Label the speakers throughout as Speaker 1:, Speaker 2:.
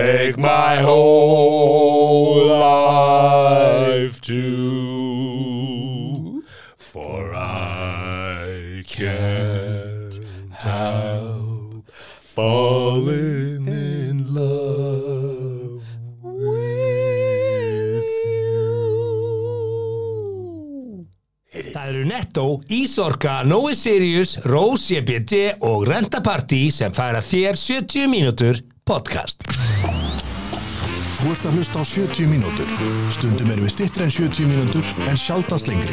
Speaker 1: Take my whole life too, for I can't help falling in love with you.
Speaker 2: Það eru Netto, Ísorka, Nói Sirius, Rose EBD og Renta Party sem færa þér 70 mínútur podcast.
Speaker 3: Þú ert að hlusta á 70 mínútur. Stundum erum við stittri en 70 mínútur en sjaldast lengri.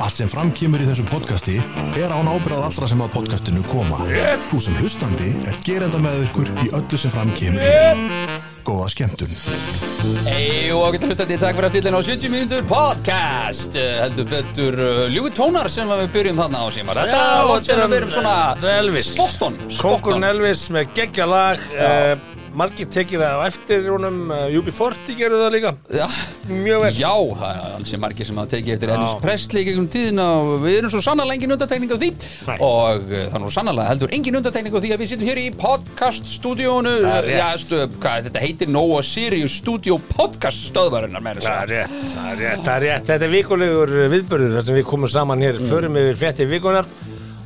Speaker 3: Allt sem framkemur í þessu podcasti er án ábyrðað allra sem að podcastinu koma.
Speaker 1: Yep.
Speaker 3: Þú sem hlustandi er gerenda með ykkur í öllu sem framkemur. Yep. Góða skemmtun.
Speaker 4: Hey, og ágætt að hlusta til takk fyrir að stilla inn á 70 mínútur podcast Eh, heldur betur uh, ljúi tónar sem að við byrjum þarna á sem að þetta
Speaker 5: Já,
Speaker 4: og sem að við erum svona
Speaker 5: Elvis.
Speaker 4: spot on, spot
Speaker 5: Kókurinn
Speaker 4: on.
Speaker 5: Elvis með geggja lag uh, Margir tekið það á eftir húnum uh, UB40 gerðu það líka
Speaker 4: Já,
Speaker 5: Mjög vel
Speaker 4: já, það er alls sem margir sem að teki eftir
Speaker 5: Já.
Speaker 4: Elvis Presley gegnum tíðina og við erum svo sannarlega engin undartekning á því
Speaker 5: Nei.
Speaker 4: og uh, það er nú sannarlega heldur engin undartekning á því að við sittum hér í podcast stúdíónu
Speaker 5: Það er rétt.
Speaker 4: já, stu, hvað, þetta heitir Nóa Sirius Studio Podcast stöðvarinnar meira að
Speaker 5: Það
Speaker 4: segja.
Speaker 5: er rétt, það er rétt, það er rétt Þetta er vikulegur uh, viðbörður þar sem við komum saman hér förum yfir frétti vikunar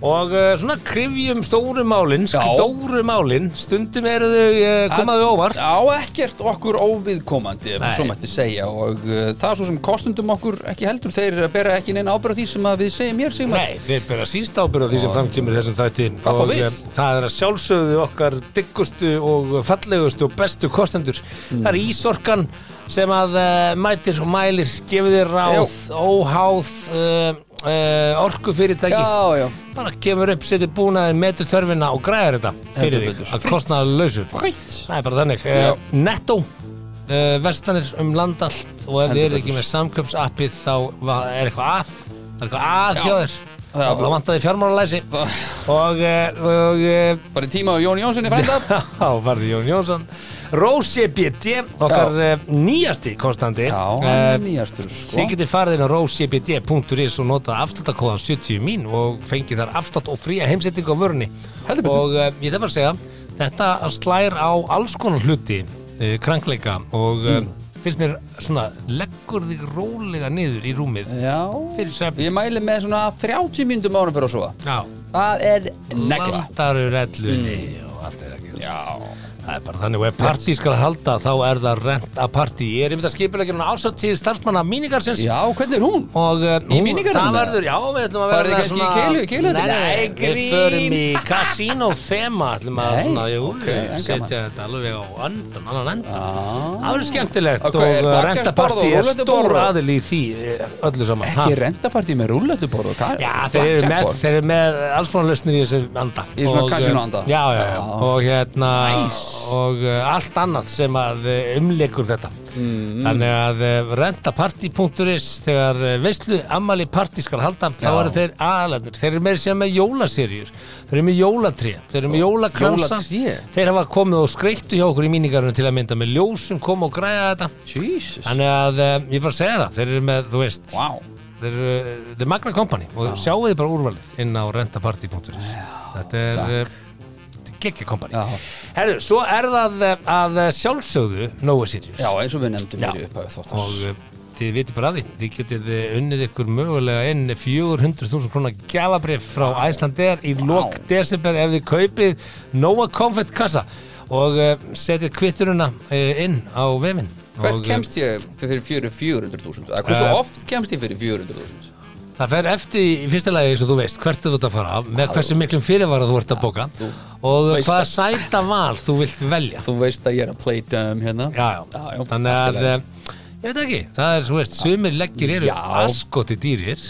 Speaker 5: og uh, svona krifjum stóru málin
Speaker 4: Já.
Speaker 5: stóru málin, stundum eru þau uh, komaðu óvart
Speaker 4: á ekkert okkur óviðkomandi ef
Speaker 5: Nei.
Speaker 4: svo mætti segja og uh, það er svo sem kostundum okkur ekki heldur þeir bera ekki neina ábyrgð á því sem að við segjum hér Sigmar
Speaker 5: Nei, þeir bera síst ábyrð á því sem fram kemur í þessum þætti
Speaker 4: Hvað þá
Speaker 5: og
Speaker 4: við?
Speaker 5: eh, það er að sjálfsögðu okkar diggustu og fallegustu og bestu kostendur
Speaker 4: Mm.
Speaker 5: það er Ísorkan sem að uh, mætir og mælir gefið þér ráð, óháð uh, uh, orkufyrirtæki
Speaker 4: já, já,
Speaker 5: bara kemur upp, setur búnaðin, metur þörfina og græðir þetta fyrir
Speaker 4: Heldur
Speaker 5: þig
Speaker 4: betur.
Speaker 5: að
Speaker 4: Frítt.
Speaker 5: kostnaða lausu
Speaker 4: frætt
Speaker 5: það er bara þannig
Speaker 4: Já.
Speaker 5: uh, Netto uh, verslanir um landallt og ef þið
Speaker 4: Heldur
Speaker 5: eru
Speaker 4: betur.
Speaker 5: ekki með samköpsappið þá va- er eitthvað að það er eitthvað að hjá þér
Speaker 4: Já.
Speaker 5: þá vantaði fjármálalæsi
Speaker 4: Það-
Speaker 5: og, eh, og eh,
Speaker 4: bara í tíma á Jón Jónssoni frænda
Speaker 5: þá varði Jón Jónsson Rósi BD okkar eh, nýjasti konstandi
Speaker 4: já, hann
Speaker 5: Eh,
Speaker 4: er nýjastur sko.
Speaker 5: Þið getið farið inn á rosebd.is og notað afslutakóðan 70 mín og fengið þar afslut og fría heimsetningu á vörunni.
Speaker 4: Heldur betur.
Speaker 5: Og uh, ég þarf bara að segja, þetta slær á alls konar hluti, uh, krankleika og mm. finnst mér svona, leggur þig rólega niður í rúmið.
Speaker 4: já,
Speaker 5: Fyrir svefn.
Speaker 4: ég mæli með svona 30 myndum ánum fyrir að sofa
Speaker 5: Já.
Speaker 4: það er negla Mm.
Speaker 5: Landarur ellunni og allt er að gerast.
Speaker 4: já,
Speaker 5: Það er bara þannig og ef partí skal halda þá er það rent að partí. Ég er einmitt að skipulegja núna ásáttíð starfsmanna míningarsins.
Speaker 4: já, hvernig er hún?
Speaker 5: og uh,
Speaker 4: Í minningarnum,
Speaker 5: það
Speaker 4: eða?
Speaker 5: verður, já, við ætlum að
Speaker 4: Farið
Speaker 5: verða
Speaker 4: þið kannski í keilu- keilu
Speaker 5: nei,
Speaker 4: þetta?
Speaker 5: nei,
Speaker 4: Nei,
Speaker 5: við
Speaker 4: grín.
Speaker 5: förum í kasín og þema ætlum að
Speaker 4: Nei,
Speaker 5: svona, jú,
Speaker 4: ok,
Speaker 5: okay,
Speaker 4: en
Speaker 5: setja
Speaker 4: gaman.
Speaker 5: þetta alveg á andan, annan enda
Speaker 4: Ah.
Speaker 5: það verður skemmtilegt
Speaker 4: Ok,
Speaker 5: og
Speaker 4: er
Speaker 5: eh,
Speaker 4: bakstjálsborð
Speaker 5: rentapartí
Speaker 4: og
Speaker 5: er stór
Speaker 4: rúllettuborð og-
Speaker 5: aðil í því eh, öllu saman
Speaker 4: ekki
Speaker 5: ha?
Speaker 4: rentapartí með rúlletuborð og hvað-
Speaker 5: Já, þeir eru, með,
Speaker 4: blackjackborð.
Speaker 5: þeir eru með alls konar lausnir í þessu anda
Speaker 4: Í svona
Speaker 5: Og, eh,
Speaker 4: kasínóanda?
Speaker 5: Já, já, já,
Speaker 4: Já.
Speaker 5: og hérna
Speaker 4: Nice.
Speaker 5: og uh, allt annað sem að eh, umleikur þetta
Speaker 4: Mm-hmm.
Speaker 5: Þannig að uh, rentaparty.is þegar uh, veistlu ammali partí skal halda þá
Speaker 4: Já.
Speaker 5: eru þeir aðalarnir þeir eru meira sér með jólaserjur þeir eru með jólatré, þeir eru með jólakransa
Speaker 4: Jólatré?
Speaker 5: þeir hafa komið og skreittu hjá okkur í míningarunum til að mynda með ljósum koma og græja þetta
Speaker 4: Jesus,
Speaker 5: Þannig að uh, ég bara segja það, þeir eru með, þú veist
Speaker 4: wow
Speaker 5: þeir eru, þeir magna company og sjáu þið bara úrvalið inn á rentaparty.is þetta er
Speaker 4: takk.
Speaker 5: eh, þetta er geggja company
Speaker 4: Já.
Speaker 5: herru, svo er það eh, að eh, sjálfsögðu Nóa Sirius
Speaker 4: Já, eins og við nefndum
Speaker 5: Já.
Speaker 4: hér í upphæðu þóttar
Speaker 5: og eh, þið vitið bara að því þið getið eh, unnið ykkur mögulega inn 400.000 krónar gjafabrif frá Æslandeir í lok desember ef þið kaupið Nóa Comfort kassa og eh, setið kvitturuna eh, inn á vefinn
Speaker 4: Hvert
Speaker 5: Og, eh,
Speaker 4: kemst ég fyrir fyrir 400.000? Eða Hversu
Speaker 5: Eh,
Speaker 4: oft kemst ég fyrir 400.000?
Speaker 5: Það fer eftir í fyrsta lagi eins og þú veist hvert þú ert að fara með hversu miklum fyrirvara þú ert að bóka og
Speaker 4: veist
Speaker 5: hvaða sæta val þú vilt velja
Speaker 4: Þú veist að ég er að play dumb hérna
Speaker 5: já, já.
Speaker 4: Já, já,
Speaker 5: þannig
Speaker 4: allt í
Speaker 5: að
Speaker 4: lagi.
Speaker 5: eh, ég veit ekki, það er, þú veist, sumir leggir eru
Speaker 4: Já.
Speaker 5: askoti dýrir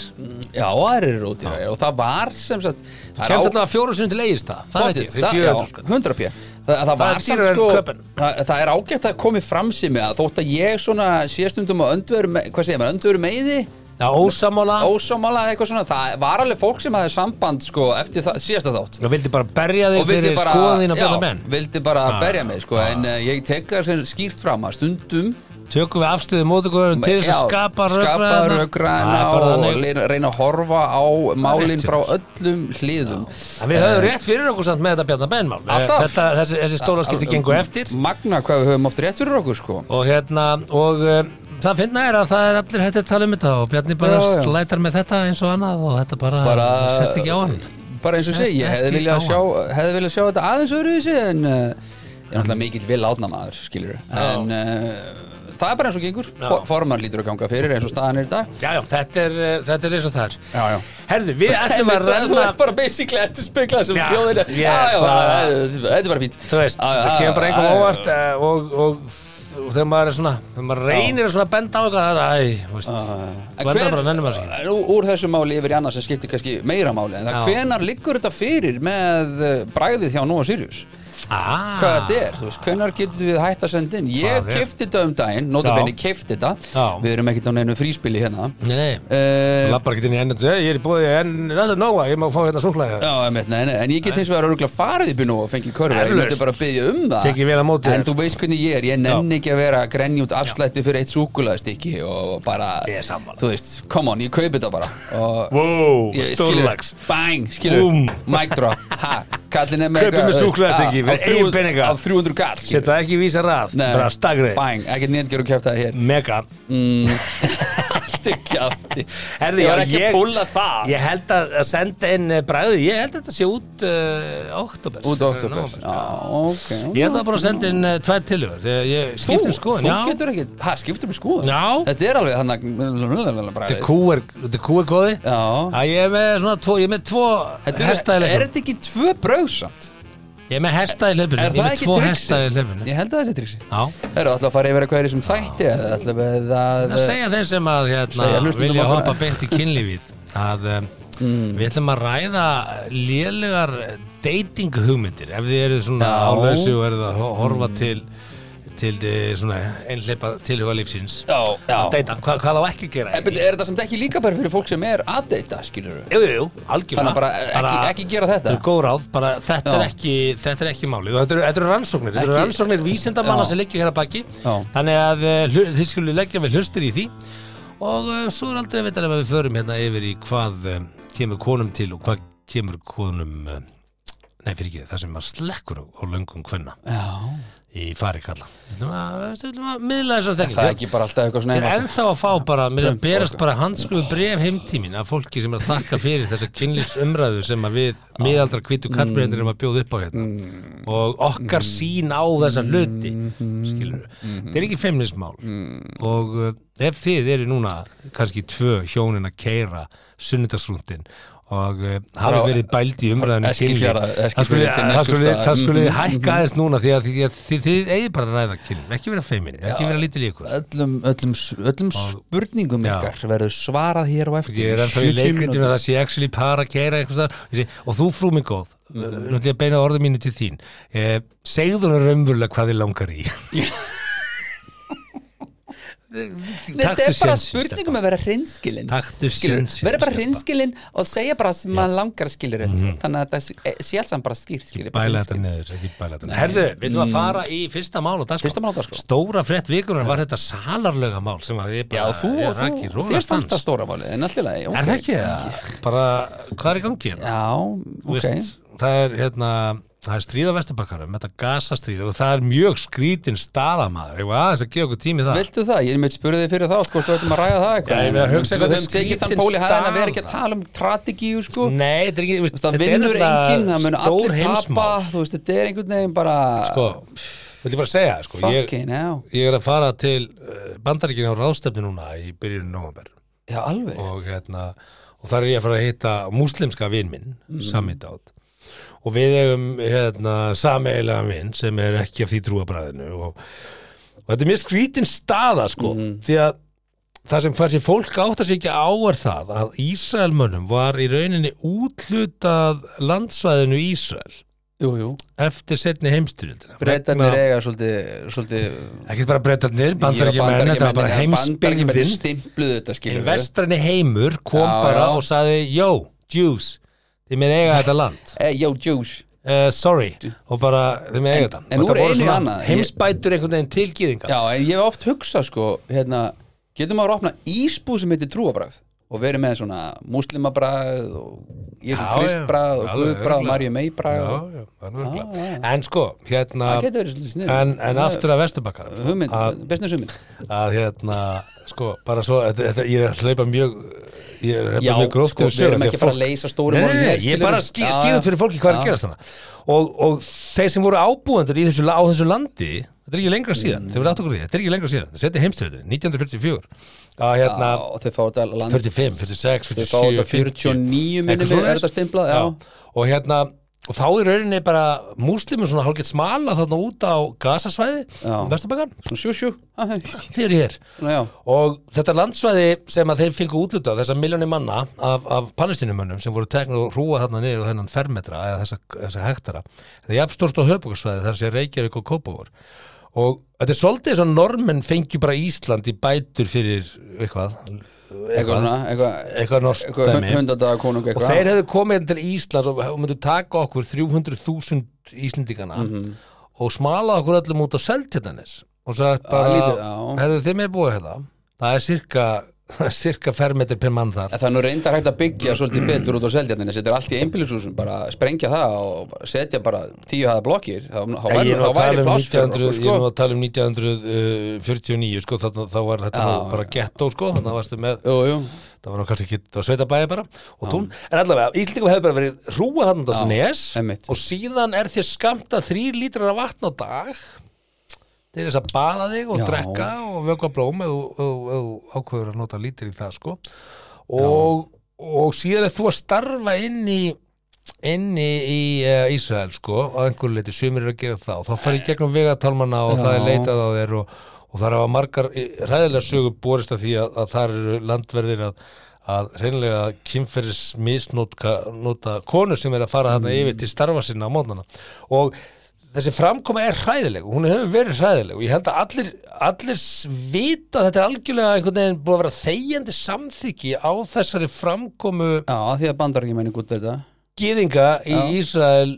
Speaker 4: Já, það er rótýra Og það var sem sagt Það
Speaker 5: kemst alltaf fjóru sunn til eigist það, það veit ég,
Speaker 4: Pottit,
Speaker 5: fyrir 400
Speaker 4: það- já,
Speaker 5: sko
Speaker 4: 100 pjö það, það,
Speaker 5: er
Speaker 4: var samt
Speaker 5: dýrara en
Speaker 4: sko
Speaker 5: Köben.
Speaker 4: það, það er ágætt að komið fram sem ég að þótt að ég svona séstundum á öndveru me- hvað segja maður, öndveru meiði
Speaker 5: Já, ósamála,
Speaker 4: ósámála eitthvað svona, það var alveg fólk sem hafði samband sko eftir það, síðasta þátt
Speaker 5: og vildi bara berja þig
Speaker 4: og vildi
Speaker 5: fyrir
Speaker 4: bara,
Speaker 5: skoðin og
Speaker 4: já,
Speaker 5: bæða menn
Speaker 4: vildi bara
Speaker 5: Ah,
Speaker 4: eh, berja mig sko, en uh, ég tek það sem skýrt fram að stundum
Speaker 5: tökum við afstöðu mót okkur til þess að skapa
Speaker 4: skapa
Speaker 5: rökræðina.
Speaker 4: rökræðina
Speaker 5: Það er bara
Speaker 4: og
Speaker 5: þannig.
Speaker 4: le- reyna að horfa á málinn
Speaker 5: rétt
Speaker 4: frá öllum hliðum
Speaker 5: En við höfum rétt fyrir okkur samt með þetta Bjarnar Bennmál
Speaker 4: Eh. Alltaf.
Speaker 5: þetta, þessi, þessi stólaskipti gengur eftir
Speaker 4: Magna hvað við höfum oft rétt fyrir okkur sko
Speaker 5: og hérna og um, það finna er að það er allir hættið að tala um þetta og Bjarni bara
Speaker 4: Já, já.
Speaker 5: slætar með þetta eins og annað og þetta bara,
Speaker 4: Bara-
Speaker 5: sest ekki á hann
Speaker 4: bara eins og
Speaker 5: Sest
Speaker 4: segi, ég hefði
Speaker 5: ekki á
Speaker 4: viljað
Speaker 5: hann.
Speaker 4: sjá, hefði viljað sjá þetta aðeins öðru þessi en uh, ég er náttúrulega mikill vil átna maður skilur en uh, það er bara eins og gengur For, formar lítur að ganga fyrir eins og staðan er í dag
Speaker 5: Já, já, þetta er, uh, þetta er eins og það er
Speaker 4: já, já.
Speaker 5: Herðu, við ætlum að
Speaker 4: Þú
Speaker 5: ræða
Speaker 4: ert bara basically eftir spekla sem
Speaker 5: Já,
Speaker 4: þjóðinu
Speaker 5: ég
Speaker 4: Já, já,
Speaker 5: bara-
Speaker 4: þetta er bara fínt
Speaker 5: Þú veist,
Speaker 4: Já, já,
Speaker 5: þetta kemur bara
Speaker 4: já,
Speaker 5: einhver
Speaker 4: já,
Speaker 5: óvart eh, og, og, og þegar maður er svona þegar maður reynir að svona benda á eitthvað það er, æ, þú veist
Speaker 4: En
Speaker 5: Blanda
Speaker 4: hver-
Speaker 5: bara, nennir maður sér ekki
Speaker 4: Nú, úr þessu máli yfir í annars sem skiptir kannski meira máli en það
Speaker 5: Já.
Speaker 4: hvenar liggur þetta fyrir með eh, bragðið hjá Nóa Sirius
Speaker 5: Ah.
Speaker 4: hvað þetta er, þú veist, hvenar getur við hætt að senda inn ég
Speaker 5: Hvað er?
Speaker 4: kefti þetta um daginn, notabenni
Speaker 5: Já.
Speaker 4: kefti þetta
Speaker 5: Já. Mm.
Speaker 4: við erum ekkert á neinu fríspili hérna
Speaker 5: Nei, nei
Speaker 4: uh,
Speaker 5: Lappar ekki inn í ennum Ég er í bóði enn Þetta er nóga Ég má fá hérna súklaði
Speaker 4: Já, einmitt, nei, nei, en ég get hins vegar öruglega farið upp í nú og fengið körfu, ég
Speaker 5: Eflaust.
Speaker 4: myndi bara byggja um það
Speaker 5: Tekið vel á móti
Speaker 4: En
Speaker 5: þér.
Speaker 4: þú veist hvernig ég er, ég nenni ekki að vera að grenja út afslætti fyrir eitt súkulaðstykki og bara,
Speaker 5: Ég er sammála.
Speaker 4: þú veist, come on, ég kaupi þetta bara og
Speaker 5: Wow,
Speaker 4: Ég-
Speaker 5: stórlags
Speaker 4: skilur, Bang, skilur,
Speaker 5: Búm.
Speaker 4: mic drop ha, Kallin er með
Speaker 5: Kaupir
Speaker 4: eitthvað,
Speaker 5: með
Speaker 4: þú veist,
Speaker 5: súkkulaðistykki
Speaker 4: á-
Speaker 5: fyrir
Speaker 4: á 300
Speaker 5: eigin peninga.
Speaker 4: Á 300 kall skilur.
Speaker 5: Setta ekki vísa rað
Speaker 4: Nei,
Speaker 5: Bara stagrið
Speaker 4: Bang, ekkert nýðgjör að kæfta það hér
Speaker 5: Mega
Speaker 4: Allt er kjátti
Speaker 5: Herði,
Speaker 4: Ég var
Speaker 5: já,
Speaker 4: ekki
Speaker 5: ég-
Speaker 4: að púla það
Speaker 5: Ég held að að senda inn eh, bragðið Ég held að þetta sé út uh, oktober
Speaker 4: Út á oktober
Speaker 5: Nóvember.
Speaker 4: Já, ok
Speaker 5: Ég held að bara að senda inn uh, tvær tilögur Þegar ég
Speaker 4: Þú,
Speaker 5: skiptum skoðin
Speaker 4: þú
Speaker 5: já.
Speaker 4: getur ekkert, hæ, skiptum við um skoðun
Speaker 5: Já.
Speaker 4: Þetta er alveg hann að
Speaker 5: Þetta er kúer, þetta er kúer góði
Speaker 4: Já
Speaker 5: Ég er með svona tvo, ég er með tvo
Speaker 4: Þetta er,
Speaker 5: hestæði
Speaker 4: er þetta ekki tvö brauð samt?
Speaker 5: Ég er með hestæði hlöpunni Ég
Speaker 4: Er
Speaker 5: er
Speaker 4: það
Speaker 5: með
Speaker 4: ekki
Speaker 5: tvo
Speaker 4: triksi?
Speaker 5: hestæði hlöpunni
Speaker 4: Ég held að þetta er triksi
Speaker 5: Já
Speaker 4: Eru alltaf að fara yfir eitthvað er sem þætti eða ætlum við að
Speaker 5: að segja þeim sem að
Speaker 4: Eh, Segja
Speaker 5: hérna,
Speaker 4: hlustendum
Speaker 5: vilja
Speaker 4: okkar.
Speaker 5: hoppa beint í kynlífið að um,
Speaker 4: Mm.
Speaker 5: við ætlum að ræða lélegar dating hugmyndir ef þið eru svona
Speaker 4: Já. Mm.
Speaker 5: álausu og eruð að ho- horfa til til eh, svona einhleipa tilhuga lífsins
Speaker 4: Já, já
Speaker 5: að deyta, hva, hvað á ekki að gera
Speaker 4: En byrju, er þetta samt ekki líka bara fyrir fólk sem er að deyta, skilur við?
Speaker 5: Jú, jú, jú, algjörlega
Speaker 4: Þannig að bara ekki, ekki gera
Speaker 5: Þetta
Speaker 4: þetta
Speaker 5: er góð ráð, bara þetta er,
Speaker 4: Já.
Speaker 5: ekki, þetta er ekki málið og þetta eru, þetta eru rannsóknir, þetta eru
Speaker 4: Ekki-
Speaker 5: rannsóknir vísindamanna
Speaker 4: Já.
Speaker 5: sem liggja hér að baki
Speaker 4: Já.
Speaker 5: þannig að eh, hlu- þið skulle leggja vel hlustir í því og uh, svo er aldrei að vita ef við förum hérna yfir í hvað um, kemur konum til og hvað kemur konum uh, nei fyrir ekki, það sem maður slekkur á, á löngum kvenna
Speaker 4: Já
Speaker 5: í fari kalla Við ætlum að- við ætlum að miðla þess að
Speaker 4: Það er
Speaker 5: þekkingu
Speaker 4: ekki bara alltaf eitthvað svona
Speaker 5: Ég er
Speaker 4: einfalt
Speaker 5: ennþá að fá bara, mér er að
Speaker 4: Trump og
Speaker 5: berast
Speaker 4: eitthvað.
Speaker 5: bara handskrifu bref heimtímin af fólki sem er að þakka fyrir þessa kynlífsumræðu sem að við miðaldra hvítu kallbreyðinir erum að bjóða upp á hérna
Speaker 4: Mm.
Speaker 5: og okkar sín á þessa hluti
Speaker 4: Mm-hmm.
Speaker 5: skilur við, þetta er ekki feimnismál
Speaker 4: Mm.
Speaker 5: og uh, ef þið eru núna kannski tvö hjónin að keira sunnudagsrúndin og uh, hafi
Speaker 4: Frá-
Speaker 5: verið bælt í umræðinu um kynlíf.
Speaker 4: Eskifjara-
Speaker 5: það skulle-
Speaker 4: Eskifirði til
Speaker 5: það skulle
Speaker 4: Neskaupstaðar.
Speaker 5: það skulle
Speaker 4: Mhm.
Speaker 5: hækka aðeins núna því að því að þið þið eigið bara að ræða kynlíf ekki vera feimin, ekki vera lítil í ykkur
Speaker 4: Öllum, öllum, s- öllum spurningum
Speaker 5: Já.
Speaker 4: ykkar verður svarað hér á eftir
Speaker 5: Ég er ennþá í
Speaker 4: 70
Speaker 5: leikritinu
Speaker 4: mínútur.
Speaker 5: að það sé actually par að keira eitthvað þar Ég segi, og þú frú mig góð mm. náttúrulega að beina orðum mínu til þín eh, segðu hún raunverulega hvað þið langar í
Speaker 4: Nei, Þetta
Speaker 5: Taktu
Speaker 4: er bara
Speaker 5: sénsinn,
Speaker 4: spurningum
Speaker 5: stelpa.
Speaker 4: að vera hreinskilin
Speaker 5: Taktu sénsinn,
Speaker 4: Verður bara
Speaker 5: stelpa.
Speaker 4: hreinskilin og segja bara sem maður langar skilur Þannig að þetta sé alls saman bara skýrt skilur
Speaker 5: Mhm. bæla þetta neður, ekki bæla þetta neður Herðu, við ætlum að fara í fyrsta mál og dagskrá
Speaker 4: Fyrsta mál á dagskrá.
Speaker 5: Stóra frett vikunar var þetta salarlöga mál sem að ég
Speaker 4: Já,
Speaker 5: bara
Speaker 4: þú,
Speaker 5: ég
Speaker 4: þú,
Speaker 5: raki
Speaker 4: þér
Speaker 5: rólega
Speaker 4: fannst það
Speaker 5: stans
Speaker 4: stóra málið En allt í lagi, ok
Speaker 5: Er það ekki það? Bara, hvað er í gangi? hérna?
Speaker 4: Já,
Speaker 5: Þú
Speaker 4: ok
Speaker 5: veist, það er hérna það er stríð á Vesturbakkarum, þetta gasastríð og það er mjög skrítin staðamaður eitthvað aðeins að gefa okkur tími í það
Speaker 4: Viltu það? Ég meitt spurði þig fyrir þá, sko, þú ættum að ræða það
Speaker 5: Já,
Speaker 4: eitthvað
Speaker 5: ég meina, hugsa um
Speaker 4: Við
Speaker 5: hvað
Speaker 4: höfum
Speaker 5: þau
Speaker 4: tekið þann
Speaker 5: skrítin
Speaker 4: póli hæðan að
Speaker 5: staða.
Speaker 4: vera ekki að tala um strategíu, sko
Speaker 5: Nei, Mm. þetta er ekki, veist,
Speaker 4: Þú veist, Það vinnur enginn, það mun allir tapa
Speaker 5: heimsmál
Speaker 4: Þú veist, þetta er einhvern veginn bara
Speaker 5: sko, vil ég bara segja, sko ég,
Speaker 4: Fucking, já
Speaker 5: ég er að fara til uh, bandaríkina á ráðstefni núna í byrjunum november
Speaker 4: Já, alveg
Speaker 5: og hérna og þar er ég að fara að hitta múslimska vinn minn mm. Samit át og við eigum hérna sameigilega vinn sem er ekki af því trúabræðinu og, og þetta er mjög skrítin staða sko því að það sem fær sér fólk átt að sér ekki á er það að Ísraelmönnum var í rauninni útlutað landsvæðinu Ísrael
Speaker 4: Jú, jú
Speaker 5: eftir setni heimstyrjöldina
Speaker 4: Breitarnir eiga svolítið, svolítið
Speaker 5: ekki bara breytarnir, bandaríkjumenn þetta var bara
Speaker 4: Bandaríkjumenn
Speaker 5: heimsbyrðin
Speaker 4: stimpluðu þetta, skilur
Speaker 5: En vestræni heimur kom
Speaker 4: Já,
Speaker 5: bara
Speaker 4: já.
Speaker 5: og saði Jó, Jews, þið með eiga þetta land
Speaker 4: Hey, yo, Jews
Speaker 5: uh, sorry og bara þeim eiga þetta Og
Speaker 4: en
Speaker 5: þetta
Speaker 4: úr
Speaker 5: voru
Speaker 4: einu í
Speaker 5: svona
Speaker 4: annað. Ég-
Speaker 5: heimsbætur einhvern veginn til gyðinga
Speaker 4: Já, en ég hef oft hugsað sko hérna, getur maður að opna ísbúð sem heitir trúabræð og verið með svona múslimabræð og Jésu
Speaker 5: Já, já.
Speaker 4: Kristbræð og
Speaker 5: Alveg
Speaker 4: Guðbræð og
Speaker 5: örugglega.
Speaker 4: Marju Meybræð og-
Speaker 5: já, það er nörgulega en sko, hérna
Speaker 4: Það getur verið svolítið snið
Speaker 5: en, en aftur að vesturbakkarum
Speaker 4: Hugmynd,
Speaker 5: að,
Speaker 4: business hugmynd
Speaker 5: að hérna, sko, bara svo þetta, þetta, ég er að hlaupa mjög ég er að
Speaker 4: Já,
Speaker 5: hlaupa mjög gróft
Speaker 4: sko,
Speaker 5: yfir
Speaker 4: við
Speaker 5: sögu,
Speaker 4: erum
Speaker 5: því
Speaker 4: ekki að fara að
Speaker 5: fólk-
Speaker 4: leysa stórum
Speaker 5: Nei,
Speaker 4: málum
Speaker 5: nei,
Speaker 4: hér,
Speaker 5: nei, ég er
Speaker 4: skilurðu.
Speaker 5: bara að skýra
Speaker 4: Já, já.
Speaker 5: fyrir fólki hvað er
Speaker 4: Já.
Speaker 5: að gerast hana og, og þeir sem voru ábúendur í þessu, la- á þessu landi þetta er ekki lengra
Speaker 4: Mm.
Speaker 5: síðan, þeir voru átt okkur á því þetta er ekki lengra síðan, þetta seti heimstöður 1944 að hérna,
Speaker 4: Já, og þau fá þetta land
Speaker 5: 45, 46,
Speaker 4: þau fá þetta
Speaker 5: 47
Speaker 4: 49 minnum
Speaker 5: Eitthvað
Speaker 4: er
Speaker 5: svoleiðis.
Speaker 4: þetta stimplað, já,
Speaker 5: og hérna og þá er rauninni bara múslimum svona hálfgett smala þarna út á gasasvæði
Speaker 4: Já.
Speaker 5: Vesturbakkan,
Speaker 4: svona sjú sjú Ha, ha,
Speaker 5: þeir eru hér
Speaker 4: svona, já,
Speaker 5: Og þetta landsvæði sem að þeir fengu útluta þessar miljónir manna af, af palestinumönnum sem voru teknir og hrúa þarna niður og þennan fermetra eða þessa, þessa hektara það er jafnstort á höfbókarsvæði þar sé Reykjavík og Kópavór og þetta er svolítið eins og normenn fengju bara Ísland í bætur fyrir eitthvað
Speaker 4: eitthvað svona eitthvað,
Speaker 5: eitthvað norskt
Speaker 4: eitthvað
Speaker 5: dæmi
Speaker 4: hundadaga konung
Speaker 5: og
Speaker 4: eitthvað
Speaker 5: þeir hefðu komið hérna til Íslands og, og myndu taka okkur 300.000 Íslendingana
Speaker 4: Mhm.
Speaker 5: og smalað okkur öllum út á Seltjarnanes og sagt bara,
Speaker 4: lítið, já.
Speaker 5: hefðu þið með búið hérna það er cirka, það er cirka fermetri per mann þar
Speaker 4: En það er nú reyndar hægt að byggja svolítið betur út á seldjarninni þetta er allt í einbýlishúsum, bara sprengja það og bara setja bara tíu haða blokkir þá, þá,
Speaker 5: Ég
Speaker 4: væri,
Speaker 5: er nú
Speaker 4: þá
Speaker 5: að tala
Speaker 4: væri
Speaker 5: um
Speaker 4: pláss fyrir
Speaker 5: 1900 ég er
Speaker 4: okkur
Speaker 5: nú
Speaker 4: sko.
Speaker 5: að tala um 1949 sko, þarna, þá var þetta
Speaker 4: Já,
Speaker 5: nú bara ghetto sko, þannig að varstu með
Speaker 4: Jú, jú,
Speaker 5: það var nú kannski ekki, það var sveitabæði bara og tún, en allavega, Íslendingum hefur bara verið hrúa þarna þess
Speaker 4: Já,
Speaker 5: nes
Speaker 4: einmitt.
Speaker 5: og síðan er þér skamta þrýr lítrar af vatn á dag til þess að baða þig og
Speaker 4: Já.
Speaker 5: drekka og vöka blóm eða þú- ef þú ákveður að nota lítir í það sko og, og síðan er þú að starfa inn í inni í uh, Ísrael sko og einhver leiti sumir eru að gera það og þá farið gegnum vegatálmana og það er
Speaker 4: Já.
Speaker 5: leitað á þeir og, og það hafa margar ræðilega sögur borist að því að, að þar eru landverðir að, að hreinlega kynferðis misnóta konu sem er að fara þarna yfir til starfa sinna á mótnana og þessi framkoma er hræðileg og hún hefur verið hræðileg og ég held að allir, allir s- vita að þetta er algjörlega einhvern veginn búið að vera þegjandi samþyggi á þessari framkomu
Speaker 4: já, því að bandar ekki menning út þetta
Speaker 5: gýðinga í
Speaker 4: Já.
Speaker 5: Ísrael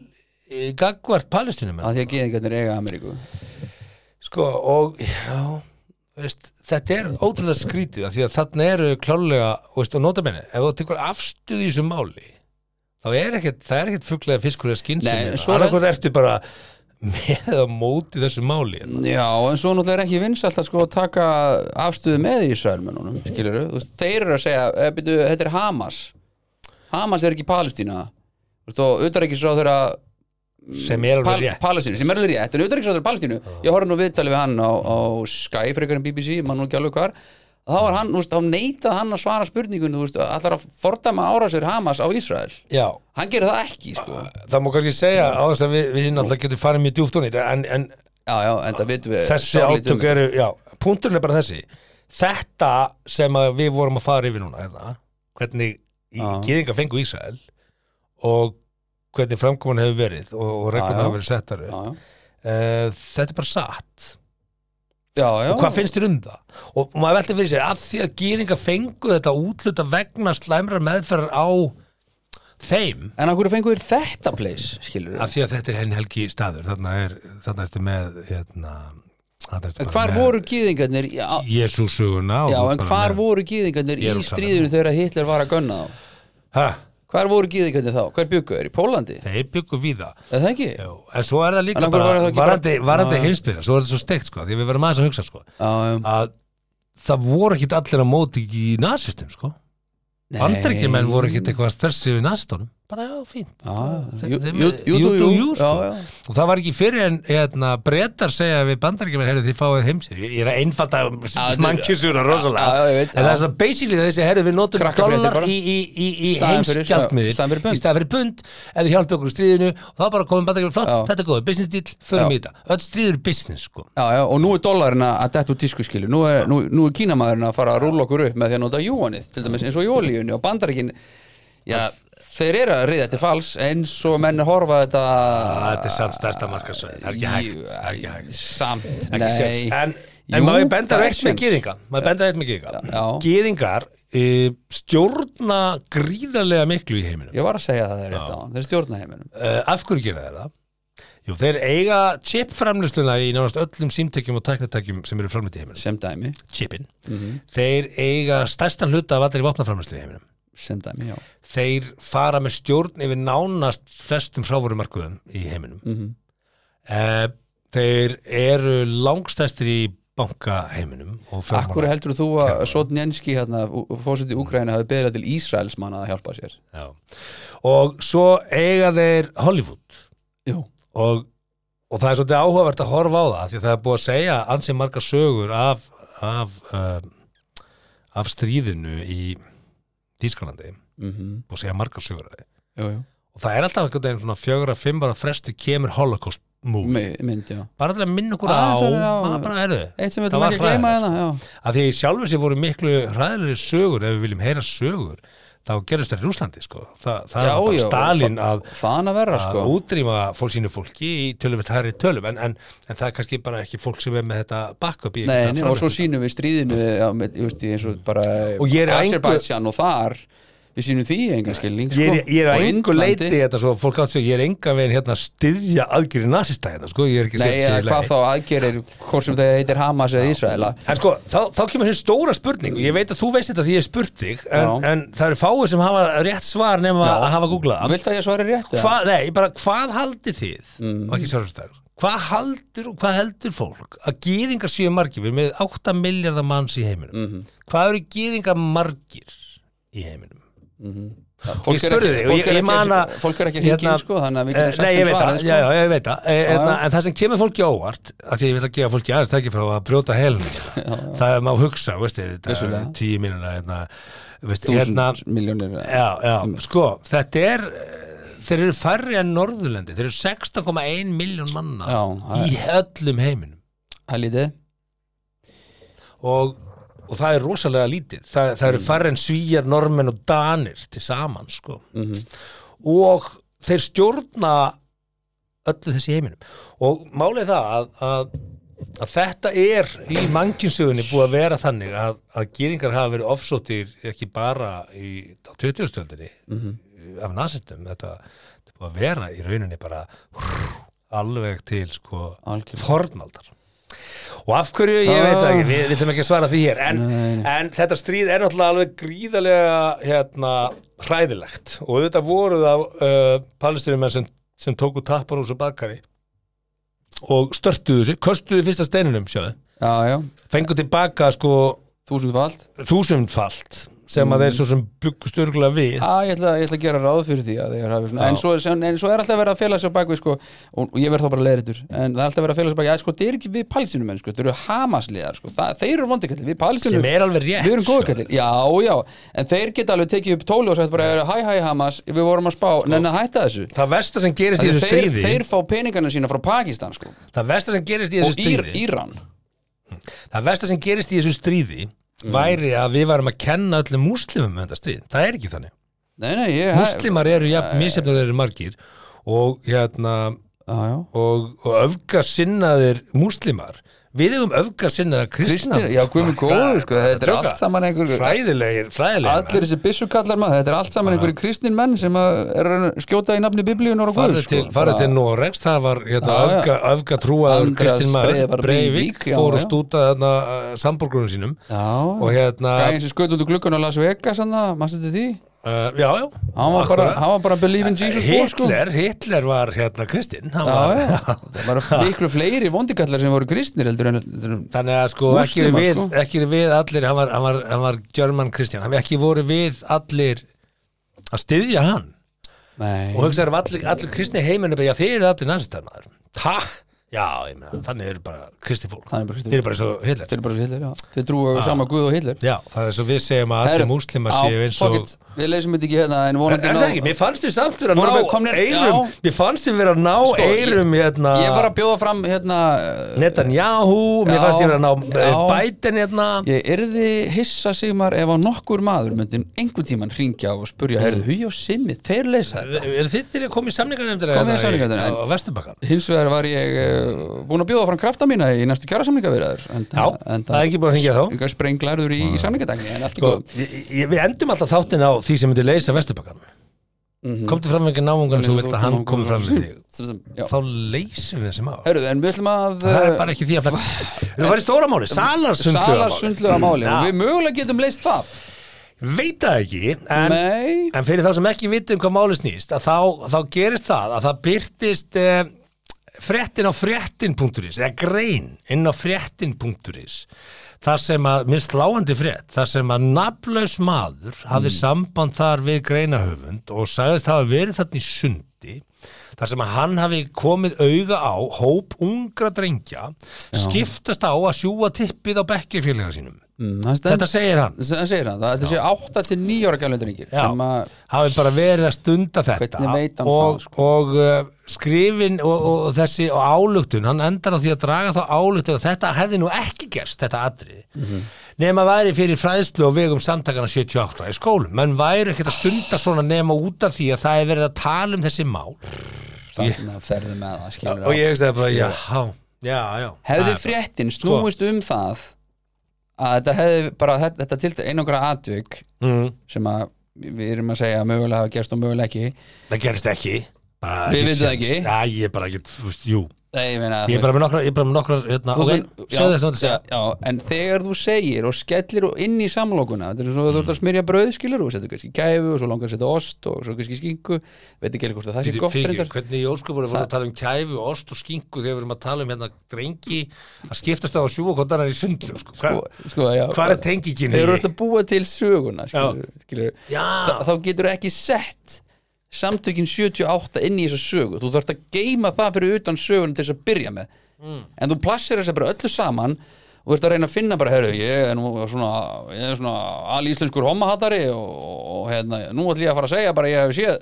Speaker 5: eh, gagvart palestinum
Speaker 4: að því að geðingarnir eiga Ameríku
Speaker 5: sko og já, veist, þetta er ótrúlega skrítið af því að þarna eru klálega veist, og nota menni, ef þú tekur afstuð í þessu máli þá er ekkert, það er ekkert fuglega fiskur eða
Speaker 4: Nei, en
Speaker 5: skynsum
Speaker 4: svo er-
Speaker 5: annarkot ertu bara með eða móti þessu máli
Speaker 4: Já, en svo náttúrulega er ekki vinsalt að sko taka afstöðu með í Ísraelmennunum skilur þú, veist, þeir eru að segja e, byrju, þetta er Hamas Hamas er ekki Palestína Þú veist, og utarækisráð þeirra
Speaker 5: sem er alveg rétt
Speaker 4: Mm, Palestínu, sem er alveg rétt en auðvitaðriksráður Palestínu, ég horfði nú viðtalið við hann á, á Sky, frekar en BBC, mann nú ekki alveg hvar þá var hann, þú veist, þá neitað hann að svara spurningun, þú veist, allar að fordama árásir Hamas á Ísrael,
Speaker 5: já,
Speaker 4: hann gerir það ekki sko, já,
Speaker 5: það má kannski segja á þess að við, við náttúrulega getum farið mjög djúft hún en, en
Speaker 4: já, en það vitum við
Speaker 5: þessi
Speaker 4: sárlítið um
Speaker 5: átök eru, já, punkturinn er bara þessi þetta sem að við vorum að fara yfir núna hérna, hvernig í
Speaker 4: Já.
Speaker 5: gyðinga fengu Ísrael og hvernig framkomin hefur verið og, og
Speaker 4: Já, já.
Speaker 5: regluna hefur verið settar
Speaker 4: þetta.
Speaker 5: upp uh, þetta er bara satt
Speaker 4: já, já, já,
Speaker 5: og hvað finnst þér um það? og maður velti fyrir sér, af því að gyðinga fengu þetta útluta vegna slæmra meðferðar á þeim
Speaker 4: en af hverju fengur þetta place, skilur
Speaker 5: af því að þetta er henni helgi staður þarna, er, þarna ertu með hérna, þarna ertu
Speaker 4: en
Speaker 5: bara
Speaker 4: hvar
Speaker 5: með
Speaker 4: voru gýðingarnir já,
Speaker 5: Jesússöguna og
Speaker 4: já,
Speaker 5: þú
Speaker 4: en
Speaker 5: bara
Speaker 4: hvar
Speaker 5: með-
Speaker 4: voru gýðingarnir í
Speaker 5: Jerúsalem.
Speaker 4: stríðinu þegar Hitler var að gunna þá
Speaker 5: Ha,
Speaker 4: hvar voru gýðingarnir þá, hver byggu er í Pólandi,
Speaker 5: þeir byggu við það
Speaker 4: er það ekki? Já,
Speaker 5: Já, en svo er það líka
Speaker 4: En af hverju var
Speaker 5: bara
Speaker 4: það ekki
Speaker 5: varandi,
Speaker 4: bara-
Speaker 5: varandi
Speaker 4: Já.
Speaker 5: heimsbyrja, svo er það svo steikt sko, því við verðum aðeins að hugsa sko
Speaker 4: já,
Speaker 5: að það voru ekkit allir á móti í nasistum sko
Speaker 4: Nei.
Speaker 5: Bandaríkjumenn voru ekkit eitthvað stærsi við nasistunum bara já, fínt
Speaker 4: Já,
Speaker 5: Þeim-
Speaker 4: Ah, jú,
Speaker 5: þeim-
Speaker 4: jú, jú, jú, jú,
Speaker 5: jú, sko.
Speaker 4: já, já.
Speaker 5: og það var ekki fyrir en hérna, brettar segja við bandaríkjumenn heyrðu þið fáið heimsir, ég er að einfalda
Speaker 4: þetta-
Speaker 5: mannkissuna rosalega
Speaker 4: Já, já, ég veit,
Speaker 5: en það
Speaker 4: já.
Speaker 5: er svona basically þessi herðu við notum
Speaker 4: Krakkafréttir
Speaker 5: dollar
Speaker 4: bara.
Speaker 5: í, í, í, í
Speaker 4: Staðan fyrir-
Speaker 5: heimsgjaldmiðil
Speaker 4: staðan fyrir pund.
Speaker 5: í staðan fyrir pund, ef þið hjálpi okkur í stríðinu og þá bara komum bandaríkjumenn flott,
Speaker 4: Já.
Speaker 5: þetta er góð business deal, förum
Speaker 4: Já.
Speaker 5: í þetta öll stríður er business sko
Speaker 4: Já, já, og nú er dólarinn að detta úr tísku skilu nú er, nú, nú er kínamaðurinn að fara að rúla okkur upp með því að nota júanið, til dæmis eins og í olíunni og bandaríkin já, þeir eru að riða til fals eins og menn horfa þetta
Speaker 5: Ah, þetta er samt stærsta markasvæði, það er ekki hægt, það er ekki hægt.
Speaker 4: Samt,
Speaker 5: ekki
Speaker 4: nei
Speaker 5: séns en,
Speaker 4: Jú,
Speaker 5: en maður benda
Speaker 4: það er
Speaker 5: rétt með
Speaker 4: séns.
Speaker 5: gýðinga maður benda rétt með
Speaker 4: Já.
Speaker 5: gýðinga gýðingar e, stjórna gríðarlega miklu í heiminum.
Speaker 4: Ég var að segja það rétt á hann, þeir stjórna heiminum
Speaker 5: Uh, af hverju gera þeir það? Jú, þeir eiga chipframlýsluna í nánast öllum símtekjum og tæknatækjum sem eru framlýtt í heiminum.
Speaker 4: sem dæmi,
Speaker 5: Chipin. Þeir eiga stærstan hluta af allir vopnaframlýslu í heiminum.
Speaker 4: sem dæmi, já
Speaker 5: Þeir fara með stjórn yfir nánast flestum frávorumarkuðum í heiminum. Mm þeir eru langstærstir í bankaheiminum og fjármála-
Speaker 4: Akkur heldur þú að Sotnjenski hérna, fósitt í Úkraina hafi beðið til Ísraels manna að hjálpa sér
Speaker 5: Já. Og svo eiga þeir Hollywood
Speaker 4: Jú,
Speaker 5: og, og það er svolítið áhugavert að horfa á það því að það er búið að segja ansið margar sögur af, af, um, af stríðinu í Þískalandi
Speaker 4: mm
Speaker 5: og segja margar sögur af því.
Speaker 4: jú, jú.
Speaker 5: Og það er alltaf einhvern veginn svona fjögur að fimm bara fresti kemur Holocaust múl.
Speaker 4: Mi- mynd, já
Speaker 5: Bara til að minna okkur á,
Speaker 4: Aðeins verður á-
Speaker 5: það er bara erðu.
Speaker 4: Eitt sem við
Speaker 5: Það
Speaker 4: ætlum
Speaker 5: var
Speaker 4: ekki að gleyma
Speaker 5: hræðilegt.
Speaker 4: hérna, já
Speaker 5: Að því sjálfur sér voru miklu hræðilegri sögur ef við viljum heyra sögur þá gerist það í Rúslandi sko. Þa, það
Speaker 4: Já,
Speaker 5: var bara
Speaker 4: já,
Speaker 5: Stalin að
Speaker 4: Faðan að verra,
Speaker 5: að
Speaker 4: sko
Speaker 5: útrýma fólk sínu fólki í töluvert hærri tölum en, en, en það er kannski bara ekki fólk sem er með þetta backup í
Speaker 4: Nei,
Speaker 5: þetta
Speaker 4: nei, og svo
Speaker 5: framleiðslu.
Speaker 4: sínum við stríðinu já, með, ég veist, eins og bara
Speaker 5: Og ég er að engu-
Speaker 4: Azerbaijan og þar við sínum því engan skilning sko.
Speaker 5: Ég er, ég er
Speaker 4: Og
Speaker 5: að engu
Speaker 4: Indlandi.
Speaker 5: leiti þetta svo fólk átt sig, ég er enga veginn hérna að styðja aðgjöri nasista hérna, sko, ég er ekki að
Speaker 4: Nei,
Speaker 5: setja sig
Speaker 4: eða
Speaker 5: í
Speaker 4: hvað
Speaker 5: lagi.
Speaker 4: þá aðgerir hvort sem það heitir Hamas eða Ísraela
Speaker 5: En sko, þá, þá kemur hér stóra spurning og ég veit að þú veist þetta því ég hef spurt þig en,
Speaker 4: Já.
Speaker 5: en það eru fáið sem hafa rétt svar nema
Speaker 4: Já.
Speaker 5: að hafa googlað það.
Speaker 4: Viltu að ég svari rétt? eða?
Speaker 5: Hvað, nei, bara hvað haldið þið
Speaker 4: Mm.
Speaker 5: og ekki svarfstæður, hvað haldur og hvað heldur fólk að gýðingar séu margir við erum með 8 miljardar manns í heiminum
Speaker 4: Mhm.
Speaker 5: hvað eru gýðingar margir í heiminum
Speaker 4: Fólk
Speaker 5: Ég
Speaker 4: er
Speaker 5: spurði
Speaker 4: ekki-
Speaker 5: þig og
Speaker 4: fólk
Speaker 5: ég-
Speaker 4: er
Speaker 5: ég man að-
Speaker 4: ekki- fólk er ekki hengið
Speaker 5: hérna,
Speaker 4: sko þannig að við
Speaker 5: Eh,
Speaker 4: getum
Speaker 5: Nei,
Speaker 4: sagt
Speaker 5: ég
Speaker 4: um
Speaker 5: veit það,
Speaker 4: svarið
Speaker 5: já, já,
Speaker 4: sko.
Speaker 5: ég veit það Eh, hérna,
Speaker 4: já.
Speaker 5: en það sem kemur fólki á óvart af því að ég vil að gefa fólki aðeins tæki frá að brjóta helm það er má hugsa, veist þið þetta
Speaker 4: Vissulega.
Speaker 5: tíu mínuna hérna, veist, hérna,
Speaker 4: Þúsund Mm. miljónir
Speaker 5: já, já, sko, þetta er eh, þeir eru færri en Norðurlendi þeir eru 16,1 miljón manna
Speaker 4: Já, það
Speaker 5: í öllum heiminum
Speaker 4: það er lítið
Speaker 5: og, og það er rosalega lítið það, það eru færri en svíjar, normenn og danir til saman sko.
Speaker 4: Mhm.
Speaker 5: og þeir stjórna öllu þessi í heiminum og málið er það að, að, að þetta er í mannkinsögunni búið að vera þannig að, að gýringar hafa verið ofsóttir ekki bara í, á 20. stöldinni af nasistum þetta, þetta er búið að vera í rauninni bara alveg til sko
Speaker 4: Algjörlega.
Speaker 5: fornaldar og af hverju, ég veit það ekki, við við ætlum ekki að svara því hér en,
Speaker 4: Nei,
Speaker 5: en þetta stríð er náttúrulega alveg gríðarlega hérna, hræðilegt og auðvitað voru það uh, palestinumenn sem, sem tóku tappar úr svo bakari og störtuðu þessu, köstuðu fyrsta steininum sjáðu,
Speaker 4: Já, já,
Speaker 5: fengu tilbaka sko
Speaker 4: þúsundfald
Speaker 5: þúsundfalt sem að
Speaker 4: Mm.
Speaker 5: þeir svo sem byggust örgulega við
Speaker 4: Já, Ah, ég ætla, ég ætla að gera ráð fyrir því að þeir hafi svona en svo, sem, en svo er alltaf verið að fela sér bak við sko, og, og ég verð þá bara leiðritur en það er alltaf verið að fela sér bak við, að sko, þeir eru ekki við palsinu menn, sko, þeir eru hamasliðar sko, það, þeir eru vondikallir, við palsinu
Speaker 5: sem er alveg rétt sko.
Speaker 4: við erum
Speaker 5: sjáðu.
Speaker 4: góðkallir, já, já en þeir geta alveg tekið upp tóli og sagt bara hæ, hæ, Hamas, við vorum að spá,
Speaker 5: Sko.
Speaker 4: nenni að hætta þessu
Speaker 5: það versta sem gerist í
Speaker 4: þeir,
Speaker 5: þessu
Speaker 4: þeir,
Speaker 5: stríði
Speaker 4: þeir fá peningana sína frá Pakistan sko,
Speaker 5: það versta sem gerist í
Speaker 4: og
Speaker 5: þessu
Speaker 4: ír,
Speaker 5: stríði
Speaker 4: Íran
Speaker 5: það versta sem gerist í þessu stríði
Speaker 4: Mm.
Speaker 5: væri að við varum að kenna öllum múslimum um þetta stríð, það er ekki þannig
Speaker 4: Nei, nei, ég
Speaker 5: múslimar eru jafn misjafnir þeir eru margir og hérna
Speaker 4: Já, já
Speaker 5: og, og öfgasinnaðir múslimar við hefum öfgasinnaða kristna
Speaker 4: Kristir, já, guðmi góður, sko, þetta er
Speaker 5: Tjóka.
Speaker 4: allt saman einhver
Speaker 5: fræðilegir, fræðilegir
Speaker 4: Allir þessi byssukallar maður, þetta er allt saman einhverju kristnin menn sem að er að skjóta í nafni biblíunar og
Speaker 5: farið
Speaker 4: guðs sko.
Speaker 5: til, farið til Noregs, það var hérna,
Speaker 4: Já, já.
Speaker 5: öfga, öfga trúaður
Speaker 4: Andreas
Speaker 5: Kristinn maður,
Speaker 4: Breiðar-
Speaker 5: Breivik
Speaker 4: Breivik, já,
Speaker 5: fór að
Speaker 4: já.
Speaker 5: stúta þarna uh, sambúrgrunum sínum og
Speaker 4: Já,
Speaker 5: hérna
Speaker 4: gæðin sem skaut út úr glukkan á Las Vegas hann það, maður þetta því
Speaker 5: uh, já, já,
Speaker 4: Hann var bara,
Speaker 5: akkurat.
Speaker 4: hann var bara believe in Jesus Christ, sko
Speaker 5: Hitler, Hitler var hérna Kristinn hann
Speaker 4: Já,
Speaker 5: var-
Speaker 4: já, það var miklu fleiri vondikallar sem voru kristnir heldur en heldur en-
Speaker 5: Þannig að sko, ekki eru
Speaker 4: Múslímar,
Speaker 5: við,
Speaker 4: sko.
Speaker 5: ekki eru við allir, hann var, hann var, hann var German Christian, hann ekki voru við allir að styðja hann
Speaker 4: Nei,
Speaker 5: og hugsaður um allir, allir kristni heiminu bara, já þeir eru allir nazistar maður ha, já, ég meina, þannig eru bara kristi fólk,
Speaker 4: Þannig eru bara kristið
Speaker 5: þeir eru bara svo Hitler
Speaker 4: þeir eru bara svo Hitler, já Þeir trúa á sama guð og Hitler
Speaker 5: já, það er svo við segjum að allir
Speaker 4: Herru,
Speaker 5: múslimar
Speaker 4: já,
Speaker 5: séu eins og
Speaker 4: fuck it, Við leysum þetta ekki hérna en
Speaker 5: Er
Speaker 4: vonandi
Speaker 5: það
Speaker 4: náð-
Speaker 5: ekki? Mér fannst þið samt vera að
Speaker 4: Vorum við
Speaker 5: ná
Speaker 4: komnir-
Speaker 5: eirum
Speaker 4: Já.
Speaker 5: Mér fannst þið vera að ná
Speaker 4: Sko, ég-
Speaker 5: eirum hérna,
Speaker 4: Ég var að bjóða fram hérna eh,
Speaker 5: Netanyahu Mér
Speaker 4: Já.
Speaker 5: fannst þið vera að ná eh,
Speaker 4: Já.
Speaker 5: Biden hérna
Speaker 4: Ég erði hissa Sigmar ef að nokkur maður myndi einhvern tíman hringja og
Speaker 5: Mm.
Speaker 4: spurja heyrðu, hugi og simmi, þeir leysa þetta
Speaker 5: Er þið til að koma í samningarnefndina
Speaker 4: Komið í
Speaker 5: hérna
Speaker 4: samningarnefndina,
Speaker 5: Á Vesturbakkan
Speaker 4: Hins vegar var ég eh, uh, búin að bjóða fram krafta mína í næstu kjærasamlingavirðar
Speaker 5: Já, það er ekki búin að hringja þá.
Speaker 4: Engar sprenglaður í, í samlingadagni en allt í
Speaker 5: Sko,
Speaker 4: góð
Speaker 5: ég, ég, við endum alltaf þáttinn á því sem myndi leysa vesturpakkanum komdu fram með ekki náungan sem þú vilt að hann komi fram með þig
Speaker 4: Já.
Speaker 5: þá leysum við þessi mál
Speaker 4: Hörru, en við ætlum að eh,
Speaker 5: það er bara ekki því að það það var í stóra máli, salarsundlu
Speaker 4: Salarsundluga máli
Speaker 5: Já.
Speaker 4: og við mögulega getum leist það
Speaker 5: veit það ekki en,
Speaker 4: Nei,
Speaker 5: en fyrir þá sem ekki vitum hvað máli snýst að þá, þá gerist það að það byrtist eh, fréttin á fréttin.is eða grein inn á fréttin.is þar sem að, minn sláandi frétt þar sem að nafnlaus maður hafði samband þar við greinahöfund og sagðist hafa verið þarna í sundi þar sem að hann hafi komið auga á hóp ungra drengja skiptast á að sjúga tippið á bekkjafélaga sínum
Speaker 4: Mm, það stend-
Speaker 5: þetta segir hann
Speaker 4: það segir hann, það þetta séu 8 til 9 ára gælendur yngir
Speaker 5: Já.
Speaker 4: sem að
Speaker 5: hafi bara verið að stunda þetta
Speaker 4: Hvernig veit hann
Speaker 5: og,
Speaker 4: það, sko?
Speaker 5: og uh, skrifin og, og þessi og álugtun, hann endar á því að draga þá álugtun og þetta hefði nú ekki gerst þetta atrið,
Speaker 4: Mhm.
Speaker 5: nema væri fyrir fræðslu og vegum samtakana 78 í skólum, menn væri ekkert að stunda svona nema út af því að það er verið að tala um þessi mál
Speaker 4: þarna ferði með það skilur
Speaker 5: og ég hefði bara, já, já, já
Speaker 4: hefði
Speaker 5: Það er
Speaker 4: fréttin snúist um það að þetta hefði bara þetta, þetta til einangra atvik
Speaker 5: bara- mm,
Speaker 4: sem að við erum að segja að mögulega hafa gerst og mögulega ekki
Speaker 5: það gerist ekki bara
Speaker 4: Við
Speaker 5: ekki
Speaker 4: vitum það
Speaker 5: séns.
Speaker 4: ekki.
Speaker 5: Já, ég er bara ekki, þú veist, jú
Speaker 4: Nei, ég meina
Speaker 5: ég er bara með nokkra, ég er bara með nokkra hérna,
Speaker 4: þú-
Speaker 5: ok,
Speaker 4: þú-
Speaker 5: segðu þess að þetta segja
Speaker 4: já, já, en þegar þú segir og skellir og inn í samlokuna þetta er svo að þú ert
Speaker 5: Mm.
Speaker 4: að smyrja brauð skilur og setur kannski gæfu og svo langar að setja ost og svo kannski skingu veit ekki alveg hvort að það sé
Speaker 5: Fyrir,
Speaker 4: gott
Speaker 5: fyrir,
Speaker 4: reyndar sko.
Speaker 5: hvernig í ósköpunum fórst að tala um kæfu, ost og skinku þegar við erum að tala um hérna drengi að skiptast á að sjúga hvort annar í sundlu sko. Hva,
Speaker 4: Og- sko, já,
Speaker 5: hvað er tengingin í
Speaker 4: þegar þú ert
Speaker 5: því?
Speaker 4: að búa til söguna skilur, skilur,
Speaker 5: Já,
Speaker 4: Þa- þá getur ekki sett samtökin 78 inn í þessa sögu þú þarft að geima það fyrir utan sögunum til þess að byrja með
Speaker 5: Mm.
Speaker 4: en þú plassir þess að bara öllu saman og þú ert að reyna að finna bara, herru, ég er nú svona, ég er svona alíslenskur homahatari og, og hérna, nú ætlum ég að fara að segja bara að ég hef séð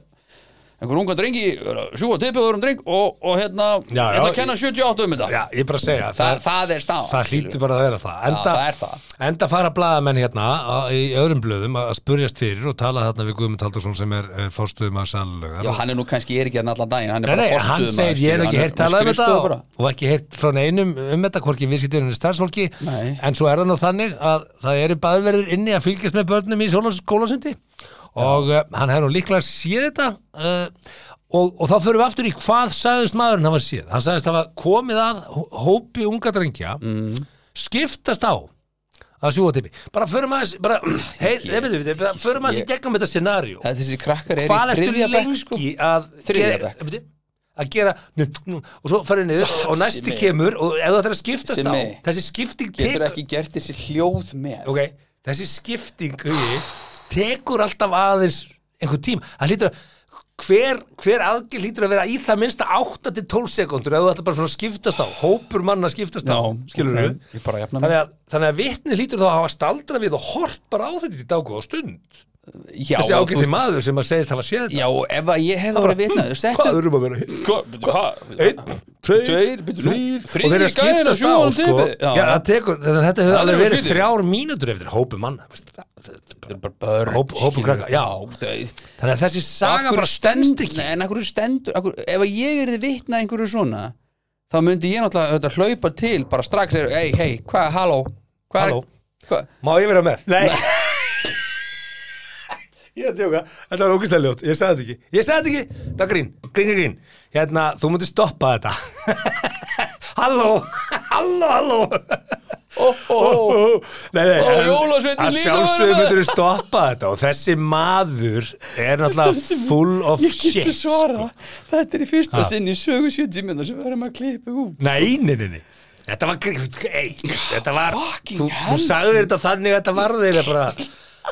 Speaker 4: einhver unga drengi, sjúga tippið öðrum dreng og, og hérna,
Speaker 5: Já,
Speaker 4: ég ætla
Speaker 5: já,
Speaker 4: að kenna 78 um þetta
Speaker 5: já, ég er bara að segja
Speaker 4: það, það er staðan
Speaker 5: það
Speaker 4: skilur.
Speaker 5: hlýtur bara að vera það enda,
Speaker 4: Já, það er það.
Speaker 5: enda fara blaðamenn hérna að- í öðrum blöðum að spurjast fyrir og tala þarna við Guðmund Haldursson sem er, er fórstuðum að
Speaker 4: Já,
Speaker 5: sannlega
Speaker 4: hann er nú kannski er ekki að allan daginn, hann er
Speaker 5: Nei, nei,
Speaker 4: bara
Speaker 5: hann
Speaker 4: forstöðumaður,
Speaker 5: segir ég er
Speaker 4: skilur,
Speaker 5: ekki
Speaker 4: hann
Speaker 5: heyrt talað um þetta
Speaker 4: skrifstofu
Speaker 5: og,
Speaker 4: bara.
Speaker 5: og ekki heyrt frá neinum um þetta hvorki viðskiptunum starfsfólki
Speaker 4: Nei.
Speaker 5: en svo er það nú þannig að það eru baðverðir inni að fylgjast með börnum í skólasundi og uh, hann hefur nú líklega séð þetta uh, og, og þá förum við aftur í hvað sagðist maðurinn hafa séð hann sagðist hafa komið að hó- hópi unga drengja
Speaker 4: Mm.
Speaker 5: skiptast á að sjúga tippi bara förum aðeins bara, hey, hey, hey, hey, bara förum aðeins í
Speaker 4: Ég-
Speaker 5: gegnum þetta scenaríu
Speaker 4: Það er þessi krakkar er
Speaker 5: hvað
Speaker 4: í
Speaker 5: ertu
Speaker 4: þriðja
Speaker 5: lengi
Speaker 4: bekk sko
Speaker 5: að
Speaker 4: Þriðja
Speaker 5: gera-
Speaker 4: bekk.
Speaker 5: Bíddu, að gera og svo farið niður og næsti
Speaker 4: Simmi.
Speaker 5: kemur og ef það er að skiptast á
Speaker 4: Simmi.
Speaker 5: þessi skipting
Speaker 4: Getur
Speaker 5: tekur
Speaker 4: ekki gert þessi hljóð með
Speaker 5: ok, þessi skipting hugi, tekur alltaf aðeins einhver tím það hlýtur að hver, hver aðgjör hlýtur að vera í það minnsta 8-12 sekundur ef þú ætlar bara svona að skiptast á hópur manna að skiptast á, skilur við
Speaker 4: Ég bara jafna mig
Speaker 5: Þannig að, þannig að vitni hlýtur þá að hafa staldra við og hort bara á þetta í dag og stund
Speaker 4: Já,
Speaker 5: þessi
Speaker 4: og þú-
Speaker 5: ágætti maður sem að segist hafa séð þetta
Speaker 4: já, ef að ég hefði orðið vitna
Speaker 5: hvað
Speaker 4: Settu
Speaker 5: þurfum að vera hér
Speaker 4: Einn,
Speaker 5: einn, tveir,
Speaker 4: Tveir, byrju, nú,
Speaker 5: þrír
Speaker 4: þriðji
Speaker 5: og þeir eru að
Speaker 4: gæinn að
Speaker 5: skiptast á
Speaker 4: sjúga á
Speaker 5: sko.
Speaker 4: tipi. Já.
Speaker 5: Já, það tekur, þetta þetta hefur
Speaker 4: Það
Speaker 5: alveg
Speaker 4: er
Speaker 5: verið
Speaker 4: skrítið.
Speaker 5: þrjár mínútur eftir hópu manna veist, það- það- það-
Speaker 4: bara börn
Speaker 5: Hóp- hópur
Speaker 4: skilur.
Speaker 5: krakka, já.
Speaker 4: þau-
Speaker 5: þannig að þessi
Speaker 4: Af
Speaker 5: saga
Speaker 4: hverju
Speaker 5: bara stendst
Speaker 4: stend-
Speaker 5: ekki
Speaker 4: Nei, en af hverju stendur af hverju, Ef að ég er þið vitna einhverju svona Þá myndi ég náttúrulega auðvitað hlaupa til Bara strax er, hei, hei, hvað, halló Hvað er,
Speaker 5: Halló.
Speaker 4: hvað
Speaker 5: má ég vera með? nei ég er að tjóka, þetta var ógæslega ljót ég sagði þetta ekki, ég sagði þetta ekki það er grín, grín, grín, grín hérna, þú mútið stoppa þetta halló, halló, halló
Speaker 4: Ó, ó, ó
Speaker 5: Nei, nei,
Speaker 4: Ó,
Speaker 5: en
Speaker 4: jólasveinninn
Speaker 5: að
Speaker 4: líka
Speaker 5: sjálfsögum
Speaker 4: var með.
Speaker 5: myndur við stoppa þetta og þessi maður er náttúrulega full of
Speaker 4: Ég
Speaker 5: Oh, shit
Speaker 4: get svo svara
Speaker 5: sko.
Speaker 4: Þetta er í fyrsta sinn í sögu 70 minna sem við erum að klippa út
Speaker 5: Nei, nei, nei, nei Þetta var gríft, ei, þetta var
Speaker 4: Fucking
Speaker 5: Þú, þú
Speaker 4: hell,
Speaker 5: sagðir þetta þannig að þetta var þeir bara,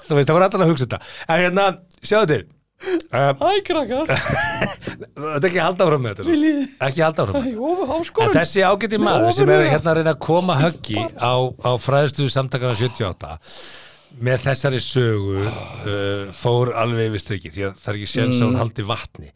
Speaker 5: þú veist, það var allan að hugsa þetta En hérna, sjáðu til um,
Speaker 4: Æ, krakkar,
Speaker 5: Þetta ekki halda frá með þetta nú.
Speaker 4: Viljið-
Speaker 5: Ekki halda frá með þetta
Speaker 4: ofur
Speaker 5: En
Speaker 4: háskórum
Speaker 5: þessi ágæti maður sem er hérna að reyna að koma höggi á, á fræðistu samtakana 78 með þessari sögu
Speaker 4: Ah.
Speaker 5: uh, fór alveg yfir strikið því að það er ekki séns
Speaker 4: Mm.
Speaker 5: að hún haldi vatni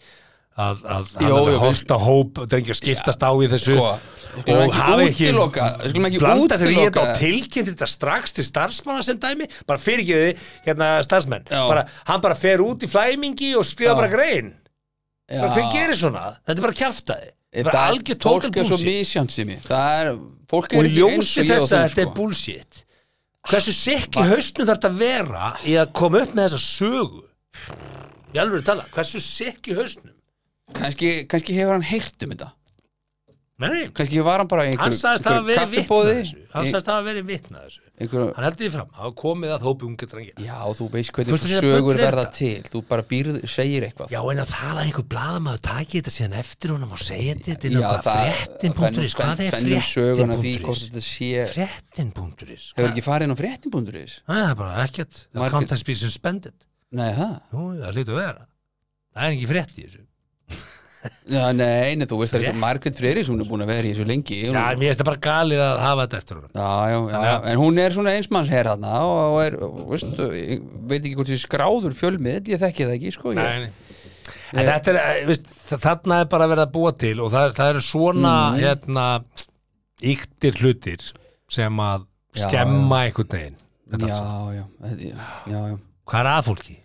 Speaker 5: að, að hann
Speaker 4: Jó,
Speaker 5: hafi
Speaker 4: jó,
Speaker 5: hort á hóp drengja skiptast á í þessu
Speaker 4: Sko, við skulum
Speaker 5: og
Speaker 4: ekki
Speaker 5: hafi ekki
Speaker 4: útiloka, við skulum ekki
Speaker 5: blanda sér í þetta
Speaker 4: útiloka.
Speaker 5: og tilkynnt þetta strax til starfsmanna sem dæmi bara fyrir ekki þið, hérna starfsmenn
Speaker 4: Já.
Speaker 5: bara, hann bara fer út í flæmingi og skrifa
Speaker 4: Já.
Speaker 5: bara grein bara hver gerir svona? Þetta er bara kjaftaði
Speaker 4: Þetta-
Speaker 5: Bara algjör total
Speaker 4: Fólk er svo
Speaker 5: bullshit.
Speaker 4: misjant sem ég Það er, fólk
Speaker 5: og
Speaker 4: er
Speaker 5: í
Speaker 4: ekki eins
Speaker 5: ljósi
Speaker 4: og ég og
Speaker 5: þess að þetta er
Speaker 4: þú sko
Speaker 5: bullshit hversu sikk í hausnum þarf þetta að vera í að koma upp með þessa sögu ég alveg að tala, hversu sikk í hausnum
Speaker 4: Kannski, kannski hefur hann heyrt um þetta
Speaker 5: Nei, nei,
Speaker 4: Kannski var hann bara í
Speaker 5: hann
Speaker 4: einhverju
Speaker 5: sagðist hafa
Speaker 4: einhverju
Speaker 5: verið vitnað
Speaker 4: kaffibóði
Speaker 5: þessu hann
Speaker 4: í-
Speaker 5: sagðist hafa verið vitnað þessu
Speaker 4: einhverju-
Speaker 5: hann heldur því fram, hafa komið að hópi unga drengja
Speaker 4: Já, þú veist
Speaker 5: Þú
Speaker 4: hvernig
Speaker 5: veist að þetta bull
Speaker 4: sögur
Speaker 5: er
Speaker 4: verða
Speaker 5: þetta.
Speaker 4: til Þú bara býrð, segir eitthvað
Speaker 5: Já, en að það að einhver blaðamaður taki þetta síðan eftir honum og segja þetta, þetta er
Speaker 4: Já,
Speaker 5: náttúrulega fréttin.is,
Speaker 4: fenn-
Speaker 5: hvað er
Speaker 4: fennum söguna því hvort
Speaker 5: fréttin.is?
Speaker 4: þetta sé
Speaker 5: Fréttin.is,
Speaker 4: Hefur ekki farið inn á fréttin.is?
Speaker 5: það er bara ekkert,
Speaker 4: Margir-
Speaker 5: það kom það spýr suspended.
Speaker 4: Nei, það?
Speaker 5: Nú, það hlýtu að vera. Það er ekki frétt í þessu.
Speaker 4: Já, nei, nei, þú veist það er
Speaker 5: Frétt-
Speaker 4: eitthvað Margrét Freyris, hún er búin að vera í þessu lengi hún,
Speaker 5: Já, mér finnst það bara galið að hafa þetta eftir honum.
Speaker 4: já, já, já,
Speaker 5: Þannig að-
Speaker 4: en hún er svona einsmannsherr hann og, og er, og veist, ég veit ekki hvort þessi skráður fjölmið, ég þekki það ekki, sko ég,
Speaker 5: Nei, nei. En þetta er, eh, veist, þa- þarna er bara verið að búa til og það, það eru svona,
Speaker 4: Mhm.
Speaker 5: hérna, yktir hlutir sem að
Speaker 4: Já,
Speaker 5: skemma einhvern veginn.
Speaker 4: já,
Speaker 5: Þetta allt saman.
Speaker 4: já, þetta- já, já, já.
Speaker 5: Hvað er aðfólki?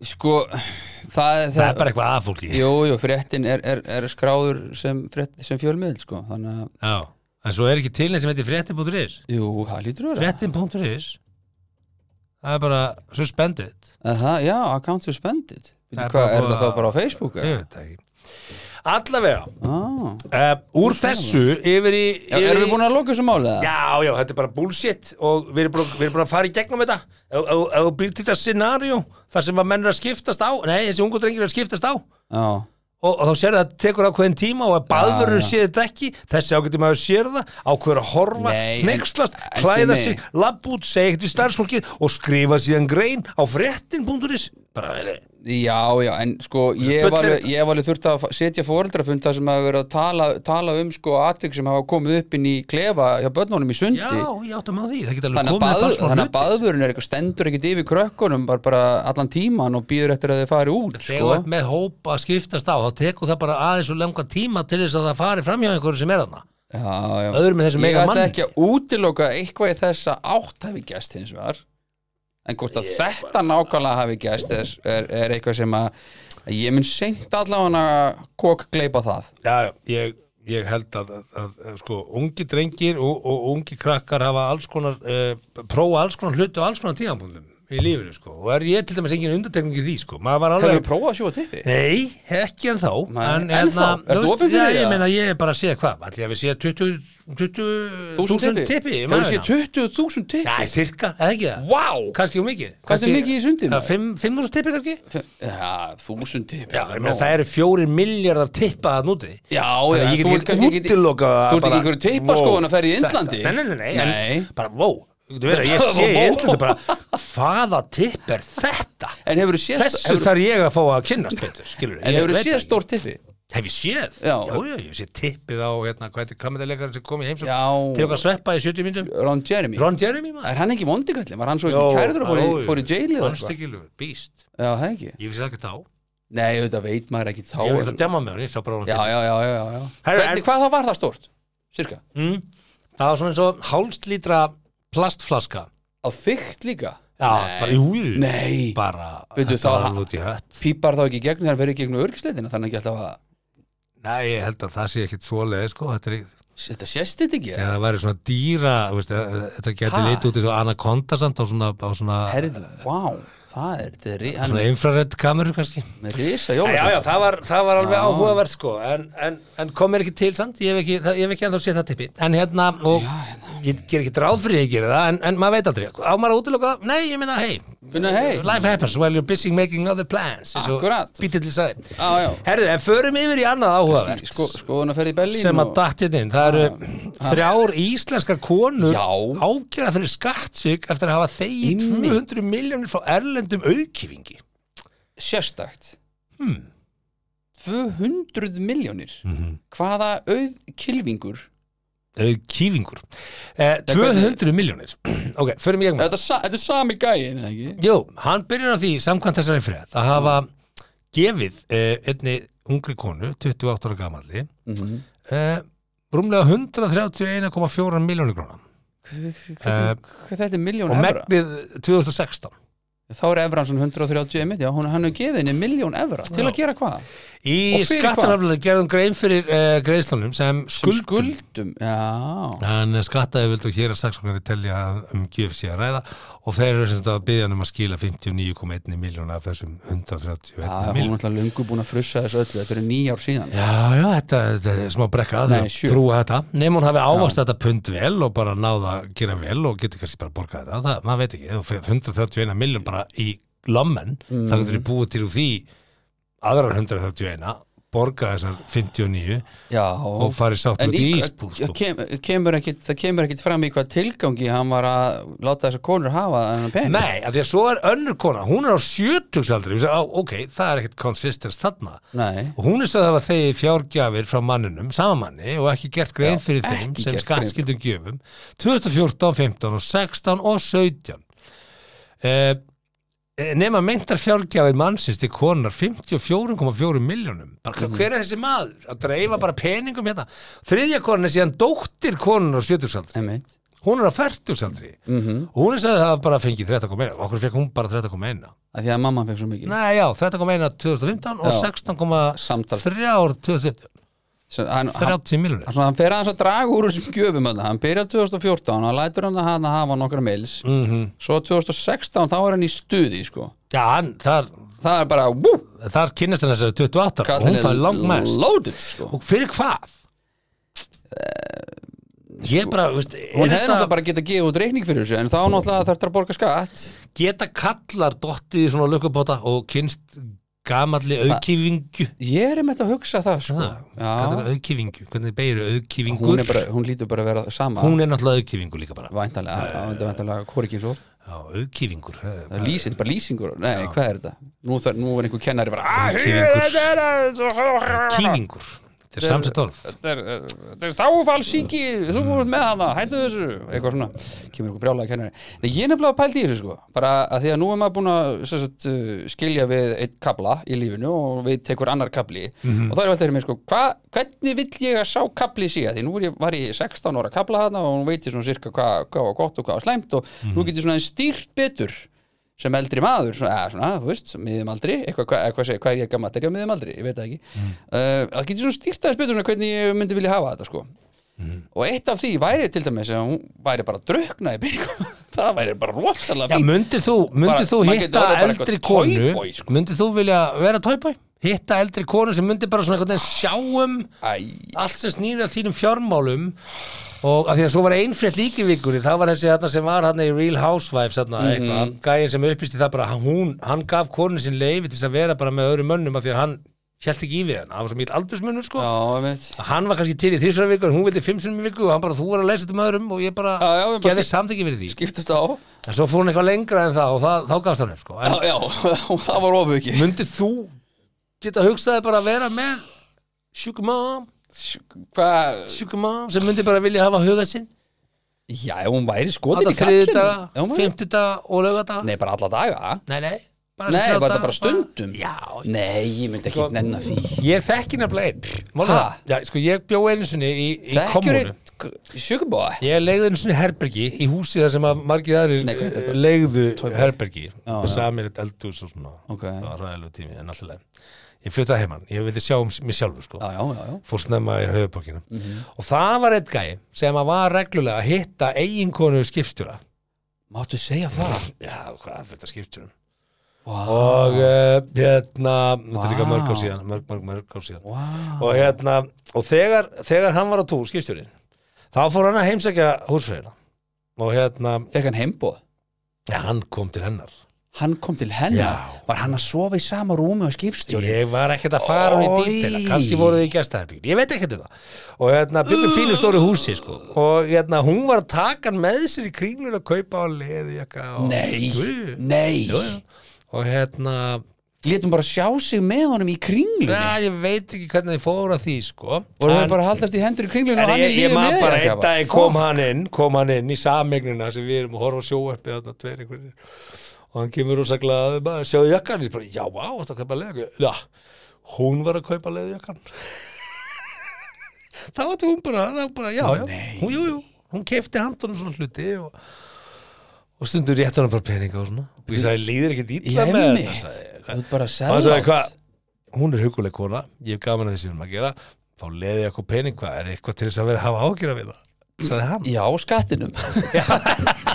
Speaker 4: Sko, það,
Speaker 5: Það er bara eitthvað aðfólki.
Speaker 4: Jú, jú, fréttin er, er, er skráður sem, frétt, sem fjölmiðl, sko þannig að,
Speaker 5: Já, en svo er ekki til neitt sem heitir fréttin.is.
Speaker 4: jú, það lítur að vera
Speaker 5: Fréttin.is, það er bara suspended.
Speaker 4: Að það, Já, account suspended
Speaker 5: Það er
Speaker 4: Veitu hvað,
Speaker 5: bara
Speaker 4: er
Speaker 5: búið
Speaker 4: það þá
Speaker 5: að-
Speaker 4: bara á Facebook?
Speaker 5: Ég
Speaker 4: eða?
Speaker 5: veit það ekki. Allavega,
Speaker 4: Ah.
Speaker 5: uh, úr þessu yfir í...
Speaker 4: Já, erum við búin að loka þessu máli? eða?
Speaker 5: Já, já, þetta er bara bullshit og við erum búin, við erum búin að fara í gegnum þetta Ef- ef ef þú býr til þetta scenaríu þar sem að menn eru að skiptast á nei, þessi ungu drengir eru að skiptast á og,
Speaker 4: já.
Speaker 5: og þá sér það að tekur ákveðin tíma og að baðurinn
Speaker 4: já.
Speaker 5: sér þetta ekki þessi ágættum að sér það, ákveður að horfa
Speaker 4: Nei, en-
Speaker 5: hneykslast,
Speaker 4: en
Speaker 5: klæða
Speaker 4: Simmi-
Speaker 5: sig labb út, segja ekkert í starfsfólkið og skrifa síðan grein á fréttin.is bara, eh,
Speaker 4: Já, já, en sko ég
Speaker 5: Bull
Speaker 4: var,
Speaker 5: er
Speaker 4: alveg,
Speaker 5: þetta.
Speaker 4: ég var alveg þurft að fa- setja fóreldrafund þar sem hafa verið að tala, tala um sko atvik sem hafa komið upp inn í klefa hjá börnunum í sundi
Speaker 5: já, ég áttum á því það geta alveg
Speaker 4: þannig að,
Speaker 5: komið
Speaker 4: bað,
Speaker 5: bara smá
Speaker 4: þannig að
Speaker 5: hluti.
Speaker 4: baðvörun er eitthvað stendur ekkit yfir krökkunum bara, bara allan tíman og býður eftir að þið fari út
Speaker 5: Þegar þú
Speaker 4: sko.
Speaker 5: ert með hópa að skiptast á þá tekur það bara aðeins og langa tíma til þess að það fari fram hjá einhverju sem er þarna
Speaker 4: já, já.
Speaker 5: öðrum með þessum
Speaker 4: Ég
Speaker 5: eiga
Speaker 4: ætla
Speaker 5: manni.
Speaker 4: ekki að útiloka eitthvað í þess að átt hafi gæst hins vegar en hvort að þetta nákvæmlega hafi gæst er, er, er eitthvað sem að að ég mun seint allavega kokk gleipa það
Speaker 5: Já, já, ég, ég held að, að, að, að sko, ungi drengir og, og ungi krakkar hafa alls konar uh, prófa alls konar hluti og alls konar tíðanbúndum í lífinu, sko, og er ég til dæmis engin undartekning í því, sko, maður var
Speaker 4: Hefur
Speaker 5: alveg
Speaker 4: þú prófað að sjóa tippi?
Speaker 5: Nei, ekki en þá
Speaker 4: Nei,
Speaker 5: en,
Speaker 4: ennþá?
Speaker 5: hérna,
Speaker 4: Ertu
Speaker 5: þú veist,
Speaker 4: opinn fyrir
Speaker 5: já,
Speaker 4: því,
Speaker 5: Ég
Speaker 4: eða?
Speaker 5: meina, ég er bara að segja hvað, ætli ég að við séð 20 20.000
Speaker 4: 1000
Speaker 5: tippi
Speaker 4: Hefur séð 20.000 tippi?
Speaker 5: Já, cirka, eða ekki það
Speaker 4: Vá!
Speaker 5: Kannski um mikið
Speaker 4: Hvað er
Speaker 5: Kannski-
Speaker 4: mikið í sundinu?
Speaker 5: Já, 5.000 tippi kannski
Speaker 4: Já, 1000 tippi
Speaker 5: Já, ég meina, það eru 4 miljardar tippa að núti
Speaker 4: Já,
Speaker 5: Þannig að ég
Speaker 4: já, þú
Speaker 5: get
Speaker 4: ert
Speaker 5: ekki
Speaker 4: kannski ekki
Speaker 5: útilokað að
Speaker 4: Þú ert ekki
Speaker 5: bara-
Speaker 4: einhverju tippaskóðan að ferja í
Speaker 5: Vó,
Speaker 4: Indlandi
Speaker 5: þetta- Nei, nei, nei, nei,
Speaker 4: Nei.
Speaker 5: en bara, vó Þú veit að ég
Speaker 4: Þetta var
Speaker 5: sé í
Speaker 4: vó.
Speaker 5: Indlandi bara Hvaða tipp er þetta?
Speaker 4: En hefur þú séð
Speaker 5: Þessu
Speaker 4: hefur-
Speaker 5: þarf ég að fá að kynnast betur, skilur
Speaker 4: En hefur þú séð stór tippi?
Speaker 5: Hef ég séð?
Speaker 4: Já.
Speaker 5: já, já ég sé tippið á, hérna, hvað heitir kameralegarinn sem kom í heimsókn
Speaker 4: Já.
Speaker 5: Til okkar sveppa í 70 myndum
Speaker 4: Ron Jeremy
Speaker 5: Ron Jeremy, maður
Speaker 4: Er hann ekki vondikallin? Var hann svo ekki kærður og fór í- fór í jail eða eitthvað?
Speaker 5: Anstekilur, býst
Speaker 4: Já, það ekki
Speaker 5: Ég vissi það ekki þá Ég
Speaker 4: Nei, auðvitað veit maður ekki þá
Speaker 5: var ekki að djama með hann, ég sá bara Ron
Speaker 4: Já,
Speaker 5: Jeremy
Speaker 4: já, já, já, já.
Speaker 5: Herru,
Speaker 4: Hvernig,
Speaker 5: en-
Speaker 4: Hvað það var það stórt? Cirka?
Speaker 5: mm, Það var svona eins og hálslítra plastflaska
Speaker 4: Á þygt líka?
Speaker 5: Já, bara, jú, jú
Speaker 4: Nei,
Speaker 5: Bara,
Speaker 4: Veitu,
Speaker 5: þetta
Speaker 4: þá-
Speaker 5: var alveg út í hött
Speaker 4: pípar þá ekki í gegn þegar hann fyrir gegn örgisleitina þannig ekki alltaf að
Speaker 5: Nei, ég held að það sé ekkit svoleið, sko Þetta er ekki
Speaker 4: Þetta sést þetta ekki?
Speaker 5: Þegar það væri svona dýra, þú veist, eh, eh, þetta geti
Speaker 4: Ha?
Speaker 5: litið út eins og anaconda samt á svona, á svona,
Speaker 4: Herðu, vá, það er, þetta er ri- hann
Speaker 5: svona
Speaker 4: er
Speaker 5: infrared kameru kannski.
Speaker 4: með risa
Speaker 5: Já, já,
Speaker 4: jólasvein
Speaker 5: það var, það var alveg
Speaker 4: Já.
Speaker 5: áhugaverð sko en, en, en kom mér ekki til samt ég hef ekki, það, ég hef ekki ennþá séð það tippi en hérna, og ég ger ekki dráð fyrir að ég gera það en, en maður veit aldrei, á maður að útiloka það? Nei, ég minna, hey,
Speaker 4: Finna, hey.
Speaker 5: life happens while you're busy making other plans eins og
Speaker 4: Akkurat.
Speaker 5: Bítill sagði
Speaker 4: Já, já.
Speaker 5: Herðu, en förum yfir í annað áhugavert
Speaker 4: sko, skoðun að ferði í Berlín
Speaker 5: sem að
Speaker 4: og-
Speaker 5: datt hérna inn það eru þrjár íslenskar konur
Speaker 4: Já.
Speaker 5: ákjæða fyrir skattsvík eftir að hafa þegi
Speaker 4: Einmitt.
Speaker 5: 200 miljónir frá erlendum auðkifingi
Speaker 4: sérstakt
Speaker 5: Hmm.
Speaker 4: 200 miljónir
Speaker 5: Mhm.
Speaker 4: hvaða auð kilvingur
Speaker 5: auðkifingur eh, 200 miljónir ok, förum í gegnum
Speaker 4: þetta, er sa- þetta er sami gæin eða ekki?
Speaker 5: Jú, hann byrjar á því samkvæmt þessari frétt að hafa
Speaker 4: Mm.
Speaker 5: gefið eh, einni ungri konu, 28 ára gamalli
Speaker 4: Mhm.
Speaker 5: eh, rúmlega 131,4 miljónir krónar
Speaker 4: Hvernig- hvernig- hvað þetta er miljón
Speaker 5: Eh, og
Speaker 4: evra
Speaker 5: megnið 2016
Speaker 4: þá er evran svona 130 einmitt, já, hún, hann hefur gefið henni miljón evra til að gera hvað?
Speaker 5: Í
Speaker 4: Og fyrir hvað?
Speaker 5: skattaraflega gerðum grein fyrir uh, greiðslunum sem
Speaker 4: Sem
Speaker 5: skuld
Speaker 4: skuldum, já
Speaker 5: en skattaði vildu hér að saksóknari telja að um gjöf sé að ræða og þeir eru sem þetta að byggja hann um að skila 59,1 miljónu af þessum 131
Speaker 4: Já, hún er
Speaker 5: miljónu
Speaker 4: náttúrulega löngu búin að frussa þessu öllu, þetta eru nýjár síðan
Speaker 5: Já, já, þetta, þetta er smá brekka
Speaker 4: Nei,
Speaker 5: að
Speaker 4: sjö.
Speaker 5: brúa þetta nefn hún hafi ávast þetta pund vel og bara náða að gera vel og getur kannski bara borgað þetta það, maður veit ekki, ef þú fer 131 miljón bara í lommen, þá
Speaker 4: Mm.
Speaker 5: getur þið búið til úr því aðrar 131 borga þessar 59
Speaker 4: Já,
Speaker 5: og farið sátt
Speaker 4: en
Speaker 5: út í
Speaker 4: í,
Speaker 5: ísbúð sko.
Speaker 4: kem, kemur ekkit, það kemur ekkit fram í hvað tilgangi hann var að láta þessar konur hafa þennan pening
Speaker 5: Nei, af því að svo er önnur kona, hún er á sjötugsaldri, ég sagði, á, ok, það er ekkert konsistens þarna.
Speaker 4: Nei.
Speaker 5: Og hún er svo að hafa þegi fjárgjafir frá manninum, sama manni, og ekki gert grein fyrir
Speaker 4: ekki
Speaker 5: þeim
Speaker 4: gert
Speaker 5: sem
Speaker 4: grein
Speaker 5: skattskildum gjöfum, 2014, 15 og 16 og 17. Eh, nema meintar fjárgjafir mannsins til konar 54,4 miljónum. Bara,
Speaker 4: Mhm.
Speaker 5: Hver er þessi maður? Að dreifa bara peningum hérna. Þriðja konan er síðan dóttir konan á sjötugsaldri
Speaker 4: Einmitt.
Speaker 5: hún er á færtugsaldri mm -hmm.
Speaker 4: Mhm.
Speaker 5: og hún er sagði að hafa bara fengið 30,1 og okkur fekk hún bara 30,1
Speaker 4: Af því að mamma fekk svo mikið
Speaker 5: Nei, já, 30,1 2015 og
Speaker 4: Já.
Speaker 5: 16,3
Speaker 4: Samtals.
Speaker 5: 2017,
Speaker 4: Svo hann, hann,
Speaker 5: 30 miljonir
Speaker 4: hann, hann fer aðeins að draga úr þessum gjöfum hann, hann byrjar 2014, hann lætur hann að hann að hafa nokkra mails
Speaker 5: mm
Speaker 4: svo 2016 þá er hann í stuði sko.
Speaker 5: Já, hann, þar,
Speaker 4: það er bara, wú,
Speaker 5: þar kynnist hann þessari 28 og
Speaker 4: kallinn
Speaker 5: hún
Speaker 4: er
Speaker 5: fæði langmest
Speaker 4: loaded sko.
Speaker 5: og fyrir hvað? Ég bara, veist,
Speaker 4: Eh, sko, hún
Speaker 5: er
Speaker 4: hefði
Speaker 5: þetta
Speaker 4: náttúrulega bara getað gefið út reikning fyrir þessu en þá náttúrulega þarf það að borga skatt
Speaker 5: geta kallar dottið í svona lökubóta og kynst gamalli aukifingu
Speaker 4: ég er um þetta að hugsa það sko.
Speaker 5: kallar
Speaker 4: Já,
Speaker 5: aukifingu, hvernig beigir aukifingur
Speaker 4: hún, er bara, hún lítur bara að vera sama
Speaker 5: hún er náttúrulega aukifingu líka bara
Speaker 4: væntanlega, já, þetta er væntanlega hvorkinn svo
Speaker 5: Já, auðkýfingur eh,
Speaker 4: það er lýsing, bara lýsingur, nei, hvað er þetta nú, þar, nú er einhver kennari bara "Ah,
Speaker 5: Kýfingur Kýfingur Þetta er samsett orð
Speaker 4: þetta er, eh, þetta er þáfalsíki þú voruð með hana, hættu þessu eitthvað svona, kemur eitthvað brjálega kennari Nei, ég er nefnilega að pæla í þessu sko bara að því að nú er maður búin að sem sagt, uh, skilja við eitt kabla í lífinu og við tekur annar kabli og þá er alltaf mér sko, hva, hvernig vill ég að sá kabli sé að því nú er ég, var ég 16 ára kabla hana og hún veit ég svona sirka hvað hva var gott og hvað var slæmt og nú get ég svona stýrt betur sem eldri maður, svona, eða, svona þú veist, miðum aldri, eitthvað, hvað, hvað, seg- hvað er ég gammal er ég á miðum aldri, ég veit það ekki mm. það getur svona stýrt aðeins betur svona hvernig ég myndi vilja hafa þetta sko
Speaker 5: Mm.
Speaker 4: og eitt af því væri til dæmis að hún væri bara að drukna í peningum það væri bara rosalega
Speaker 5: Já,
Speaker 4: fínt
Speaker 5: myndir þú, myndir
Speaker 4: Bara-
Speaker 5: þú
Speaker 4: maður getur
Speaker 5: hitta
Speaker 4: orðið bara
Speaker 5: eldri
Speaker 4: eitthvað
Speaker 5: konu
Speaker 4: toyboy, sko.
Speaker 5: Myndir þú vilja vera tóibói? Hitta eldri konu sem myndir bara svona einhvern veginn sjáum
Speaker 4: Æ,
Speaker 5: allt sem snýrði að þínum fjármálum og af því að svo var einfrétt líki vikunni það var þessi þarna sem var hann í Real Housewives þarna, eitthvað,
Speaker 4: Mhm.
Speaker 5: gæin sem upplýsti það bara hann- hún, hann gaf konu sín leifi til þess að vera bara með öðrum mönnum af því að hann hjælt ekki í við hann, það var svo mikið aldursmunur sko
Speaker 4: já, ég veit
Speaker 5: hann var kannski til í þrísvara viku en hún vildi fimm sinni viku og hann bara þú var að leysa þetta með öðrum og ég bara
Speaker 4: Já, já, við bara
Speaker 5: gerði
Speaker 4: skip-
Speaker 5: samþyggi fyrir því
Speaker 4: skiptast á,
Speaker 5: en svo fór hann eitthvað lengra en það og það, þá gafst hann upp sko.
Speaker 4: já,
Speaker 5: en
Speaker 4: já það var ofið ekki
Speaker 5: myndið þú geta hugsaði bara að vera með sugar mom,
Speaker 4: hvað,
Speaker 5: sugar mom sem myndi bara vilja hafa hugað sinn
Speaker 4: já, ef hún væri skotin
Speaker 5: þetta
Speaker 4: í
Speaker 5: þriði
Speaker 4: kallinu Já, hún
Speaker 5: daga,
Speaker 4: væri-
Speaker 5: fymti daga og lögadaga
Speaker 4: nei, bara alla daga
Speaker 5: nei, nei, bara
Speaker 4: nei,
Speaker 5: þrjá
Speaker 4: var
Speaker 5: daga,
Speaker 4: þetta bara stundum
Speaker 5: já,
Speaker 4: nei, ég myndi ekki
Speaker 5: Sko-
Speaker 4: nenna því
Speaker 5: Ég þekki nefnilega einn Málið
Speaker 4: Ha?
Speaker 5: það. Já, sko, ég bjó einu sinni í, í
Speaker 4: þekkjur
Speaker 5: kommunu
Speaker 4: eitt sjúkubói
Speaker 5: Ég legði einu svona herbergi í húsi þar sem að margir
Speaker 4: Nei, hvað heitir
Speaker 5: aðrir
Speaker 4: þetta?
Speaker 5: legðu
Speaker 4: Toyboy.
Speaker 5: herbergi
Speaker 4: Já, já.
Speaker 5: samir eitt eldús og svona
Speaker 4: Ok.
Speaker 5: það var ræðilegu tími en alltaf ég flyttaði heimann, ég vildi sjá um s- mig sjálfur sko.
Speaker 4: já, já, já, já,
Speaker 5: fór snemma í höfuborgina og það var eitt gæi sem að var reglulega að hitta eiginkonu skipstjóra
Speaker 4: máttu segja það
Speaker 5: já, hvað fyrir þetta skipstjórum
Speaker 4: Vá.
Speaker 5: og uh, hérna þetta er líka
Speaker 4: Vá.
Speaker 5: mörg ár síðan mörg, mörg, mörg ár síðan
Speaker 4: Vá.
Speaker 5: og hérna, og þegar, þegar hann var á túr skipstjórin, þá fór hann að heimsækja húsfræðina og hérna,
Speaker 4: fekk hann heimboð
Speaker 5: ja, hann kom til hennar
Speaker 4: hann kom til hennar,
Speaker 5: Já.
Speaker 4: var hann að sofa í sama rúmi og skipstjóri
Speaker 5: Ég var ekkert að fara hún í
Speaker 4: Oj.
Speaker 5: dýtela kannski voru þið í gestaherbyggin, ég veit ekkert um það og hérna
Speaker 4: Uh.
Speaker 5: byggum fínu stóru húsi sko. og hérna hún var að taka hann með sér í kringlun að kaupa á leðu og,
Speaker 4: nei,
Speaker 5: Jú,
Speaker 4: nei
Speaker 5: jú, jú. og hérna
Speaker 4: létum bara sjá sig með honum í kringlunni
Speaker 5: na, ég veit ekki hvernig þið fóru að því sko.
Speaker 4: voru
Speaker 5: En-
Speaker 4: þau bara að haldast í hendur í kringlunni
Speaker 5: En
Speaker 4: og hann
Speaker 5: ég,
Speaker 4: í
Speaker 5: ég
Speaker 4: lífi
Speaker 5: man
Speaker 4: með
Speaker 5: bara
Speaker 4: þér,
Speaker 5: einn dag
Speaker 4: Fuck.
Speaker 5: kom hann inn kom hann inn í samegnina sem við erum að horfa á sjóarpið þarna tveir einhverjir og hann kemur rosa glæði bara sjáðu jakkan ég bara já á varst að kaupa leðu já hún var að kaupa leðu jakkan þá átti hún bara, þá bara já já hún jú jú hún kefti handunum svona hluti og og stundur rétt hann bara peninga og svona og ég sagði, líður ekkert
Speaker 4: Ég
Speaker 5: ítla
Speaker 4: er
Speaker 5: með
Speaker 4: mitt
Speaker 5: þetta sagði ég.
Speaker 4: Þú ert
Speaker 5: og hann
Speaker 4: bara
Speaker 5: sagði,
Speaker 4: sellátt
Speaker 5: hvað, hún er huguleg kona ég hef gaman að þessi um að gera þá leði ég eitthvað pening, hvað, er eitthvað til þess að vera að hafa ágjur af það, sagði hann
Speaker 4: Já, skattinum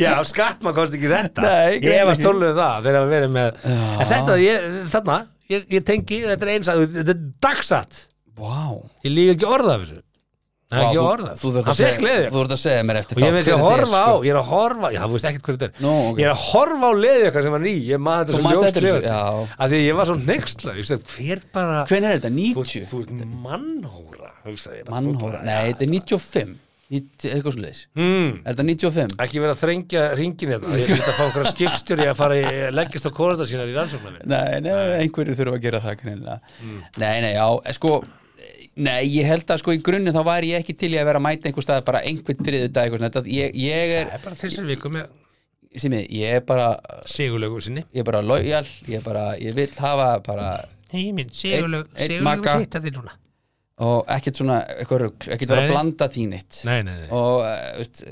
Speaker 5: já, skatt maður komst ekki í þetta
Speaker 4: Nei, greinilega
Speaker 5: ég var
Speaker 4: ekki.
Speaker 5: stóluð það þegar við verið með
Speaker 4: Já.
Speaker 5: en þetta, ég, þarna, ég, ég tengi þetta er einsatt, þetta er dagsatt
Speaker 4: Vá
Speaker 5: ég líka ekki orða af þessu það er
Speaker 4: Vá,
Speaker 5: ekki
Speaker 4: þú-
Speaker 5: orða,
Speaker 4: Þú þurft að
Speaker 5: hann fekk
Speaker 4: segja-
Speaker 5: leðið
Speaker 4: þú þurft að segja mér eftir
Speaker 5: og ég
Speaker 4: þátt
Speaker 5: veist ég
Speaker 4: hver
Speaker 5: að
Speaker 4: þetta er,
Speaker 5: horfa á,
Speaker 4: sko.
Speaker 5: ég er að horfa já, þú veist ekkert hverju þetta er
Speaker 4: Nú, ok.
Speaker 5: ég er að horfa á leðið okkar sem hann í ég maður
Speaker 4: Þú
Speaker 5: þetta
Speaker 4: manst
Speaker 5: svo ljóst
Speaker 4: eftir þessu,
Speaker 5: lifandi.
Speaker 4: já.
Speaker 5: af því að ég var svo nexla hver bara,
Speaker 4: Hvenær er þetta?
Speaker 5: þú, þú,
Speaker 4: 90?
Speaker 5: ert mannhóra hugsaði ég bara, þú
Speaker 4: Mannhóra
Speaker 5: bara,
Speaker 4: Nei, þetta er Hmm. 95 90 Eitthvað svo leis
Speaker 5: mm,
Speaker 4: Er þetta 95?
Speaker 5: ekki vera að þrengja ringin þetta ég get að fá okkur skipstjóri að fara í, leggist á korundar sínar í rannsóknarvinn
Speaker 4: Nei, nei, einhverju þurfa að gera það kannilega Nei, nei, já, eh, sko Nei, ég held að sko í grunni þá væri ég ekki til í að vera að mæta einhver stað bara einhvern þriðu dag eitthvað, svona. Þetta- ég, ég er,
Speaker 5: Það er bara þessar viku með
Speaker 4: sem ég, ég er bara
Speaker 5: Sigurlaugur sinni
Speaker 4: ég er bara lojal, ég er bara ég vil hafa bara
Speaker 5: Nei, minn,
Speaker 4: Sigurlaug- Einn- einn Sigurlaug vill maka. hitta
Speaker 5: þig núna
Speaker 4: og ekkert svona eitthvað rugl, ekkert vera
Speaker 5: Nei.
Speaker 4: að blanda þín eitt
Speaker 5: Nei, nei, nei
Speaker 4: og uh, veist,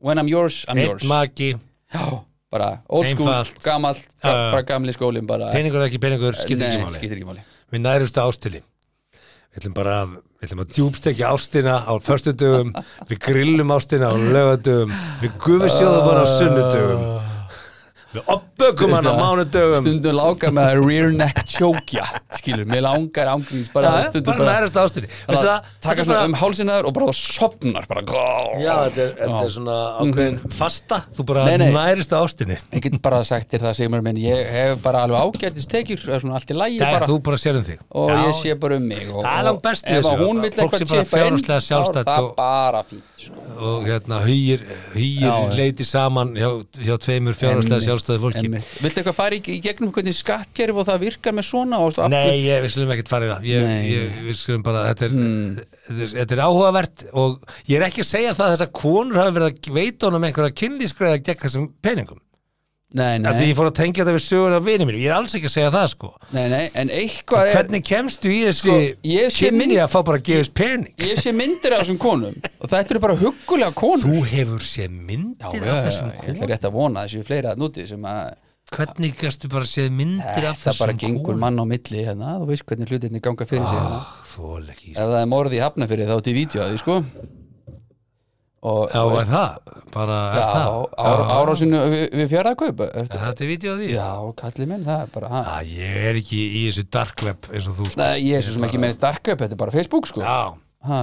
Speaker 4: when I'm yours, I'm
Speaker 5: Einn
Speaker 4: yours
Speaker 5: maki,
Speaker 4: Já, bara old school,
Speaker 5: Einfalt.
Speaker 4: gamall
Speaker 5: Já, já.
Speaker 4: bara gamli skólin bara
Speaker 5: peningur eða ekki peningur, skiptir
Speaker 4: Nei,
Speaker 5: ekki máli
Speaker 4: skiptir ekki máli
Speaker 5: Við nærumst ástili Við ætlum bara að, við ætlum að djúbstekja ástina á föstudögum Við grillum ástina á lögadögum Við gufusjóðum hann á sunnudögum Við oppökum hann á mánudögum
Speaker 4: stundum lágar með að rear neck chokja skilur, mér langar ángríns bara
Speaker 5: Já,
Speaker 4: stundum
Speaker 5: Bara nærumst ástili
Speaker 4: bara
Speaker 5: Veistu það, þetta
Speaker 4: taka
Speaker 5: er
Speaker 4: svona
Speaker 5: bara-
Speaker 4: um hálsinaður og bara sopnar bara
Speaker 5: Já, þetta er, þetta er svona ákveðin fasta Þú bara
Speaker 4: Mhm. Nei, nei.
Speaker 5: nærist ástinni
Speaker 4: ég get bara sagt þér það Sigmar minn ég hef bara alveg ágætist tekjur það er svona allt í lægi
Speaker 5: Þegar
Speaker 4: bara
Speaker 5: þú bara sér um þig
Speaker 4: og
Speaker 5: Já,
Speaker 4: ég sé bara um mig og,
Speaker 5: Það er langt best í
Speaker 4: og ef
Speaker 5: þessu,
Speaker 4: að hún
Speaker 5: að
Speaker 4: vill
Speaker 5: fólk
Speaker 4: eitthvað
Speaker 5: sé bara
Speaker 4: chippa inn,
Speaker 5: fjárhagslega
Speaker 4: þá
Speaker 5: sjálfstætt
Speaker 4: er það
Speaker 5: og-
Speaker 4: bara fínt sko.
Speaker 5: og hérna hýjir, hýjir
Speaker 4: Já, já.
Speaker 5: leiti saman hjá, hjá tveimur fjárhagslega
Speaker 4: Einmitt,
Speaker 5: sjálfstæði fólki
Speaker 4: einmitt. viltu eitthvað fara í, í gegnum hvernig skattkerf og það virkar með svona og, og
Speaker 5: Nei, ég, við slum ekkert farið það ég,
Speaker 4: Nei. Hmm.
Speaker 5: ég, við slum bara, þetta er, þetta, er, þetta er áhugavert og ég er ekki að segja það að þessar konur hafi verið að veita honum einhverja kynlískræða gegn þessum peningum
Speaker 4: nei, nei,
Speaker 5: af því ég fór að tengja þetta við sögur af vinið mínum ég er alls ekki að segja það sko
Speaker 4: nei, nei, en eitthvað er
Speaker 5: Hvernig kemstu í þessi
Speaker 4: Sko, ég sé
Speaker 5: kynni
Speaker 4: mynd-
Speaker 5: að fá bara að gefast pening?
Speaker 4: ég sé myndir af þessum konum og þetta eru bara huggulega konur
Speaker 5: Þú hefur séð myndir af þessum
Speaker 4: ég ætla
Speaker 5: konum
Speaker 4: rétt að vona þessu fleira að núti sem að
Speaker 5: Hvernig gæstu bara séð myndir af
Speaker 4: þetta bara
Speaker 5: þessum
Speaker 4: gengur
Speaker 5: konum? Ah.
Speaker 4: mann á milli hérna, þú veist hvernig hlutinni ganga fyrir sig hérna.
Speaker 5: Þól ekki
Speaker 4: ef það er morði í hafnafyrir þá til vídeo að því sko og
Speaker 5: Já, er það? Bara, er
Speaker 4: Já,
Speaker 5: það? Ah.
Speaker 4: á- árásinu við, við fjárðakaup
Speaker 5: Er þetta vídeo af því?
Speaker 4: Já, kallið minn, það er bara ha.
Speaker 5: Æ, ég er ekki í þessu dark web eins og þú sko.
Speaker 4: Nei, ég er svo sem ekki meiri darkaup, þetta er bara Facebook sko
Speaker 5: Já,
Speaker 4: ha.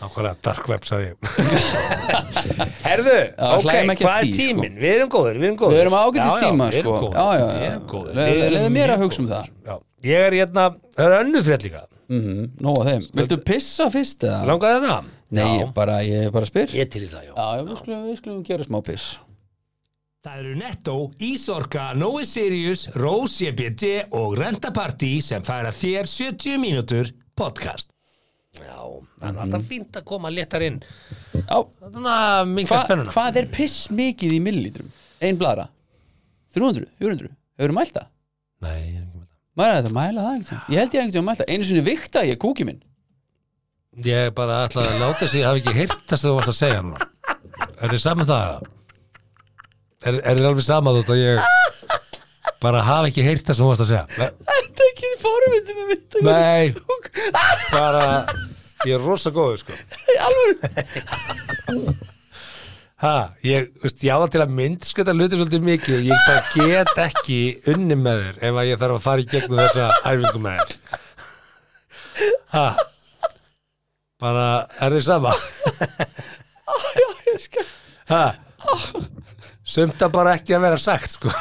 Speaker 5: nákvæmlega dark web sagði ég Herðu, ok,
Speaker 4: hlæjum ekki að
Speaker 5: hvað er
Speaker 4: því, sko.
Speaker 5: tíminn? Við erum góður, við erum góður
Speaker 4: Við erum á ágætis
Speaker 5: Já, já,
Speaker 4: tíma,
Speaker 5: við erum
Speaker 4: sko.
Speaker 5: góðir,
Speaker 4: Já, já, já.
Speaker 5: Við erum góður
Speaker 4: Le-
Speaker 5: Við erum
Speaker 4: leyfðu mér
Speaker 5: mjög
Speaker 4: að hugsa um
Speaker 5: góðir. Já, ég er hérna, það er önnu frétt líka
Speaker 4: mm -hmm. Nó að þeim, viltu pissa fyrst eða?
Speaker 5: Langaði það?
Speaker 4: Nei, ég bara, ég bara spyr Já,
Speaker 5: Ég til í það, já
Speaker 4: já, við skulum, við skulum gera smá piss
Speaker 2: Það eru Netto, Ísorka, Nói Sirius, Rós EBD og Renta Party sem færa þér 70 mínútur podcast.
Speaker 5: Já, það er alltaf fínt að koma léttar inn
Speaker 4: Já,
Speaker 5: Þannig að minga
Speaker 4: hva,
Speaker 5: spennuna
Speaker 4: hvað er piss mikið í millilítrum? Ein blara? 300, 400, hefur mælt það?
Speaker 5: Nei, ég er ekki með það
Speaker 4: Maður er þetta að mæla það einhvern tímann Ég held ég einhvern tímann að mæla það, einu sinni vikta ég kúki minn
Speaker 5: Ég bara ætlaði að láta þess að ég hafi ekki heyrt þess að þú varst að segja núna Er þið saman það? eða? Er, er þið alveg saman þú að ég bara hafi ekki heyrt þess að þú varst að segja?
Speaker 4: Þetta er ekki formið
Speaker 5: Ne- Nei, bara ég er rosa góður sko ha, ég, veist, ég á það til að mynd sko þetta hluti svolítið mikið og ég bara get ekki unni með þér ef að ég þarf að fara í gegnum þessa æfingu með þér ha bara, er þið sama? ha sumt að bara ekki að vera sagt sko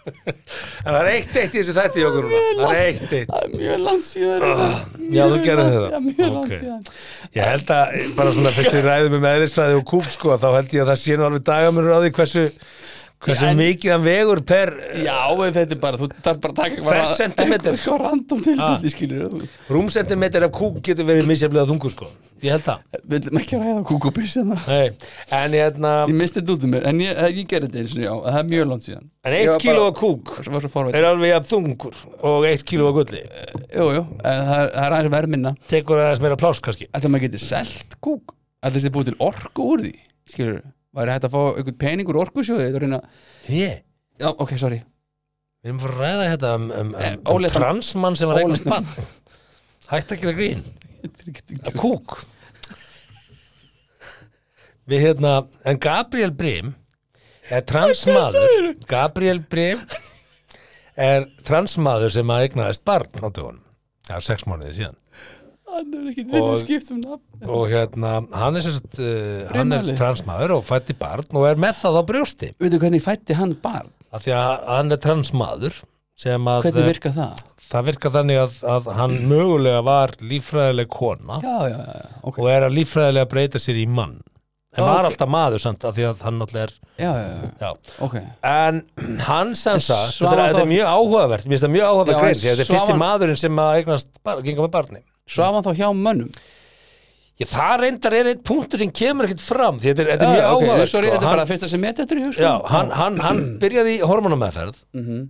Speaker 5: en það er eitt eitt í þessu þætti í okkur núna það er eitt eitt
Speaker 4: Það er mjög langt síðan
Speaker 5: Ah, já, þú gerðir þetta.
Speaker 4: Já, mjög langt
Speaker 5: Ok.
Speaker 4: síðan
Speaker 5: Ég held að bara svona fyrst við ræðum um eðlisfræði og kúp sko þá held ég að það sé nú alveg dagamörur á því hversu hversu
Speaker 4: Já, en-
Speaker 5: mikið hann vegur per
Speaker 4: Já, en þetta er bara, þú þarf bara að taka
Speaker 5: Ferð sentimeter.
Speaker 4: Hvað random tilfelli, skilur þú
Speaker 5: rúmsentimeter af kúk getur verið misjaflega þungur sko ég held það
Speaker 4: Við viljum ekki ræða kúkubiss en það
Speaker 5: Nei. en hérna
Speaker 4: Ég misti þetta út um mér, en ég, ég gerði þetta eins og já, það er mjög langt síðan
Speaker 5: en
Speaker 4: Ég
Speaker 5: eitt
Speaker 4: var
Speaker 5: kíló
Speaker 4: bara-
Speaker 5: af kúk
Speaker 4: Það var svo forveit
Speaker 5: er alveg jafn þungur og eitt kíló af gulli
Speaker 4: Jú, jú, en það er, það er aðeins verð minna
Speaker 5: tekur aðeins meira pláss kannski
Speaker 4: Ætla maður geti selt kúk Ætla þessi búið til orku úr því, skilur væri hægt að fá einhvern peningur orkusjóði þetta er reyna,
Speaker 5: Ég,
Speaker 4: já, ok, sorry
Speaker 5: við erum að fara að ræða þetta um, um,
Speaker 4: Eh,
Speaker 5: um, um
Speaker 4: óléttan-
Speaker 5: transmann sem var eignast
Speaker 4: óléttan-
Speaker 5: bann Hætt að gera grín Að Kúk Við hérna, en Gabriel Brim er transmaður Gabriel Brim er transmaður sem að eignaðist barn á dögunum Já, sex mánuði síðan
Speaker 4: hann er ekkit
Speaker 5: viljað
Speaker 4: skipt um nafn
Speaker 5: og hérna, hann er sérst uh, hann er
Speaker 4: Brimali.
Speaker 5: transmaður og fætti barn og er með það á brjósti
Speaker 4: veitu hvernig fætti hann barn,
Speaker 5: af því að hann er transmaður sem að eh,
Speaker 4: hvernig virka það
Speaker 5: það virkar þannig að, að hann mögulega var líffræðileg kona
Speaker 4: já, já, já, já, ok
Speaker 5: og er að líffræðilega breyta sér í mann en
Speaker 4: Ó,
Speaker 5: var
Speaker 4: ok.
Speaker 5: alltaf maður samt af því að hann náttúrulega er
Speaker 4: já, já, já,
Speaker 5: já.
Speaker 4: ok
Speaker 5: en hann sem
Speaker 4: En
Speaker 5: sagt þetta er,
Speaker 4: Svavar
Speaker 5: þetta er
Speaker 4: þá-
Speaker 5: mjög áhugavert, mér finnst það mjög
Speaker 4: Já,
Speaker 5: áhugavert
Speaker 4: en
Speaker 5: grein því að þetta er fyrsti
Speaker 4: Svavar-
Speaker 5: maðurinn sem að eignast bar, gengur með barni
Speaker 4: svo hann þá hjá mönnum
Speaker 5: Já, það reyndar er einn punktur sem kemur ekkert fram því þetta er, þetta er
Speaker 4: já,
Speaker 5: mjög
Speaker 4: ok,
Speaker 5: áhugavert
Speaker 4: sorry,
Speaker 5: sko.
Speaker 4: þetta er
Speaker 5: Hann-
Speaker 4: bara það fyrsta sem ég þetta er í hug sko.
Speaker 5: Já, hann, hann, hann byrjaði í hormonameðferð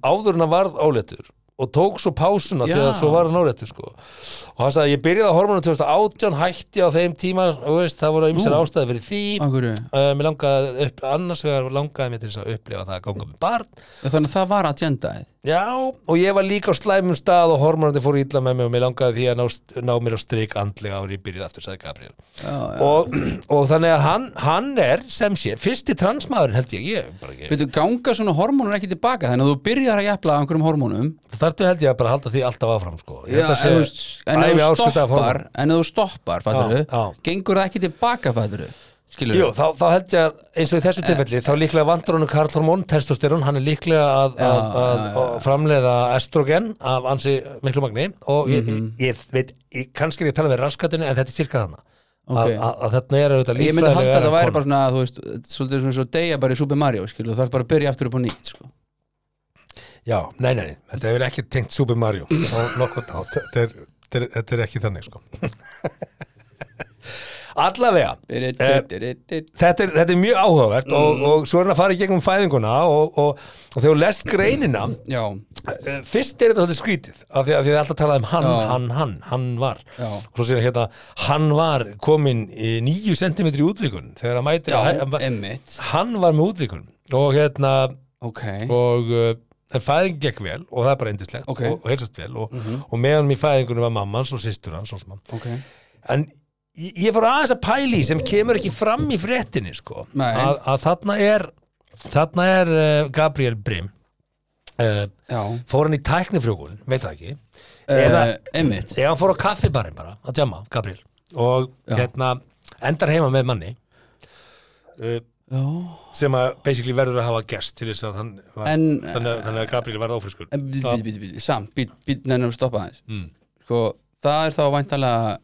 Speaker 5: áður en hann varð óléttur og tók svo pásuna
Speaker 4: Mhm. Já.
Speaker 5: þegar svo var hann óléttur sko. og hann sagði ég byrjaði á hormonum 2018 hætti á þeim tíma og veist, það voru ymsir ástæði fyrir því
Speaker 4: Af hverju?
Speaker 5: uh, mér langaði upp, annars vegar langaði mér til þess að upplifa það að ganga með barn
Speaker 4: þannig að það var agendaðið
Speaker 5: já, og ég var líka á slæmum stað og hormonandi fór illa með mig og mér langaði því að ná, ná mér á strik andlega ári í byrjað aftur, sagði Gabriel
Speaker 4: já, já.
Speaker 5: og, og þannig að hann, hann er sem sé, fyrsti transmaðurinn held ég, ég bara ekki
Speaker 4: Veitu, ganga svona hormónur ekki tilbaka þannig að þú byrjar að jafla af einhverjum hormónum
Speaker 5: þartu held ég að bara halda því alltaf áfram sko. Ég
Speaker 4: Já,
Speaker 5: held að
Speaker 4: en, þú,
Speaker 5: sé
Speaker 4: en ef
Speaker 5: ævi
Speaker 4: þú
Speaker 5: áskrift af
Speaker 4: stoppar
Speaker 5: hormónum.
Speaker 4: en ef þú stoppar, fattur
Speaker 5: Já, já.
Speaker 4: gengur það ekki tilbaka, fattur skilur
Speaker 5: Jú, þá, þá held ég að eins og í
Speaker 4: Eh.
Speaker 5: þessu tilfelli þá líklega vandur honum karlhormón testosterón, hann er líklega að,
Speaker 4: Já,
Speaker 5: að, að,
Speaker 4: já, já,
Speaker 5: að framleiða estrogen af ansi miklu magni og ég,
Speaker 4: Mhm.
Speaker 5: ég, ég veit, ég, kannski er ég að tala með raskatunni en þetta er cirka þarna
Speaker 4: Ok.
Speaker 5: að, að, að þetta er auðvitað
Speaker 4: ég myndi halda að
Speaker 5: erfið
Speaker 4: það væri
Speaker 5: kona.
Speaker 4: bara svona, þú veist, svolítið svona svo deyja bara í Super Mario, skilur, þú þarf bara að byrja aftur upp á nýtt, sko.
Speaker 5: Já, nei, nei, nei, þetta hefur ekki tengt Super Mario og nokkvæmt á, þetta er, þetta er, þetta er ekki þannig sko Allavega þetta er, þetta er mjög áhugavert
Speaker 4: Mm.
Speaker 5: og, og svo er hann að fara í gegnum fæðinguna og, og, og þegar þú lest greinina
Speaker 4: já,
Speaker 5: eh, fyrst er þetta svolítið skrítið af því að því að það er alltaf talað um hann,
Speaker 4: Já.
Speaker 5: hann, hann, hann var
Speaker 4: Já.
Speaker 5: og svo segir hérna, hann var komin í níu sentimetri útvikun þegar hann mæti
Speaker 4: já,
Speaker 5: hann,
Speaker 4: emmitt,
Speaker 5: hann var með útvikun og hérna
Speaker 4: ok,
Speaker 5: og uh, en fæðing gekk vel og það er bara endislegt
Speaker 4: Ok. Mhm.
Speaker 5: og, og heilsast vel og, mm -hmm. og meðanum í fæðingunum var mamma hans og systur hans og svona.
Speaker 4: ok,
Speaker 5: en ég, ég fór aðeins að pæli sem kemur ekki fram í fréttinni sko.
Speaker 4: Nei.
Speaker 5: að, að þarna er þarna er uh, Gabriel Brim uh,
Speaker 4: já,
Speaker 5: fór hann í tæknifrjókun, veit það ekki
Speaker 4: uh,
Speaker 5: Eða-
Speaker 4: emmitt,
Speaker 5: eða hann fór á kaffibarinn bara að djama, Gabriel og
Speaker 4: Já.
Speaker 5: hérna endar heima með manni uh,
Speaker 4: já,
Speaker 5: sem að basically verður að hafa gest til þess að hann var,
Speaker 4: en,
Speaker 5: þannig, að- þannig að Gabriel varð ófriskur
Speaker 4: en, bít,
Speaker 5: Já.
Speaker 4: bít, bít, bít, samt, bít, bít, nefnum stoppa aðeins,
Speaker 5: mm.
Speaker 4: sko, það er þá væntalega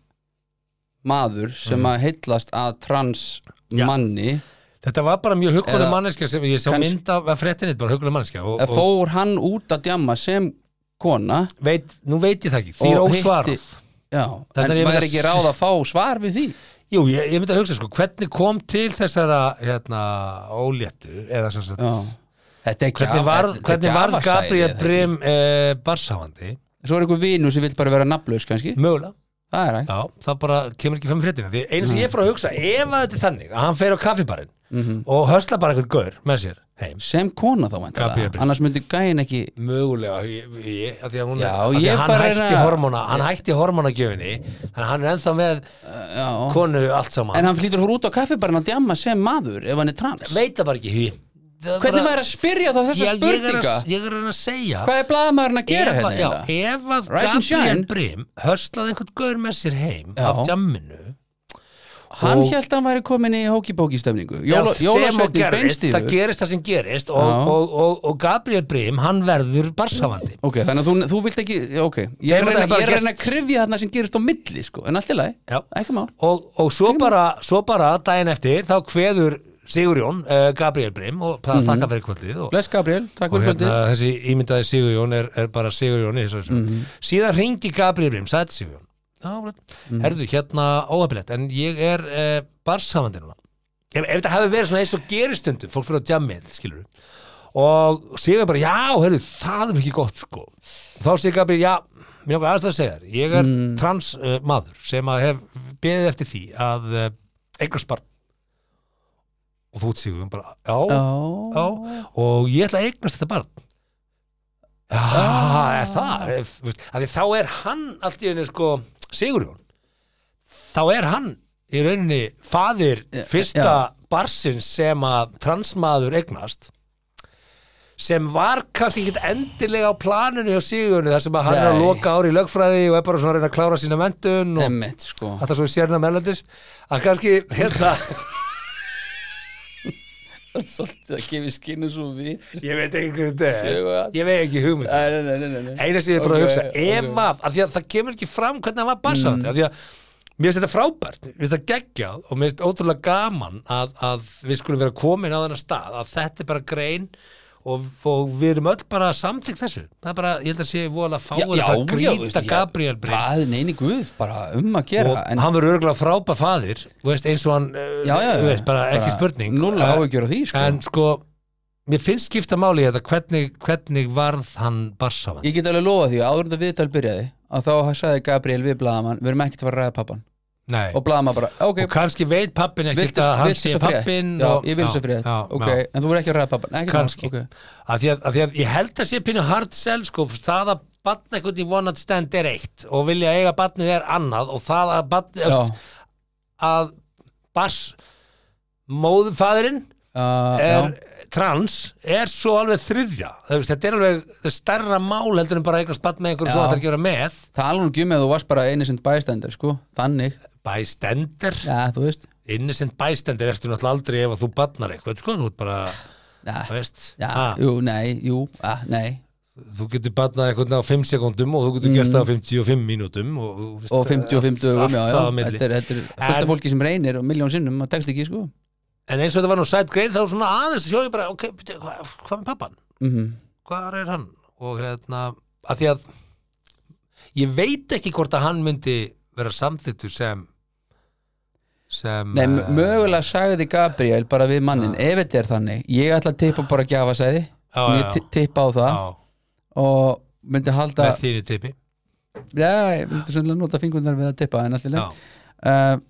Speaker 4: maður sem
Speaker 5: Mm.
Speaker 4: að heitlast að trans manni,
Speaker 5: þetta var bara mjög huguleg
Speaker 4: Eða-
Speaker 5: manneskja sem ég sá
Speaker 4: Kanns-
Speaker 5: mynd af fréttinni, bara huguleg manneskja og,
Speaker 4: að
Speaker 5: og
Speaker 4: fór hann út að djamma sem kona,
Speaker 5: veit, nú veit ég það ekki því er
Speaker 4: Og
Speaker 5: ósvarað
Speaker 4: hitti- já,
Speaker 5: Þess
Speaker 4: en
Speaker 5: vegna ég myndi
Speaker 4: væri
Speaker 5: að-
Speaker 4: ekki ráð að fá svar við því,
Speaker 5: Jú, ég, ég myndi að hugsa sko, hvernig kom til þessara hérna, óléttu eða sem sagt
Speaker 4: já, þetta er ekki
Speaker 5: hvernig varð, hvernig varð Gabriel Brim eh, barsáhandi,
Speaker 4: svo er einhver vinu sem vil bara vera nafnlaus kannski
Speaker 5: mögulega
Speaker 4: það er hægt
Speaker 5: já, það bara kemur ekki fram í fréttina því einu sem ég fór að hugsa, ef að þetta er þannig að hann fer á kaffibarinn og hösla bara einhvern gaur með sér heim
Speaker 4: sem kona þá
Speaker 5: Gabriel
Speaker 4: væntanlega
Speaker 5: Brim.
Speaker 4: annars myndi gæin ekki
Speaker 5: mögulega, ég, ég, að því að hún
Speaker 4: Já,
Speaker 5: að því
Speaker 4: ég
Speaker 5: að hann
Speaker 4: bara er
Speaker 5: hætti
Speaker 4: að-
Speaker 5: hormóna hann hætti hormónagjöfinni, þannig að hann er ennþá með
Speaker 4: já.
Speaker 5: konu allt saman
Speaker 4: en hann flýtur fór út á kaffibarinn að djamma sem maður ef hann er trans
Speaker 5: veit það bara ekki hví Það
Speaker 4: hvernig
Speaker 5: bara-
Speaker 4: væri að spyrja þá þessa
Speaker 5: Já, ég er
Speaker 4: spurninga
Speaker 5: að- ég er að reyna að segja
Speaker 4: hvað er blaðamæðurinn að gera
Speaker 5: ef,
Speaker 4: hérna
Speaker 5: að- já,
Speaker 4: eiginlega?
Speaker 5: ef að
Speaker 4: Rise and
Speaker 5: Gabriel
Speaker 4: shine.
Speaker 5: Brim höslaði einhvern gaur með sér heim
Speaker 4: Já.
Speaker 5: af djamminu
Speaker 4: hann
Speaker 5: og-
Speaker 4: held að hann væri komin í hókibóki stemningu
Speaker 5: Já, sem og
Speaker 4: jólasveitin
Speaker 5: gerist, það
Speaker 4: beinstíður
Speaker 5: gerist það sem gerist og,
Speaker 4: Já.
Speaker 5: og, og, og, Gabriel Brim, hann verður barsafandi
Speaker 4: ok, þannig að þú, þú vilt ekki já, ok, ég er
Speaker 5: Segðu mér
Speaker 4: að reyna-
Speaker 5: þetta bara
Speaker 4: ég er að
Speaker 5: gerst.
Speaker 4: reyna að krifja þarna sem gerist á milli sko, en allt í lagi,
Speaker 5: Já.
Speaker 4: ekki mál
Speaker 5: og, og svo, bara, svo bara daginn eftir þá kveður Sigurjón uh, Gabriel Brim og
Speaker 4: Mhm.
Speaker 5: það þakka fyrir kvöldið og,
Speaker 4: bless Gabriel, takk
Speaker 5: og
Speaker 4: fyrir
Speaker 5: hérna,
Speaker 4: kvöldið
Speaker 5: þessi ímyndaði Sigurjón er, er bara Sigurjón í þessu mm
Speaker 4: Mhm.
Speaker 5: síðan ringi Gabriel Brim, sætt Sigurjón Já, mm. herðu, hérna óhafnilegt en ég er uh, barsafandi núna ef, ef þetta hefði verið svona eins og gerist stundum fólk fyrir á djammið, skilur við og Sigurjón bara, já, herðu, það er ekki gott sko, þá segir Gabriel já, mér okkar aðeins að segja þér ég er
Speaker 4: Mhm.
Speaker 5: trans uh, maður sem að hef beðið eftir því að uh, eignast barn eh, og þú ert sigurinn bara, já,
Speaker 4: Já.
Speaker 5: já og ég ætla að eignast þetta barn já, er það er, veist, af því þá er hann allt í henni sko sigurinn þá er hann í rauninni faðir fyrsta
Speaker 4: já.
Speaker 5: barsins sem að transmaður eignast sem var kannski ekki endilega á planinu hjá Sigurni þar sem að hann er að
Speaker 4: Nei.
Speaker 5: loka ári í lögfræði og er bara svona að reyna að klára sína mentun og
Speaker 4: Emmitt, sko
Speaker 5: þetta svo í sérna melendis að kannski hérna
Speaker 4: Svolítið að gefa skinnu svo við
Speaker 5: ég veit ekki hvað þetta
Speaker 4: Sigurjón.
Speaker 5: er ég veit ekki hugmynd
Speaker 4: Nei, nei, nei, nei, nei.
Speaker 5: eina sem ég er bara að
Speaker 4: Ok, Mm.
Speaker 5: hugsa ef
Speaker 4: ok.
Speaker 5: að, af því að það kemur ekki fram hvernig hann var bassand af því að mér finnst þetta frábært mér finnst þetta geggjað og mér finnst ótrúlega gaman að, að við skulum vera komin á þennan stað að þetta er bara grein og, og við erum öll bara samþykkt þessu það er bara, ég held að sé vola fáið að fara að
Speaker 4: veist,
Speaker 5: grýta
Speaker 4: já.
Speaker 5: Gabriel Bryn
Speaker 4: Það er neini guð, bara um að
Speaker 5: og
Speaker 4: gera en-
Speaker 5: hann verður örgulega frábær faðir þú veist, eins og hann, eh,
Speaker 4: Já, já, já.
Speaker 5: þú veist, bara ekki spurning
Speaker 4: Núl
Speaker 5: Eh,
Speaker 4: áhugjur á því, sko
Speaker 5: en sko mér finnst skipta máli í þetta hvernig, hvernig varð hann barsaman
Speaker 4: Ég get alveg lofa því, að áður en þetta viðtal byrjaði að þá sagði Gabriel við blaðamann við erum ekkert að fara að ræða pappan
Speaker 5: Nei.
Speaker 4: og blaðamann bara, ok,
Speaker 5: og kannski veit pappin ekkert
Speaker 4: viltu,
Speaker 5: að hann
Speaker 4: viltu
Speaker 5: sé
Speaker 4: svo frétt
Speaker 5: pappin
Speaker 4: já,
Speaker 5: og,
Speaker 4: ég vil svo frétt,
Speaker 5: já,
Speaker 4: ok,
Speaker 5: já.
Speaker 4: en þú verður ekki að ræða pappan ekki
Speaker 5: Kannski.
Speaker 4: okay.
Speaker 5: Af því, að, af því að ég held að sé pínu hard sell sko, það að batna einhvern í one night stand er eitt og vilja eiga batnið er annað og það að batni
Speaker 4: já,
Speaker 5: öst, að bars móðurfadurinn
Speaker 4: uh,
Speaker 5: er
Speaker 4: já,
Speaker 5: trans er svo alveg þriðja Það veist, þetta er alveg þetta er stærra mál heldur en bara að eignast batn með einhverjum
Speaker 4: Já.
Speaker 5: svo að það er að gera með
Speaker 4: tala nú ekki um að þú varst bara einu sem bæstender, sko, þannig
Speaker 5: bystander,
Speaker 4: já, þú veist,
Speaker 5: innocent bystander ertu náttúrulega aldrei ef að þú batnar eitthvað sko, þú ert bara,
Speaker 4: já,
Speaker 5: þú veist
Speaker 4: já
Speaker 5: ha.
Speaker 4: jú, nei, jú, ah, nei
Speaker 5: þú getur batnað einhvern á 5 sekundum og þú getur gert það á 55 mínútum og, þú veist,
Speaker 4: Mm. og 55 dögum,
Speaker 5: allt
Speaker 4: já, já,
Speaker 5: það á milli.
Speaker 4: þetta er, þetta er fullt
Speaker 5: En-
Speaker 4: af fólki sem reynir og miljón sinnum og tekst ekki, sko
Speaker 5: en eins og þetta var nú sætt grein þá svona aðeins sjóðu bara, ok, bíddu, hvað hva með pappan?
Speaker 4: mm
Speaker 5: Hvar er hann? og hérna, að því að ég veit ekki hvort að hann myndi vera samþyktur sem sem
Speaker 4: Nei,
Speaker 5: eh,
Speaker 4: mögulega sagði Gabriel bara við mannin, ef þetta er þannig ég ætla að tippa bara gjafasæði
Speaker 5: Já, já,
Speaker 4: ég ti- tippa á það
Speaker 5: já,
Speaker 4: og myndi halda
Speaker 5: með þínu tipi
Speaker 4: já, ég myndi sannlega nota fingurnar við að tippa en
Speaker 5: já,
Speaker 4: allir leið uh,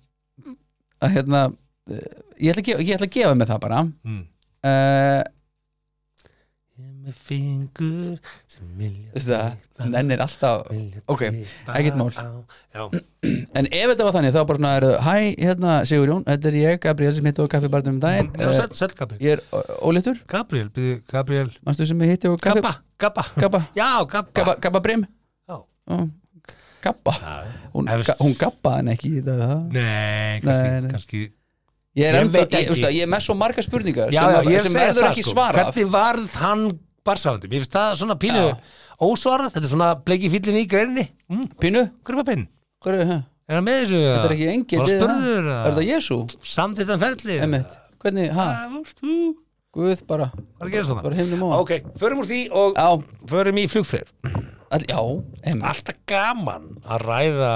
Speaker 4: að hérna uh, ég ætla að gefa, ég ætla að gefa mig það bara
Speaker 5: mm.
Speaker 4: uh,
Speaker 5: með fingur sem vilja
Speaker 4: veistu það, hann ennir alltaf
Speaker 5: vilja
Speaker 4: ok,
Speaker 5: tippa
Speaker 4: ekkert mál.
Speaker 5: á- já,
Speaker 4: en ef þetta var þannig þá bara svona er hæ, hérna Sigur Jón, þetta er ég, Gabriel sem hitti á kaffibarnum um daginn
Speaker 5: já,
Speaker 4: uh,
Speaker 5: sæll, sæll Gabriel
Speaker 4: ég er ó- óléttur,
Speaker 5: Gabriel, byrju, Gabriel
Speaker 4: manstu sem ég hitti á kaffi
Speaker 5: Gabba, Gabba
Speaker 4: Gabba,
Speaker 5: Já, Gabba,
Speaker 4: Gabba, Gabba Brim
Speaker 5: Já.
Speaker 4: Ó, Gabba hún,
Speaker 5: Ef-
Speaker 4: ga- hún gabbaði hann ekki í dag, ha?
Speaker 5: Nei,
Speaker 4: Nei,
Speaker 5: kannski,
Speaker 4: nei.
Speaker 5: kannski.
Speaker 4: ég er
Speaker 5: Ég
Speaker 4: ennþá,
Speaker 5: veit
Speaker 4: ég,
Speaker 5: ekki.
Speaker 4: veistu það, ég er með svo marga spurningar
Speaker 5: Já,
Speaker 4: sem,
Speaker 5: já,
Speaker 4: að-
Speaker 5: ég
Speaker 4: sem
Speaker 5: segi
Speaker 4: verður
Speaker 5: það
Speaker 4: ekki
Speaker 5: sko
Speaker 4: svarað
Speaker 5: Hvernig varð hann barsáðandi? Mér finnst það svona pínu
Speaker 4: Já.
Speaker 5: ósvarað Þetta er svona bleiki fíllin í greininni mm,
Speaker 4: pínu,
Speaker 5: Hver var pinn?
Speaker 4: hver er það?
Speaker 5: Er hann með þessu?
Speaker 4: Þetta er ekki engill
Speaker 5: Var
Speaker 4: eða-
Speaker 5: spurður?
Speaker 4: Er þetta Jésu?
Speaker 5: Samþittan ferli?
Speaker 4: Emmett, hvernig, ha?
Speaker 5: Hvað
Speaker 4: Guð bara,
Speaker 5: er að gera svona?
Speaker 4: bara heimnum á
Speaker 5: Ok, förum úr því og
Speaker 4: Já,
Speaker 5: förum í flugfreyr
Speaker 4: all, já, Emmett
Speaker 5: Alltaf gaman að ræða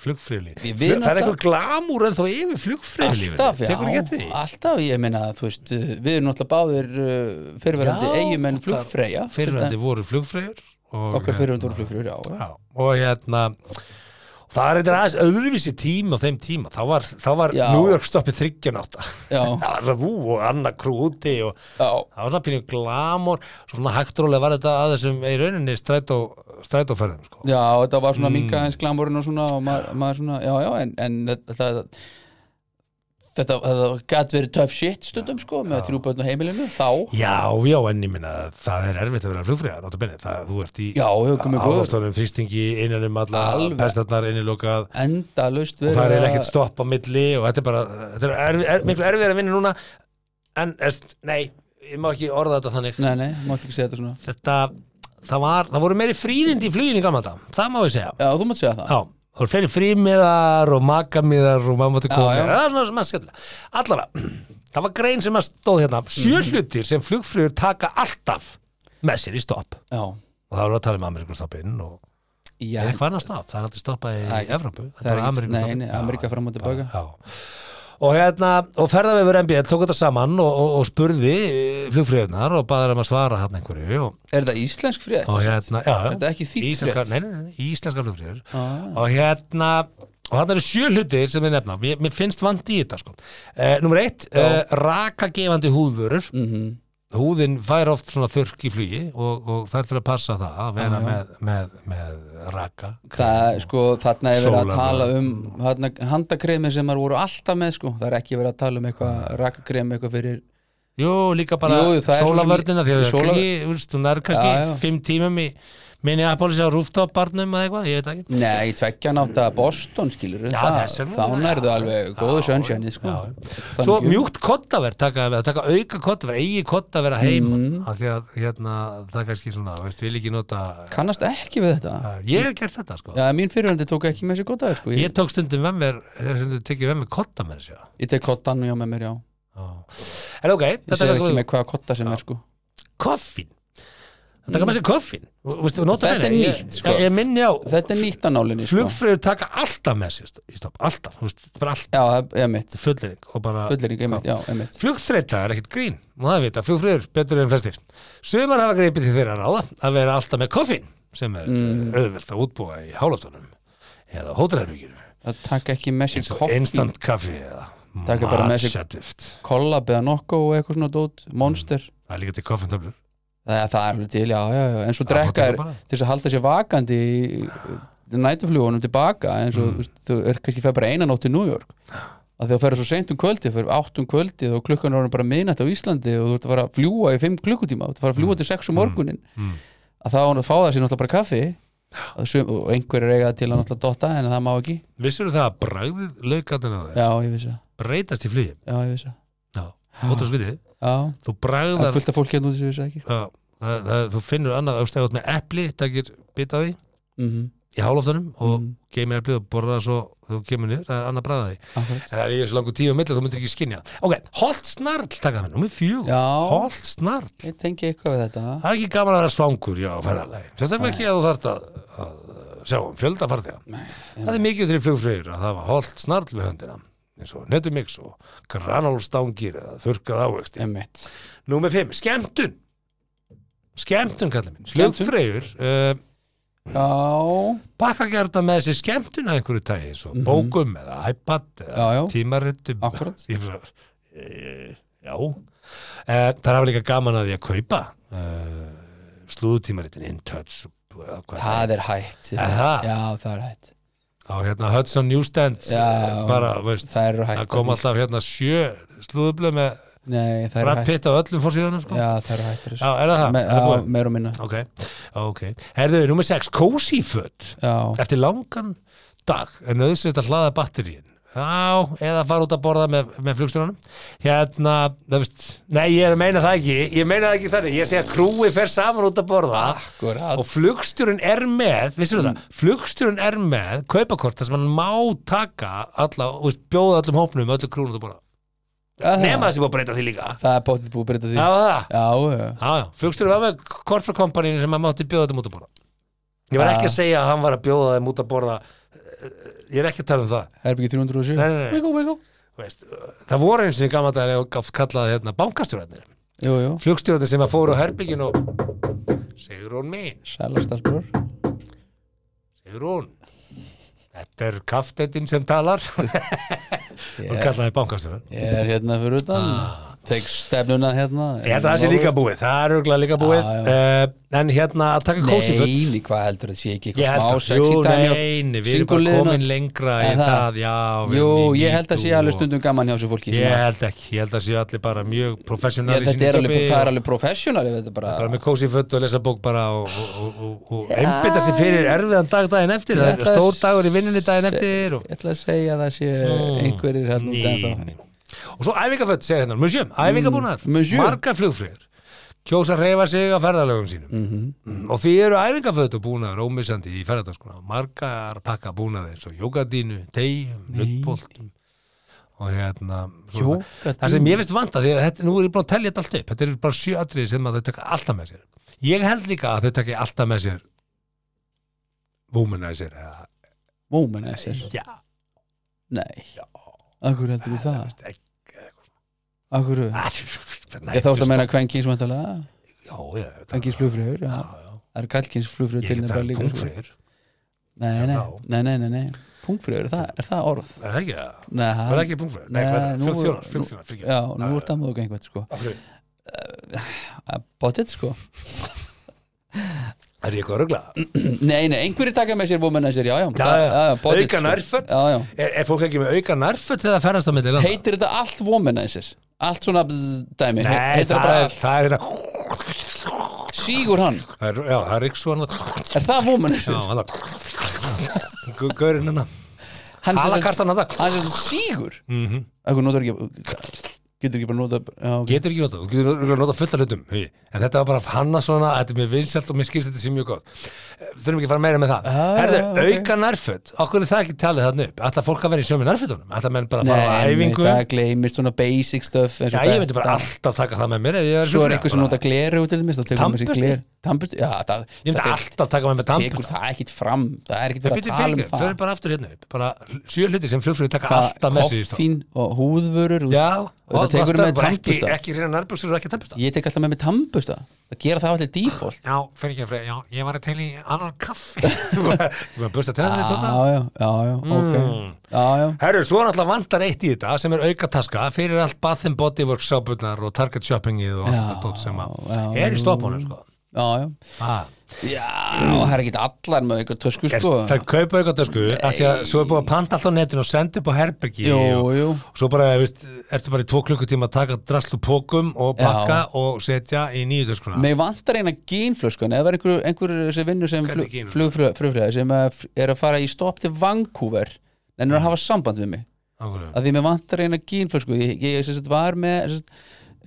Speaker 5: flugfrýrlíf
Speaker 4: Ég
Speaker 5: Það
Speaker 4: vinn
Speaker 5: er
Speaker 4: alltaf-
Speaker 5: eitthvað glamúr en þá yfir flugfrýrlíf
Speaker 4: Alltaf, já,
Speaker 5: Tekur ekki eftir því?
Speaker 4: alltaf, ég meina, þú veist, uh, við erum náttúrulega báðir uh, fyrirverandi
Speaker 5: Já,
Speaker 4: eigumenn
Speaker 5: okkar
Speaker 4: flugfreyja
Speaker 5: Fyrirandi voru flugfreyr og,
Speaker 4: Okkar fyrirverandi voru flugfreyja, já, já
Speaker 5: Já, og hérna það er eitthvað aðeins öðruvísi tíma á þeim tíma, þá var, þá var
Speaker 4: Já.
Speaker 5: New York stoppið 38
Speaker 4: Já.
Speaker 5: það var svo vú og annar krú úti og
Speaker 4: Já,
Speaker 5: það var svona pínu glamur svona hægtrólega var þetta að þessum í rauninni strætó, strætóferðum sko.
Speaker 4: já þetta var svona mm. minga hans glamurinn og svona og maður, maður svona, já, já, en, en þetta þetta- þetta, þetta gæti verið töff shit stundum, sko, með þrjú börn á heimilinu, þá
Speaker 5: já, já, en ég minna það er erfitt að vera flugfríða, náttúrulega það, þú ert í
Speaker 4: Já, hefur komið góður.
Speaker 5: áloftunum þrýstingi innan um alla
Speaker 4: Alveg.
Speaker 5: pestarnar innilokað
Speaker 4: enda laust
Speaker 5: og
Speaker 4: verið
Speaker 5: það er
Speaker 4: að-
Speaker 5: ekkert stopp á milli og þetta er bara, þetta er erfi, er, miklu erfið að vinna núna en, erst, nei, ég má ekki orða þetta þannig
Speaker 4: Nei, nei, mátti ekki segja þetta svona
Speaker 5: þetta, það var, það voru meiri fríðindi í fluginu í gamla þetta, það má ég segja já,
Speaker 4: Já, þú mátt segja það
Speaker 5: það voru fleiri frímiðar og makamiðar og maður mátti
Speaker 4: Já,
Speaker 5: koma með.
Speaker 4: já.
Speaker 5: það var svona sem að skemmtilega allavega, það var grein sem að stóð hérna sjö
Speaker 4: Mm.
Speaker 5: hlutir sem flugfrýður taka alltaf með sér í stopp
Speaker 4: Já,
Speaker 5: og það voru að tala um Amerikastoppinn og
Speaker 4: já
Speaker 5: er eitthvað annað stopp, það er aldrei stoppað í
Speaker 4: Það er ekki-
Speaker 5: Evrópu,
Speaker 4: það er
Speaker 5: bara
Speaker 4: ekki-
Speaker 5: Ameríkustoppið.
Speaker 4: nei, nei,
Speaker 5: Já,
Speaker 4: Ameríka fram og tilbaka.
Speaker 5: já. og hérna, og ferðavefur MBL tók þetta saman og, og, og spurði flugfrýðunar og baður um að svara hann einhverju og,
Speaker 4: Er þetta íslensk frétt?
Speaker 5: og hérna, já, já.
Speaker 4: Er þetta ekki þýtt
Speaker 5: íslenska,
Speaker 4: frétt?
Speaker 5: nei, nei, nei, íslenska flugfrýður
Speaker 4: Ah,
Speaker 5: og hérna og þarna eru sjö hlutir sem við nefna mér, mér finnst vant í þetta sko. uh, Númer eitt, uh, rakagefandi húðvörur
Speaker 4: Mhm.
Speaker 5: húðin fær oft svona þurrk í flugi og, og það er til að passa það að vera með, með, með raka
Speaker 4: Ah, Það, sko, þarna er verið að
Speaker 5: Sólar-
Speaker 4: tala um þarna, handakremi sem maður voru alltaf með sko. það er ekki verið að tala um eitthvað rakakremi eitthvað fyrir
Speaker 5: Jú, líka bara
Speaker 4: Jú, það er svo sem-
Speaker 5: sólavörnina því að það er
Speaker 4: sólar-
Speaker 5: ekki, úrst, hún er kannski
Speaker 4: Já, já.
Speaker 5: fimm tímum í Minneapolis á rooftop-barnum eða eitthvað, ég veit ekki
Speaker 4: Nei, tveggja nátt að Boston skilur
Speaker 5: Já,
Speaker 4: það,
Speaker 5: þess er nú-
Speaker 4: þá nærðu
Speaker 5: já,
Speaker 4: alveg
Speaker 5: já,
Speaker 4: góðu
Speaker 5: já,
Speaker 4: sönnsjönni sko.
Speaker 5: já, já.
Speaker 4: Þannig
Speaker 5: Svo
Speaker 4: ekki-
Speaker 5: mjúkt kottaver taka, að vera, taka auka kottaver, eigi kottaver að heima
Speaker 4: Mm.
Speaker 5: af því að hérna, það er kannski svona, veist, vil ekki nota
Speaker 4: kannast ekki við þetta
Speaker 5: ég hef gert þetta sko
Speaker 4: Já, mín fyrirhandi tók ekki með sér gott aðeins sko. ég,
Speaker 5: ég tók stundum með mér, þegar stundum tekið með mér kotta með þessu
Speaker 4: ég tek kottan já með mér já ég
Speaker 5: en ok, þetta
Speaker 4: segir
Speaker 5: er
Speaker 4: ekki
Speaker 5: góð
Speaker 4: með hvaða kotta sem er sko
Speaker 5: koffín það taka með sér koffín Og, veistu, og nota
Speaker 4: Mm. Þetta
Speaker 5: bene,
Speaker 4: er
Speaker 5: ég-
Speaker 4: nýtt, sko.
Speaker 5: ég, ég minni á,
Speaker 4: þetta er nýtt að nálinni sko.
Speaker 5: flugfröður taka alltaf með sér í stopp, alltaf, þú veist, bara alltaf
Speaker 4: já, það- ég mitt
Speaker 5: fullering og bara
Speaker 4: fullering, ég mitt, já, ég mitt
Speaker 5: Flugþreita er ekkert grín og það vita flugfröður betur en flestir. Sumar hafa greipið til þeirra ráða að vera alltaf með koffín sem er
Speaker 4: Mm.
Speaker 5: auðvelt að útbúa í háloftunum eða hótelherbyggjum
Speaker 4: það taka ekki með sér
Speaker 5: eins og
Speaker 4: koffi
Speaker 5: instant kaffi eða
Speaker 4: Taka bara með sig-
Speaker 5: matchatift.
Speaker 4: kollab eða nokko og eitthvað svona dót monster
Speaker 5: Það er líka til koffintöflur.
Speaker 4: Það, það er alveg til, já, já, já, en
Speaker 5: Það
Speaker 4: svo drekka
Speaker 5: má
Speaker 4: er
Speaker 5: drekka bara.
Speaker 4: til þess að halda sér vakandi í í næturflugunum tilbaka en svo mm. þú er kannski fer bara eina nótt í New York að því að ferða svo seint um kvöldið fyrir átt um kvöldið og klukkan er orðin bara miðnætt á Íslandi og þú ert að fara að fljúa í fimm klukkutíma þú ert að fara að fljúa til sex um morgunin að þá er hún að fá það sér náttúrulega bara kaffi Að sum, og einhverjir eiga það til að náttúrulega dotta en það má ekki,
Speaker 5: Vissur það að bragðið laugatinn á þeir
Speaker 4: já, ég vissi það
Speaker 5: breytast í flugi?
Speaker 4: já, ég vissi það,
Speaker 5: Já. Óttu svitið.
Speaker 4: já,
Speaker 5: Þú
Speaker 4: það er
Speaker 5: bragðar
Speaker 4: fullt af fólki hérna úti sem vissi það ekki, sko.
Speaker 5: Já, það, það, þú finnur annað ástæðið með epli, takir bit af því
Speaker 4: Mhm,
Speaker 5: í háloftunum og
Speaker 4: Mhm.
Speaker 5: geymir eplið og borða það svo þú kemur niður, það er annað bragð af því.
Speaker 4: akkurat.
Speaker 5: En það er í þessu langu tíu og milli, þú myndir ekki skynja Ok, holt snarl, taka það, númið fjögur
Speaker 4: Já.
Speaker 5: Holt snarl,
Speaker 4: ég tengi eitthvað við þetta
Speaker 5: það er ekki gaman að vera svangur Já, ferðarlega, sérstaklega ekki að þú þarft að, að sjá um fjölda farþega Það er mikið til flugfröður að hafa holt snarl við höndina eins og netumix og granálstangir eða þurkað ávexti
Speaker 4: Einmitt.
Speaker 5: Númer 5, skemmtun Skemmtun kallar minn
Speaker 4: Skemmtun.
Speaker 5: Flugfreyjur uh,
Speaker 1: eh,
Speaker 4: Já,
Speaker 5: bakkagerða með þessi skemmtun að einhverju tægi eins og bókum eða iPad eða
Speaker 4: Mhm. Já, já.
Speaker 5: tímaritum
Speaker 4: Akkúrat.
Speaker 5: Ég bara, eh, Já Eh, Það er hafa líka gaman að því að kaupa uh, slúðutímaritin InTouch eða hvað
Speaker 4: Það er hægt
Speaker 5: Er það?
Speaker 4: Já, það er hætt
Speaker 5: á hérna Hudson Newsstands
Speaker 4: Já,
Speaker 5: eh,
Speaker 4: já.
Speaker 5: bara, veist,
Speaker 4: Það er hætt
Speaker 5: það kom alltaf hérna sjö slúðublöð með
Speaker 4: Nei, það er
Speaker 5: Brad
Speaker 4: hætt
Speaker 5: Pitt á öllum fórsíðanum sko.
Speaker 4: Já, það er hætt
Speaker 5: Já, er það það?
Speaker 4: Me,
Speaker 5: Er það
Speaker 4: Já,
Speaker 5: búið?
Speaker 4: meir og minna
Speaker 5: Ok, ok. Herðu, nummer 6, cozy föt.
Speaker 4: Já,
Speaker 5: Eftir langan dag er nöðsynst að hlaða batteríin. Já, eða fara út að borða með, með flugstjónanum. Hérna, það veist, nei, ég er að meina það ekki. Ég meina það ekki þannig. Ég segi að krúi fer saman út að borða
Speaker 4: akkurat
Speaker 5: og flugstjórun er með, vissir mm. það, flugstjórun er með kaupakort þar sem hann má taka alla, þú veist, bjóða öllum hópnum, öllu krúnum út að borða.
Speaker 4: Já,
Speaker 5: Nema þessi búið að breyta því líka.
Speaker 4: Það er bóttið búið að breyta því
Speaker 5: Það var það.
Speaker 4: Ah. Já, já.
Speaker 5: Já, já, flugstjóri var með kort frá kompaninu sem að mátti bjóða þeim út að borða Ég var
Speaker 4: Já.
Speaker 5: ekki að segja að hann var að bjóða þeim út að borða eh, Ég er ekki að tala um það
Speaker 4: Herbyggi 307
Speaker 5: Nei, nei, nei.
Speaker 4: Viggo, Viggo
Speaker 5: Þú veist, Það voru eins og gamla dæli og gátt kallaði hérna bankastjórarnir
Speaker 4: Jú, jú,
Speaker 5: Flugstjórarnir sem að fóru á herbyggin og Sigrún mín,
Speaker 4: sælastalsbror
Speaker 5: Sigrún Þetta er kafteitin sem talar og
Speaker 4: ég,
Speaker 5: kallaði bankastjórar
Speaker 4: ég er hérna fyrir utan Tek stefnuna hérna
Speaker 5: Ég held að Ah. það sé líka búið, það er auðvitað líka búið
Speaker 4: Já,
Speaker 5: uh, En hérna að taka kósi
Speaker 4: Nei, nei, hvað heldur þetta sé ekki
Speaker 5: Ég
Speaker 4: eitthvað
Speaker 5: held
Speaker 4: smá
Speaker 5: að,
Speaker 4: sexy
Speaker 5: jú,
Speaker 4: dæmi á
Speaker 5: nei, nei, við erum bara
Speaker 4: singuliðinu?
Speaker 5: komin lengra í
Speaker 4: Er það?
Speaker 5: það, já við
Speaker 4: Jú,
Speaker 5: erum í
Speaker 4: ég held að
Speaker 5: Me
Speaker 4: sé
Speaker 5: Too
Speaker 4: alveg
Speaker 5: og-
Speaker 4: stundum gaman hjá þessu fólki sem
Speaker 5: Ég
Speaker 4: að-
Speaker 5: held ekki, ég held að sé allir bara mjög
Speaker 4: Ég,
Speaker 5: professional í
Speaker 4: þetta
Speaker 5: sínu
Speaker 4: er alveg,
Speaker 5: jobbi
Speaker 4: það
Speaker 5: og
Speaker 4: er alveg professional ég veit það bara,
Speaker 5: Bara með kósi fött og lesa bók bara og, og, og, og, og einbytta sér fyrir erfiðan dag daginn eftir Það er
Speaker 4: ætla að
Speaker 5: stór dagur í vinnunni daginn
Speaker 4: se-
Speaker 5: eftir og,
Speaker 4: ég ætla að segja að það sé einhverjir hérna út
Speaker 5: Ný,
Speaker 4: ennþá.
Speaker 5: ný. og svo æfingafött segir hérna, museum, æfingabúnað
Speaker 4: monsieur.
Speaker 5: marga flugfrýður kjósa að reyfa sig á ferðalögum sínum
Speaker 4: Mhm.
Speaker 5: Mm, og því eru æfingafött og búnaður ómissandi í ferðardaskuna margar pakka búnaði eins og jógadínu, tegjum, nuttbóltum og hérna svona-
Speaker 4: Jógadínu?
Speaker 5: það sem ég finnst vanda því að þetta, nú er ég búin að telja þetta allt upp þetta eru bara sjö atriði sem að þau taka alltaf með sér ég held líka að þau taka alltaf með sér womanizer eða,
Speaker 4: Womanizer,
Speaker 5: já,
Speaker 4: nei Akkur heldur þú það?
Speaker 5: ekki-
Speaker 4: Akkur,
Speaker 1: Ah,
Speaker 4: ég þátt að meina kvenkins vantalega,
Speaker 5: já, já,
Speaker 4: kvenkins flugfröður
Speaker 5: já.
Speaker 1: Ah.
Speaker 4: það eru kallkins flugfröður
Speaker 5: Ég
Speaker 4: til
Speaker 5: get
Speaker 4: nefnilega
Speaker 5: talað um
Speaker 4: líka sko.
Speaker 5: pungfreyr
Speaker 4: Nei, nei,
Speaker 1: Já.
Speaker 4: nei, nei, nei, nei. Pungfröður, er, það- er það orð?
Speaker 1: Er það ekki það?
Speaker 4: Nei, hann-
Speaker 1: Var það ekki punktfröður? Nei,
Speaker 4: Nei,
Speaker 1: hvað er það?
Speaker 4: nú-
Speaker 1: 44,
Speaker 4: nú-
Speaker 1: 44, fyrir
Speaker 4: Já, nú er það mjög einhvern sko
Speaker 1: hverju?
Speaker 4: Bóttið sko
Speaker 1: Er ég eitthvað að rugla?
Speaker 4: Nei, nei, einhverjir taka með sér womanizer, já, já
Speaker 1: Já,
Speaker 4: það-
Speaker 1: já.
Speaker 4: bought it,
Speaker 1: Auka nærföt?
Speaker 4: Já, já,
Speaker 1: Er, er fólk ekki með auka nærföt þegar það ferðast á milli landa?
Speaker 4: heitir þetta allt womanizer Allt svona bzz, dæmi he-
Speaker 1: Nei,
Speaker 4: Heitir
Speaker 1: það
Speaker 4: bara
Speaker 1: er,
Speaker 4: allt,
Speaker 1: það er hérna
Speaker 4: sígur hann
Speaker 1: það er- Já, það er ykkur svona
Speaker 4: Er það
Speaker 1: Já,
Speaker 4: womanizer?
Speaker 1: hann það Gau- Gaurinn hennar
Speaker 4: Hann sem sagt-
Speaker 1: Alakartan hann það
Speaker 4: Hann sem sagt sígur mm
Speaker 1: Mhm.
Speaker 4: -hmm. notar ekki Getur ekki bara nota já, okay.
Speaker 1: Getur ekki notað, þú getur örugglega notað fullt af hlutum hugi. En þetta var bara hanna svona, þetta er mér vinsælt og mér skilst þetta sem mjög gott Eh, Þurfum ekki að fara meira með það
Speaker 4: Ah,
Speaker 1: Herðu,
Speaker 4: já, ok.
Speaker 1: auka nærföt, okkur er það ekki talið þarna upp Ætla fólk að vera í sjömi nærfötunum Ætla menn bara að fara á
Speaker 4: Nei, nei,
Speaker 1: æfingu
Speaker 4: það gleymist svona basic stuff eins
Speaker 1: Já,
Speaker 4: og
Speaker 1: ég
Speaker 4: það-
Speaker 1: myndi bara
Speaker 4: það-
Speaker 1: alltaf taka það með mér ef ég er
Speaker 4: Svo er
Speaker 1: sjúklingur,
Speaker 4: einhver sem
Speaker 1: bara.
Speaker 4: nota gleru út til þess Þá tekur maður sér
Speaker 1: Tannbursti?
Speaker 4: gleru Tannbursti, já, það
Speaker 1: Ég myndi
Speaker 4: það er-
Speaker 1: alltaf taka með mér tannbursta
Speaker 4: tekur það ekkit fram það er ekkit
Speaker 1: Það
Speaker 4: verið
Speaker 1: byrjum
Speaker 4: að tala um
Speaker 1: fyrir,
Speaker 4: það
Speaker 1: fyrir bara aftur hérna upp Bara sjö hluti sem flugfröðu taka alltaf
Speaker 4: Hvað,
Speaker 1: með sig í stað
Speaker 4: koffín og húðvörur og-
Speaker 1: Já,
Speaker 4: og það tekur
Speaker 1: alltaf
Speaker 4: með
Speaker 1: bara ekki,
Speaker 4: tannbusta
Speaker 1: ekki reyna nærbúsur og ekki tannbusta
Speaker 4: ég tek alltaf með með tannbusta það gera það allir default
Speaker 1: Já, fyrir ekki að fyrir, já, ég var að teila í annan kaffi Þú var að busta tennir í tóta
Speaker 4: já, já, já, já, ok já, já,
Speaker 1: Herru, svo er alltaf vantar eitt í þetta sem er aukataska fyrir allt Bath and Body Works sábunnar og Target shoppingið og allt
Speaker 4: Já,
Speaker 1: þetta tótt sem að
Speaker 4: já,
Speaker 1: er í stoppunum sko.
Speaker 4: já, já
Speaker 1: ah,
Speaker 4: já, það er ekkit allar með eitthvað tösku
Speaker 1: er,
Speaker 4: sko
Speaker 1: Það kaupa aukatasku af því að svo er búið að panta allt á netinu og senda upp á herbergi
Speaker 4: jú,
Speaker 1: og,
Speaker 4: jú,
Speaker 1: og svo bara, veist, ertu bara í tvo klukkutíma að taka draslu pókum og pakka
Speaker 4: Já.
Speaker 1: og setja í nýju töskuna
Speaker 4: mig vantar eina gínflösku en ef það er einhver, einhver sem vinnur sem
Speaker 1: Hvernig gínflösku?
Speaker 4: flugfröðar sem að f- er að fara í stopp til Vancouver en er að hafa samband við mig
Speaker 1: Ákvörðun.
Speaker 4: að því mér vantar eina gínflösku ég, ég, ég sem sagt, var með sem sagt,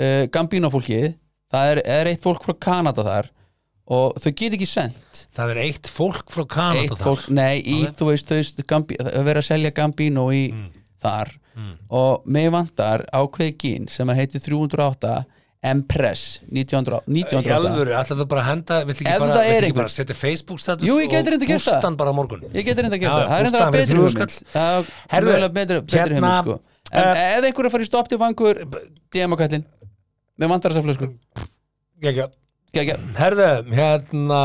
Speaker 4: uh, Gambino fólkið það er, er eitt fólk frá Kanada þar og þau get ekki sendt
Speaker 1: Það er eitt fólk frá Kanada
Speaker 4: eitt
Speaker 1: þar.
Speaker 4: fólk, nei, í,
Speaker 1: Ok.
Speaker 4: þú veist, þú veist Gambi, það verið að selja Gambino í
Speaker 1: Mm.
Speaker 4: þar og mig vantar ákveði gín sem að heiti 308 Empress 1900,
Speaker 1: Í
Speaker 4: 1908
Speaker 1: alvöru, ætlaðu bara að henda Vilt ekki
Speaker 4: Ef
Speaker 1: bara,
Speaker 4: það
Speaker 1: vilt
Speaker 4: er
Speaker 1: ekki
Speaker 4: einhver-
Speaker 1: bara setja Facebook status
Speaker 4: Jú, ég gæti reyndar
Speaker 1: og
Speaker 4: gert það.
Speaker 1: bústa hann bara á morgun
Speaker 4: ég getur reynda að
Speaker 1: Já,
Speaker 4: gera það, það er reynda
Speaker 1: bústaðan fyrir
Speaker 4: að betri
Speaker 1: þrjú
Speaker 4: hugmynd
Speaker 1: skall.
Speaker 4: það er
Speaker 1: Herðu,
Speaker 4: mögulega betri, betri
Speaker 1: hérna,
Speaker 4: hugmynd sko. en
Speaker 1: eh,
Speaker 4: ef einhver er að fara í stopp til vangur DM-kallin, mig vantar þessa flösku
Speaker 1: Gekja.
Speaker 4: Gægja,
Speaker 1: Herðu, hérna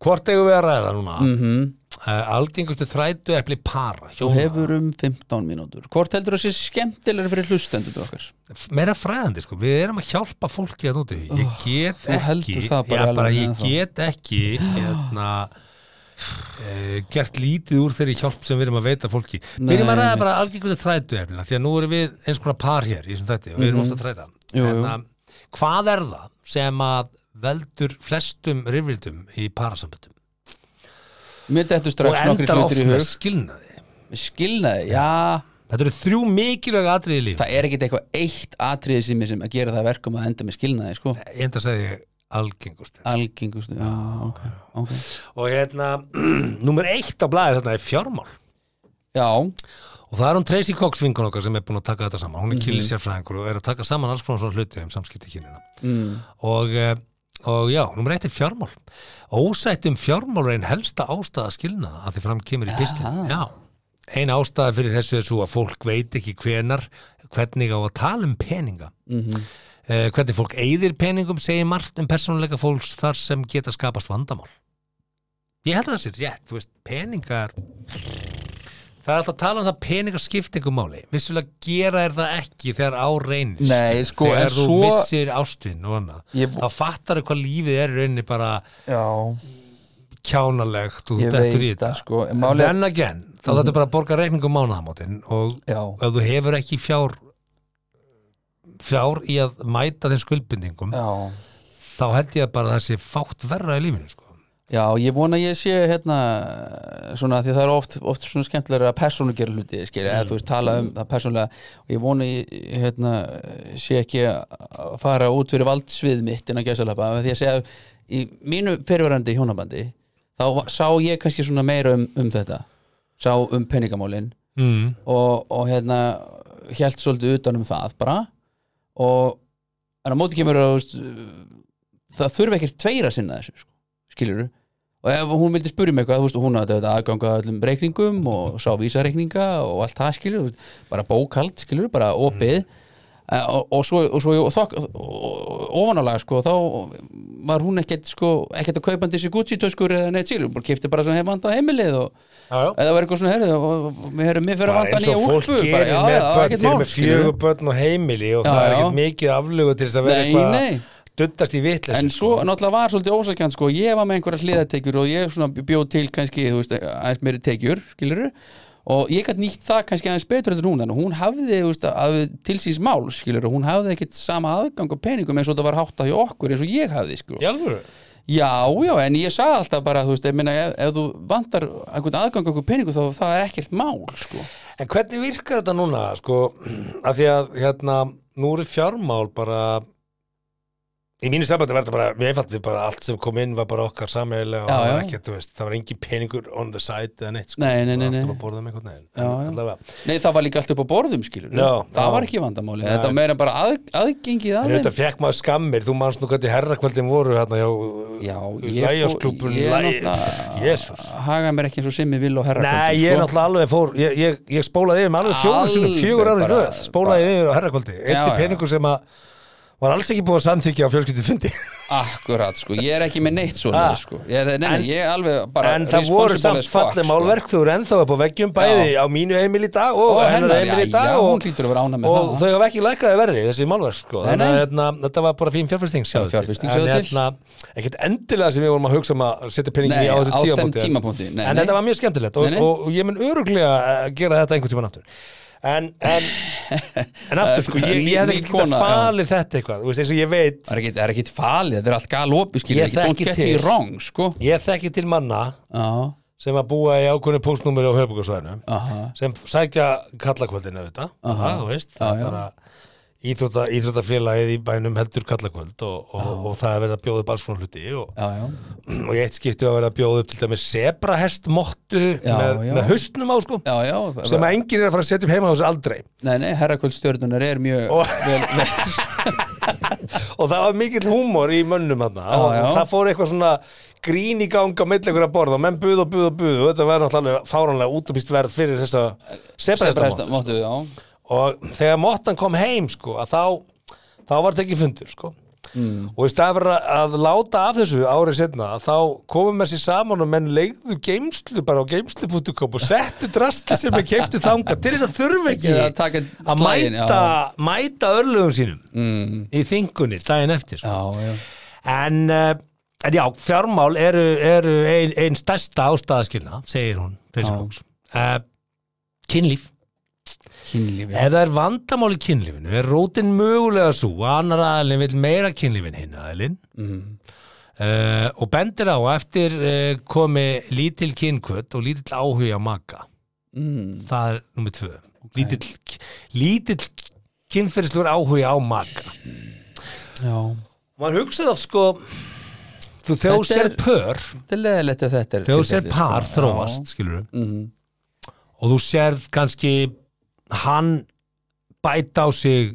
Speaker 1: Hvort eigum við að ræða núna mm.
Speaker 4: mhm
Speaker 1: Algengustu þrætu epli para
Speaker 4: Þú
Speaker 1: hjóna.
Speaker 4: hefur um 15 mínútur Hvort heldur það sé skemmtilegur fyrir hlustendur okkar?
Speaker 1: Meira fræðandi, sko, við erum að hjálpa fólki að núti Ég get
Speaker 4: þú
Speaker 1: ekki
Speaker 4: heldur það bara
Speaker 1: Já, bara
Speaker 4: alveg
Speaker 1: ég
Speaker 4: ennþá.
Speaker 1: get ekki hérna eh, gert lítið úr þeirri hjálp sem við erum að veita fólki
Speaker 4: Nei,
Speaker 1: byrjum að ræða bara
Speaker 4: einmitt.
Speaker 1: algengustu þrætu efnina því að nú erum við eins konar par hér í þessum þætti og við erum
Speaker 4: Mhm.
Speaker 1: ofta að þræta
Speaker 4: Jú, jú.
Speaker 1: að, hvað er það sem að veldur flestum rifrildum í parasamböndum
Speaker 4: Mér dettur
Speaker 1: og
Speaker 4: strax nokkri
Speaker 1: endar oft
Speaker 4: hlutir í
Speaker 1: með
Speaker 4: hug
Speaker 1: skilnaði
Speaker 4: Skilnaði, já
Speaker 1: þetta eru þrjú mikilvæg atriði í líf
Speaker 4: Það er ekkit eitthvað eitt atriði sem er sem að gera það að verkum að enda með skilnaði sko.
Speaker 1: ég enda að segja algengust
Speaker 4: Algengustu, já, ok, okay.
Speaker 1: og hérna, nummer eitt á blæði þarna er fjármál
Speaker 4: Já,
Speaker 1: og það er hún Tracy Cox vinkun okkar sem er búin að taka þetta saman
Speaker 4: Mhm.
Speaker 1: hún er mm sérfræðingur og er að taka saman alls konar svona hluti um samskipti kynina
Speaker 4: mm.
Speaker 1: og, eh, og já, nummer eitt er fjármál ósætt um fjármál er einn helsta ástæða skilnaða að þið fram kemur í pistin já, ein ástæða fyrir þessu er svo að fólk veit ekki hvenar hvernig á að tala um peninga
Speaker 4: Mhm.
Speaker 1: eh, hvernig fólk eyðir peningum segir margt um persónuleika fólks þar sem geta skapast vandamál ég held að það sé rétt, þú veist, peningar það er alltaf að tala um það peningar skiptingumáli, vissulega gera er það ekki þegar á reynist
Speaker 4: Nei, sko, en
Speaker 1: þegar þú
Speaker 4: svo-
Speaker 1: missir ástinn og annað
Speaker 4: Ég-
Speaker 1: þá fattar þau hvað lífið er í rauninni bara
Speaker 4: já
Speaker 1: kjánalegt og þú
Speaker 4: Ég
Speaker 1: dettur í
Speaker 4: veit
Speaker 1: þetta
Speaker 4: það, sko, en málið- Mhm.
Speaker 1: then again, þá þetta bara að borga reikningum mánaðamótin og
Speaker 4: Já,
Speaker 1: ef þú hefur ekki fjár fjár í að mæta þeim skuldbindingum
Speaker 4: já
Speaker 1: þá held ég að bara það sé fátt verra í lífinu sko.
Speaker 4: Já, ég vona að ég sé hérna svona því það er oft, oft svona skemmtilega að persónu gera hluti, skilja, eða þú veist tala um það persónulega og ég vona að ég hérna, sé ekki að fara út fyrir valdsvið mitt innan gæsalapa því að segja að í mínu fyrirverandi hjónabandi þá va- sá ég kannski svona meira um, um þetta sá um peningamálin
Speaker 1: mm.
Speaker 4: og, og hérna hjælt svolítið utan um það bara og en á móti kemur að þú veist, það þurfi ekkert tveir að sinna þessu sko, skilur og ef hún vildi spyrja mig eitthvað, þú veist, hún hafði auðvitað aðgang að öllum reikningum og sá vísareikninga og allt það skilur, þú veist, bara bókald skilur, bara Eh, opið mm. og, og svo, og svo og þok, og, og, ofanálega sko, þá var hún ekkert sko, ekkert að kaupa hann þessi Gucci töskur eða neitt sílu, bara kifti bara sem hef vantað heimilið og
Speaker 1: Já, já.
Speaker 4: eða var eitthvað svona herrið og mér herrið, mér fyrir að
Speaker 1: bara
Speaker 4: vanta
Speaker 1: eins
Speaker 4: nýja
Speaker 1: og fólk
Speaker 4: úlpu
Speaker 1: gerir
Speaker 4: bara, já,
Speaker 1: með
Speaker 4: já,
Speaker 1: börn,
Speaker 4: ekkert
Speaker 1: þeir eru
Speaker 4: mál,
Speaker 1: með
Speaker 4: skilur
Speaker 1: fjögur börn og heimili og
Speaker 4: Já,
Speaker 1: það er
Speaker 4: já.
Speaker 1: ekkert mikið aflögu til þess að vera
Speaker 4: Nei,
Speaker 1: eitthvað
Speaker 4: nei.
Speaker 1: að duttast í vitleys
Speaker 4: en svo náttúrulega var svolítið ósakjant sko, ég var með einhverja hliðatekjur og ég svona bjóð til kannski, þú veist, aðeins meiri tekjur skilur og ég gætt nýtt það kannski aðeins betur heldur en hún, en hún hafði þú veist, að, til síns mál, skilur, hún hafði ekkit sama aðgang og peningum eins og þetta var hátta hjá okkur eins og ég hafði, sko
Speaker 1: Jálfur,
Speaker 4: Já, já, en ég sagði alltaf bara, þú veist, ég meina, ef, ef þú vantar einhvern aðgang okkur peningu þá það er ekkert mál, sko.
Speaker 1: en hvernig virkar þetta núna sko, af því að hérna, nú eru fjármál bara í mínu sambandi var þetta bara við einfalt við bara allt sem kom inn var bara okkar sameigilega og
Speaker 4: Já,
Speaker 1: það var
Speaker 4: já.
Speaker 1: ekkert, þú veist, það var engin peningur on the side eða neitt, sko,
Speaker 4: Nei, nei,
Speaker 1: Það var
Speaker 4: nei, nei.
Speaker 1: alltaf að borða með einhvern veginn
Speaker 4: Já, já.
Speaker 1: En allavega.
Speaker 4: Nei, það var líka allt upp á borðum, skilur.
Speaker 1: Já,
Speaker 4: það
Speaker 1: já.
Speaker 4: var ekki vandamáli,
Speaker 1: Nei.
Speaker 4: þetta var meira bara að,
Speaker 1: En
Speaker 4: aðgengið að þeim.
Speaker 1: þetta fekk maður skammir, þú manst nú hvernig herrakvöldin voru hérna hjá
Speaker 4: Já, ég, fó,
Speaker 1: Lægjasklúbun
Speaker 4: ég er náttúrulega
Speaker 1: Jésus
Speaker 4: haga mér ekki eins og simmi vil og herra sko.
Speaker 1: Nei, ég náttúrulega alveg fór ég, ég, ég spólaði yfir með alveg fjóru sinum
Speaker 4: Alveg
Speaker 1: fjögur árið
Speaker 4: bara-
Speaker 1: röð, spólaði yfir á herrakvöldi
Speaker 4: Já,
Speaker 1: eitt
Speaker 4: já.
Speaker 1: peningur sem að var alls ekki búið að samþykja á fjölskyldu fundi
Speaker 4: Akkurat, sko, ég er ekki með neitt svona,
Speaker 1: Ah.
Speaker 4: sko. Ég, nei, nei,
Speaker 1: En-
Speaker 4: ég er alveg bara
Speaker 1: en það voru
Speaker 4: responsible
Speaker 1: samt
Speaker 4: as fuck, sko.
Speaker 1: fallið málverk þú eru ennþá upp á veggjum bæði á mínu heimil í dag og,
Speaker 4: Og
Speaker 1: og hennar
Speaker 4: hennar,
Speaker 1: heimil í
Speaker 4: já,
Speaker 1: dag
Speaker 4: já,
Speaker 1: og,
Speaker 4: hún hlýtur að vera ánægð með
Speaker 1: og
Speaker 4: það.
Speaker 1: þau hafa ekki lækaði verði þessi málverk sko.
Speaker 4: Nei, nei.
Speaker 1: þannig að hérna, þetta var bara fín fjárfesting sjáðu
Speaker 4: Já, fjárfesting,
Speaker 1: til. En,
Speaker 4: sjáðu til.
Speaker 1: hérna, ekkert endilega sem við vorum að hugsa um að setja peningin
Speaker 4: Nei,
Speaker 1: í á þessu
Speaker 4: á þeim
Speaker 1: tímapunkti en-
Speaker 4: tímapunkti, nei,
Speaker 1: en
Speaker 4: nei.
Speaker 1: þetta var mjög skemmtilegt og,
Speaker 4: Nei, nei.
Speaker 1: og ég mun öruglega eh, gera þetta einhvern tímann aftur en, en, en aftur sko, ég, ég hefði
Speaker 4: Ný- ný
Speaker 1: ekki getað
Speaker 4: kona, já.
Speaker 1: falið þetta eitthvað þú veist, eins og ég veit
Speaker 4: Það er ekkit- það er ekkit falið, þetta er allt galopi, skilur,
Speaker 1: Ég
Speaker 4: ekki, don't
Speaker 1: þekki
Speaker 4: get me
Speaker 1: til.
Speaker 4: wrong, sko.
Speaker 1: ég þekki til manna
Speaker 4: Já,
Speaker 1: sem að búa í ákveðinu póstnúmeri á höfbúkarsvæðinu
Speaker 4: aha,
Speaker 1: sem sækja kallakvöldinu auðvitað, það, þú veist það er
Speaker 4: já.
Speaker 1: bara íþrótta, íþróttafélagið í bænum heldur kallakvöld og, og, og það er verið að bjóða upp alls svona hluti og,
Speaker 4: já, já.
Speaker 1: og ég eitt skipti var verið að bjóða upp til dæmis zebrahest mottu
Speaker 4: Já,
Speaker 1: með,
Speaker 4: já.
Speaker 1: með haustnum á sko
Speaker 4: Já, já,
Speaker 1: sem að enginn er að fara að setja upp heima á þessu aldrei
Speaker 4: Nei, nei, herrakvöldstjörnunar er mjög
Speaker 1: Og-
Speaker 4: vel, vel,
Speaker 1: og það var mikill húmor í mönnum hann og
Speaker 4: já.
Speaker 1: það fór eitthvað svona grín í ganga á milli einhverja borð og menn buð og buð og buð og þetta var náttúrulega fáránlega útumist verð fyrir þessa
Speaker 4: Sebrahesta,
Speaker 1: zebrahestamottu
Speaker 4: máttu, já
Speaker 1: og þegar Mottan kom heim sko, að þá, þá var þetta ekki fundur sko.
Speaker 4: Mm.
Speaker 1: og í staðan fyrir að- að láta af þessu árið setna þá komum með sér saman og menn leigðu geimslu bara á geimslu.com og settu drasti sem er keiftu þanga til þess að þurfa ekki
Speaker 4: Eða taka
Speaker 1: að
Speaker 4: slaginn,
Speaker 1: mæta, mæta örlögum sínum mm. í þingunni daginn eftir sko.
Speaker 4: Já, já,
Speaker 1: en, eh, en já, fjármál eru, eru ein, ein stærsta ástæðaskilna segir hún uh, kynlíf
Speaker 4: kynlífi
Speaker 1: Ef það er vandamál í kynlífinu er rótin mögulega svo að annar aðalinn vil meira kynlífin hinn aðalinn
Speaker 4: Mhm.
Speaker 1: uh, og bendir á að eftir uh, komi lítil kynkvöt og lítill áhugi á maka
Speaker 4: mm,
Speaker 1: það er nummið tvö lítill, lítill kynferðislegur áhugi á maka
Speaker 4: Já,
Speaker 1: maður hugsaði oft sko þú þegar þú
Speaker 4: Þetta
Speaker 1: sér
Speaker 4: er-
Speaker 1: pör
Speaker 4: þetta er leðilegt ef þetta er
Speaker 1: þegar þú sér
Speaker 4: tilfellið,
Speaker 1: par
Speaker 4: sko.
Speaker 1: þróast skilur
Speaker 4: Já, mhm,
Speaker 1: og þú sérð kannski hann bæta á sig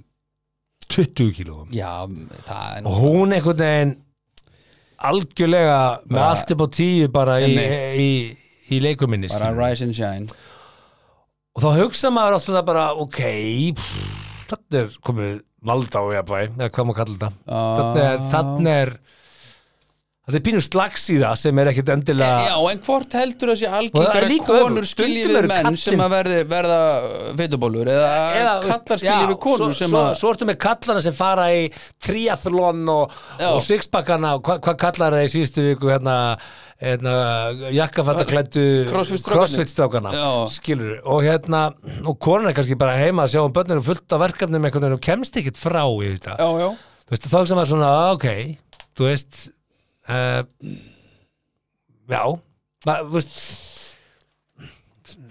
Speaker 1: 20 kílóum
Speaker 4: Já, það er nú
Speaker 1: og hún einhvern veginn algjörlega með
Speaker 4: Bara-
Speaker 1: allt upp á tíu bara í,
Speaker 4: Einmitt.
Speaker 1: í, í leikuminni
Speaker 4: bara
Speaker 1: skilur.
Speaker 4: rise and shine
Speaker 1: og þá hugsa maður alltaf bara ok pff, þannig er komið valda á jafnvæ eða hvað maður kallar þetta þannig er, þannig er þetta er pínum slags í það sem er ekkit endilega
Speaker 4: Já, en hvort heldur það sé
Speaker 1: Og það er
Speaker 4: algengara
Speaker 1: líka
Speaker 4: konur
Speaker 1: öfugt.
Speaker 4: skilji
Speaker 1: Stundum
Speaker 4: við
Speaker 1: eru
Speaker 4: menn
Speaker 1: kallin-
Speaker 4: sem að verði, verða uh, fitubólur eða,
Speaker 1: Eða, þú veist,
Speaker 4: kallar skilji
Speaker 1: já,
Speaker 4: við konur
Speaker 1: svo,
Speaker 4: sem
Speaker 1: svo,
Speaker 4: að
Speaker 1: svo ertu með kallana sem fara í triathlon og,
Speaker 4: Já.
Speaker 1: og sixpackana og hva- hvað kallar það í síðustu viku hérna, hérna jakkafattaklættu
Speaker 4: Crossfit-strákarnir.
Speaker 1: crossfit-strákana
Speaker 4: Já.
Speaker 1: skilur og hérna og konan er kannski bara heima að sjá um börnir og fullt af verkefnum einhvern veginn og kemst ekkit frá í þetta
Speaker 4: Já, já,
Speaker 1: þú veist þá sem var svona "Ah, ok þú veist uh, já ma, þú veist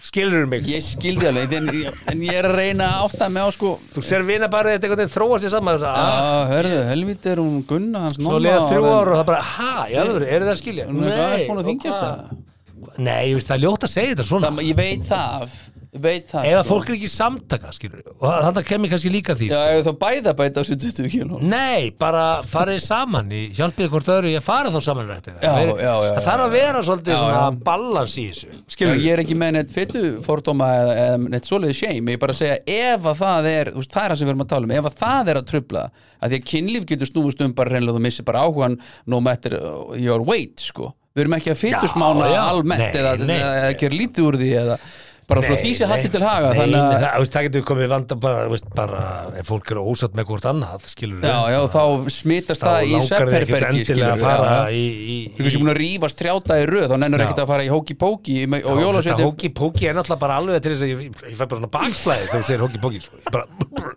Speaker 1: skilur mig
Speaker 4: ég skildi alveg en, en ég er að reyna að átta mig á sko
Speaker 1: þú ser vina bara þetta einhvern veginn þróast í saman
Speaker 4: Já,
Speaker 1: að
Speaker 4: hörðu, helvítið er hún Gunna hans
Speaker 1: Svo
Speaker 4: nonna
Speaker 1: liða þrjú
Speaker 4: orðin-
Speaker 1: ár og það bara, ha, já, eru það að skilja?
Speaker 4: Hún er eitthvað aðeins búin að
Speaker 1: og
Speaker 4: þingjast
Speaker 1: hvað?
Speaker 4: það
Speaker 1: Nei, ég veist, það er ljótt að segja þetta svona
Speaker 4: Það- Ég veit það veit það
Speaker 1: eða
Speaker 4: sko.
Speaker 1: fólk er ekki í samtaka skilur og þannig kem ég kannski líka því
Speaker 4: Já, ef þú bæða bæta á sér 20 kíló
Speaker 1: Nei, bara farið saman í hjálpið hvort öðru í að fara þá saman rættina.
Speaker 4: Já,
Speaker 1: Það er-
Speaker 4: já, já,
Speaker 1: Það
Speaker 4: já,
Speaker 1: þarf að vera svolítið
Speaker 4: Já,
Speaker 1: svona
Speaker 4: já.
Speaker 1: balans í þessu
Speaker 4: Já,
Speaker 1: Skilur
Speaker 4: ég er ekki með neitt fytu fordóma eða, eða neitt svoleiði shame, ég er bara að segja ef að það er, þú veist, það er það sem við erum að tala um ef að það er að trubla, að því að kynlíf getur snúist um bara reynilega þú missir bara áhugan no matter uh, your weight, sko við erum ekki að fytusmána
Speaker 1: Já, já.
Speaker 4: almennt
Speaker 1: Nei,
Speaker 4: eða,
Speaker 1: nei,
Speaker 4: eða, eða gera lítið úr því eða bara frá því sé haldið til haga
Speaker 1: nei,
Speaker 4: þannig að
Speaker 1: nei, það, það getur komið vanda bara, þú veist, bara ef fólk eru ósatt með hvort annað skilur
Speaker 4: já, já, þá smitast
Speaker 1: þá
Speaker 4: það í
Speaker 1: langar þið ekkert
Speaker 4: sepperbergi,
Speaker 1: endilega að fara
Speaker 4: já, já.
Speaker 1: í, í,
Speaker 4: Þú veist, ég er búin að rífast trjáta í röð, þá nennur
Speaker 1: Já.
Speaker 4: ekkert að fara í hóki-póki og
Speaker 1: Þetta
Speaker 4: jólasveitum
Speaker 1: hóki-póki er náttúrulega bara alveg til þess að ég, ég, ég fæ bara svona bakflæði þegar þú segir hóki-póki sko. Ég bara,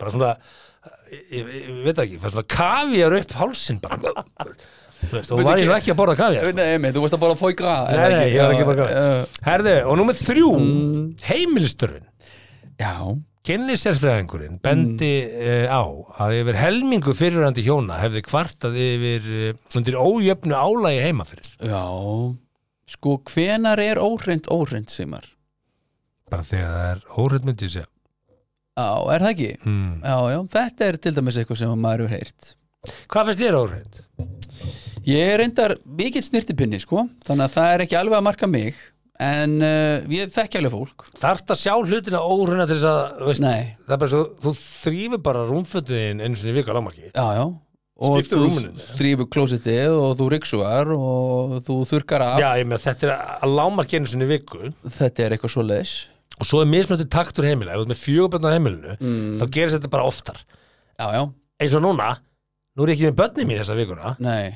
Speaker 1: bara svona ég, ég, ég veit það ekki, ég fæ svona kavjar upp hálsinn bara Þú veist, og
Speaker 4: Bíddu,
Speaker 1: var ég nú
Speaker 4: ekki-
Speaker 1: ekki að borða kavjar
Speaker 4: Nei, einmitt, þú veist að bara fói graða
Speaker 1: Nei, nei, ég var ekki bara góð Herðu, og númer þrjú mm. Heimilistörfin
Speaker 4: Já,
Speaker 1: Kynlisérfræðingurinn bendi uh, á að yfir helmingu fyrirrandi hjóna hefði kvartað yfir uh, undir ójöfnu álægi heima fyrir
Speaker 4: já Sko, hvenar er óhrind óhrind, Sigmar?
Speaker 1: bara þegar það er óhrætt myndið sér
Speaker 4: Já, er það ekki?
Speaker 1: mm.
Speaker 4: Já, já, þetta er til dæmis eitthvað sem maður hefur heyrt
Speaker 1: Hvað finnst þér óhrætt?
Speaker 4: Ég er reyndar mikill snirtipinni, sko Þannig að það er ekki alveg að marka mig En uh, ég þekki alveg fólk
Speaker 1: Þarft að sjá hlutina óhræna til þess að þú veist,
Speaker 4: Nei.
Speaker 1: það er bara svo, þú þrýfur bara rúmfötuðin einu sinni í viku að lámarki
Speaker 4: Já, já Og
Speaker 1: Skiptir rúminu.
Speaker 4: þú þrýfur klósitið og þú ryksugar og þú þurkar af
Speaker 1: Já, ég með þetta er að lámarki einu sinni í viku
Speaker 4: Þetta er eitthvað svo leis
Speaker 1: og svo er mismöndi taktur heimila ef þú ert með fjögubönn á heimilinu
Speaker 4: Mm.
Speaker 1: þá gerist þetta bara oftar
Speaker 4: Já, já,
Speaker 1: eins og núna, nú er ég ekki með börni mín þessa vikuna
Speaker 4: nei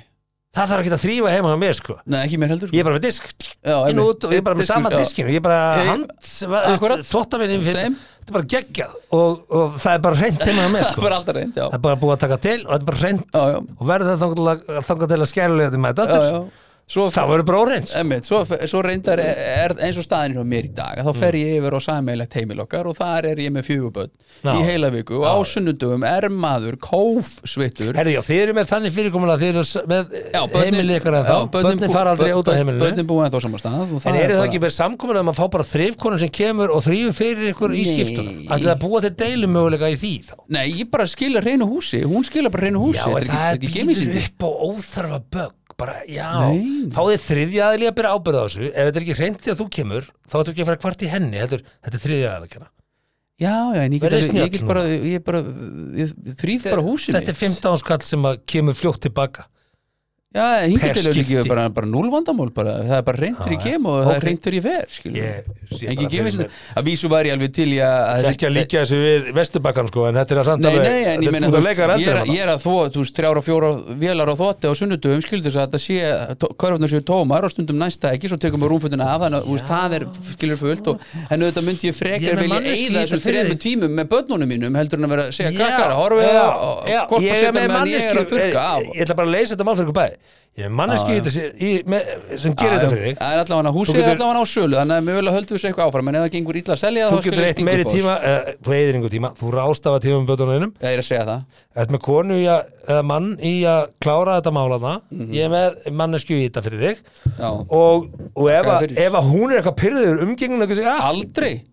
Speaker 1: það þarf ekki að þrýfa heima hjá mér sko
Speaker 4: Nei, ekki mér heldur
Speaker 1: ég
Speaker 4: sko.
Speaker 1: er bara með disk,
Speaker 4: Já,
Speaker 1: inn
Speaker 4: einmitt.
Speaker 1: og út og ég er bara með
Speaker 4: Diskur,
Speaker 1: sama
Speaker 4: já.
Speaker 1: diskinu ég er bara
Speaker 4: Ég- Akkurat.
Speaker 1: hand þótt að minni fyrir,
Speaker 4: Same.
Speaker 1: þetta er bara geggjað og, og það er bara reynd heima hjá mér
Speaker 4: Það
Speaker 1: sko
Speaker 4: var alltaf reynd, já
Speaker 1: það er bara búið að taka til og þetta er bara reynd
Speaker 4: Já, já.
Speaker 1: og verður það þangað til að- þangað til að skærulega þetta með þetta
Speaker 4: Já,
Speaker 1: aftur,
Speaker 4: já Svo
Speaker 1: þá verður bara óreins
Speaker 4: Einmitt, svo, svo reyndar er, er eins og staðin hjá mér í dag að þá
Speaker 1: Mm.
Speaker 4: fer ég yfir á sammeilegt heimil okkar og þar er ég með fjöguböld
Speaker 1: Já.
Speaker 4: í heila viku og á sunnundum er maður kófsvittur
Speaker 1: Herri, já, þið eru með þannig fyrirkomulega þið eru s- með
Speaker 4: Já, börnin-
Speaker 1: heimilið ykkar en þá,
Speaker 4: já, börnin
Speaker 1: börnin
Speaker 4: bú-
Speaker 1: fara aldrei
Speaker 4: börn-
Speaker 1: út á heimilinu
Speaker 4: Börnin búið ennþá á sama stað og
Speaker 1: En eru það
Speaker 4: bara-
Speaker 1: ekki með samkomin að maður fá bara þrifkonum sem kemur og þrýfur fyrir ykkur í
Speaker 4: Nei.
Speaker 1: skiptunum? Ætli það búa til deilum möguleika í því þá?
Speaker 4: Nei, ég bara skila reynu húsi, hún skila bara reynu húsi
Speaker 1: Já,
Speaker 4: þetta
Speaker 1: en það
Speaker 4: ekki,
Speaker 1: býður
Speaker 4: ekki gemisýndi
Speaker 1: upp á óþarfa bögg bara, já,
Speaker 4: Nei.
Speaker 1: þá er þriðja aðli að byrja ábyrða á þessu, ef þetta er ekki reynd því að þú kemur, þá ættu ekki að fara kvart í henni þetta er, þetta er þriðja aðli að kenna
Speaker 4: Já, já, en ég get,
Speaker 1: Verður
Speaker 4: alveg- ég
Speaker 1: snjöll
Speaker 4: get bara, ég bara ég þrýf bara húsi
Speaker 1: Þetta er 15 skall sem að kemur fljótt tilbaka
Speaker 4: Já, hingið
Speaker 1: per
Speaker 4: til ekki
Speaker 1: skipti.
Speaker 4: bara, bara núlvandamál bara, það er bara reyndur
Speaker 1: Já,
Speaker 4: í
Speaker 1: já.
Speaker 4: kem og
Speaker 1: Ok.
Speaker 4: það er reyndur í fer, skilur
Speaker 1: Ég sé
Speaker 4: Engin
Speaker 1: bara fyrir mér.
Speaker 4: gemisýndi Að vísu var ég alveg til í að að
Speaker 1: Þetta er ekki að líka þessu við vesturbakkan sko, en þetta er að samt
Speaker 4: Nei,
Speaker 1: alveg-
Speaker 4: nei, en
Speaker 1: þetta
Speaker 4: ég
Speaker 1: er-
Speaker 4: meina,
Speaker 1: þú ert að
Speaker 4: þú veist,
Speaker 1: leika um þér
Speaker 4: ég er,
Speaker 1: endur
Speaker 4: ég er að þvo, þú veist, þrjára, fjóra vélar á þotti á sunnudum, skilur þess að þetta sé, tó- körfurnar séu tómar og stundum næsta ekki, svo tekum við rúmfötuna af, þannig að, þú veist, það er, skilur fullt og, en auðvitað myndi
Speaker 1: Ég er
Speaker 4: ég frekar
Speaker 1: með
Speaker 4: vilja
Speaker 1: manneskju í
Speaker 4: eyða þessum
Speaker 1: þetta fyrir
Speaker 4: þremur
Speaker 1: þig.
Speaker 4: tímum með börnunum mínum, heldur en að vera að segja krakkar,
Speaker 1: Já,
Speaker 4: horfið
Speaker 1: já,
Speaker 4: og
Speaker 1: já,
Speaker 4: hvort að
Speaker 1: ég er
Speaker 4: setja
Speaker 1: með
Speaker 4: meðan ég er að
Speaker 1: manneskju-
Speaker 4: þurka af.
Speaker 1: ég- Ég ætla bara að leysa þetta mál fyrir ykkur bæði Ég er manneski sem gerir þetta fyrir þig
Speaker 4: Það er allavega húsið,
Speaker 1: Þú
Speaker 4: er
Speaker 1: getur-
Speaker 4: allavega á sölu, þannig að mögulega höldum við þessu eitthvað áfram, en ef það gengur illa að selja,
Speaker 1: Þú
Speaker 4: þá
Speaker 1: getur
Speaker 4: skilur
Speaker 1: eitt meiri tíma, uh, þú eigðir einhver tíma Þú rástafa tíma um bötunum
Speaker 4: Já, ég er að segja það.
Speaker 1: Ert með konu í að, eða mann í að klára þetta málaðna
Speaker 4: Mhm.
Speaker 1: Ég er með mannesku í þetta fyrir þig
Speaker 4: Já.
Speaker 1: Og, og ef,
Speaker 4: Þakka
Speaker 1: að,
Speaker 4: fyrir.
Speaker 1: ef að hún er eitthvað pyrður umgengin eitthvað segja, ah,
Speaker 4: Aldrei.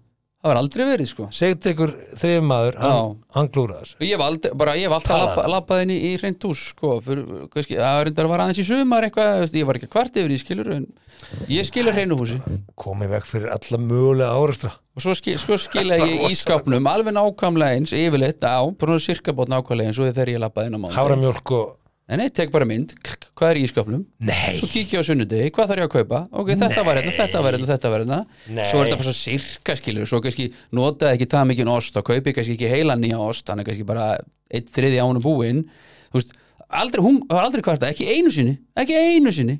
Speaker 4: Það var aldrei verið, sko.
Speaker 1: segðu ykkur þrifum maður, hann,
Speaker 4: Já.
Speaker 1: hann glúra þessu
Speaker 4: Ég hef aldrei, bara ég hef
Speaker 1: Talaðu.
Speaker 4: alltaf lappað inn í, í reynd hús, sko, fyrir, kannski, það var reyndar að vara aðeins í sumar eitthvað, þú veist, ég var ekki að kvart yfir í skilur, en ég skilur reynu húsi og
Speaker 1: Komið vekk fyrir alla mögulega áreistra
Speaker 4: svo, skil, svo skila ég í skápnum alveg nákvæmlega eins, yfirleitt á, bara sirkabót nákvæmlega eins og þegar ég lappaði inn á mánu.
Speaker 1: Háramjólk og
Speaker 4: En ég tek bara mynd, klikk, hvað er í skápnum?
Speaker 1: Nei,
Speaker 4: Svo kíkja á sunnudegi, hvað þarf ég að kaupa? Ok, þetta var hérna, þetta var hérna, þetta var hérna
Speaker 1: Nei.
Speaker 4: Svo er þetta bara svo sirka skilur Svo kannski notaði ekki það mikið ost og kaupi kannski ekki heilan nýja ost Þannig kannski bara eitt þriði ánum búinn Þú veist, aldrei, hún það var aldrei kvartað Ekki einu sinni, ekki einu sinni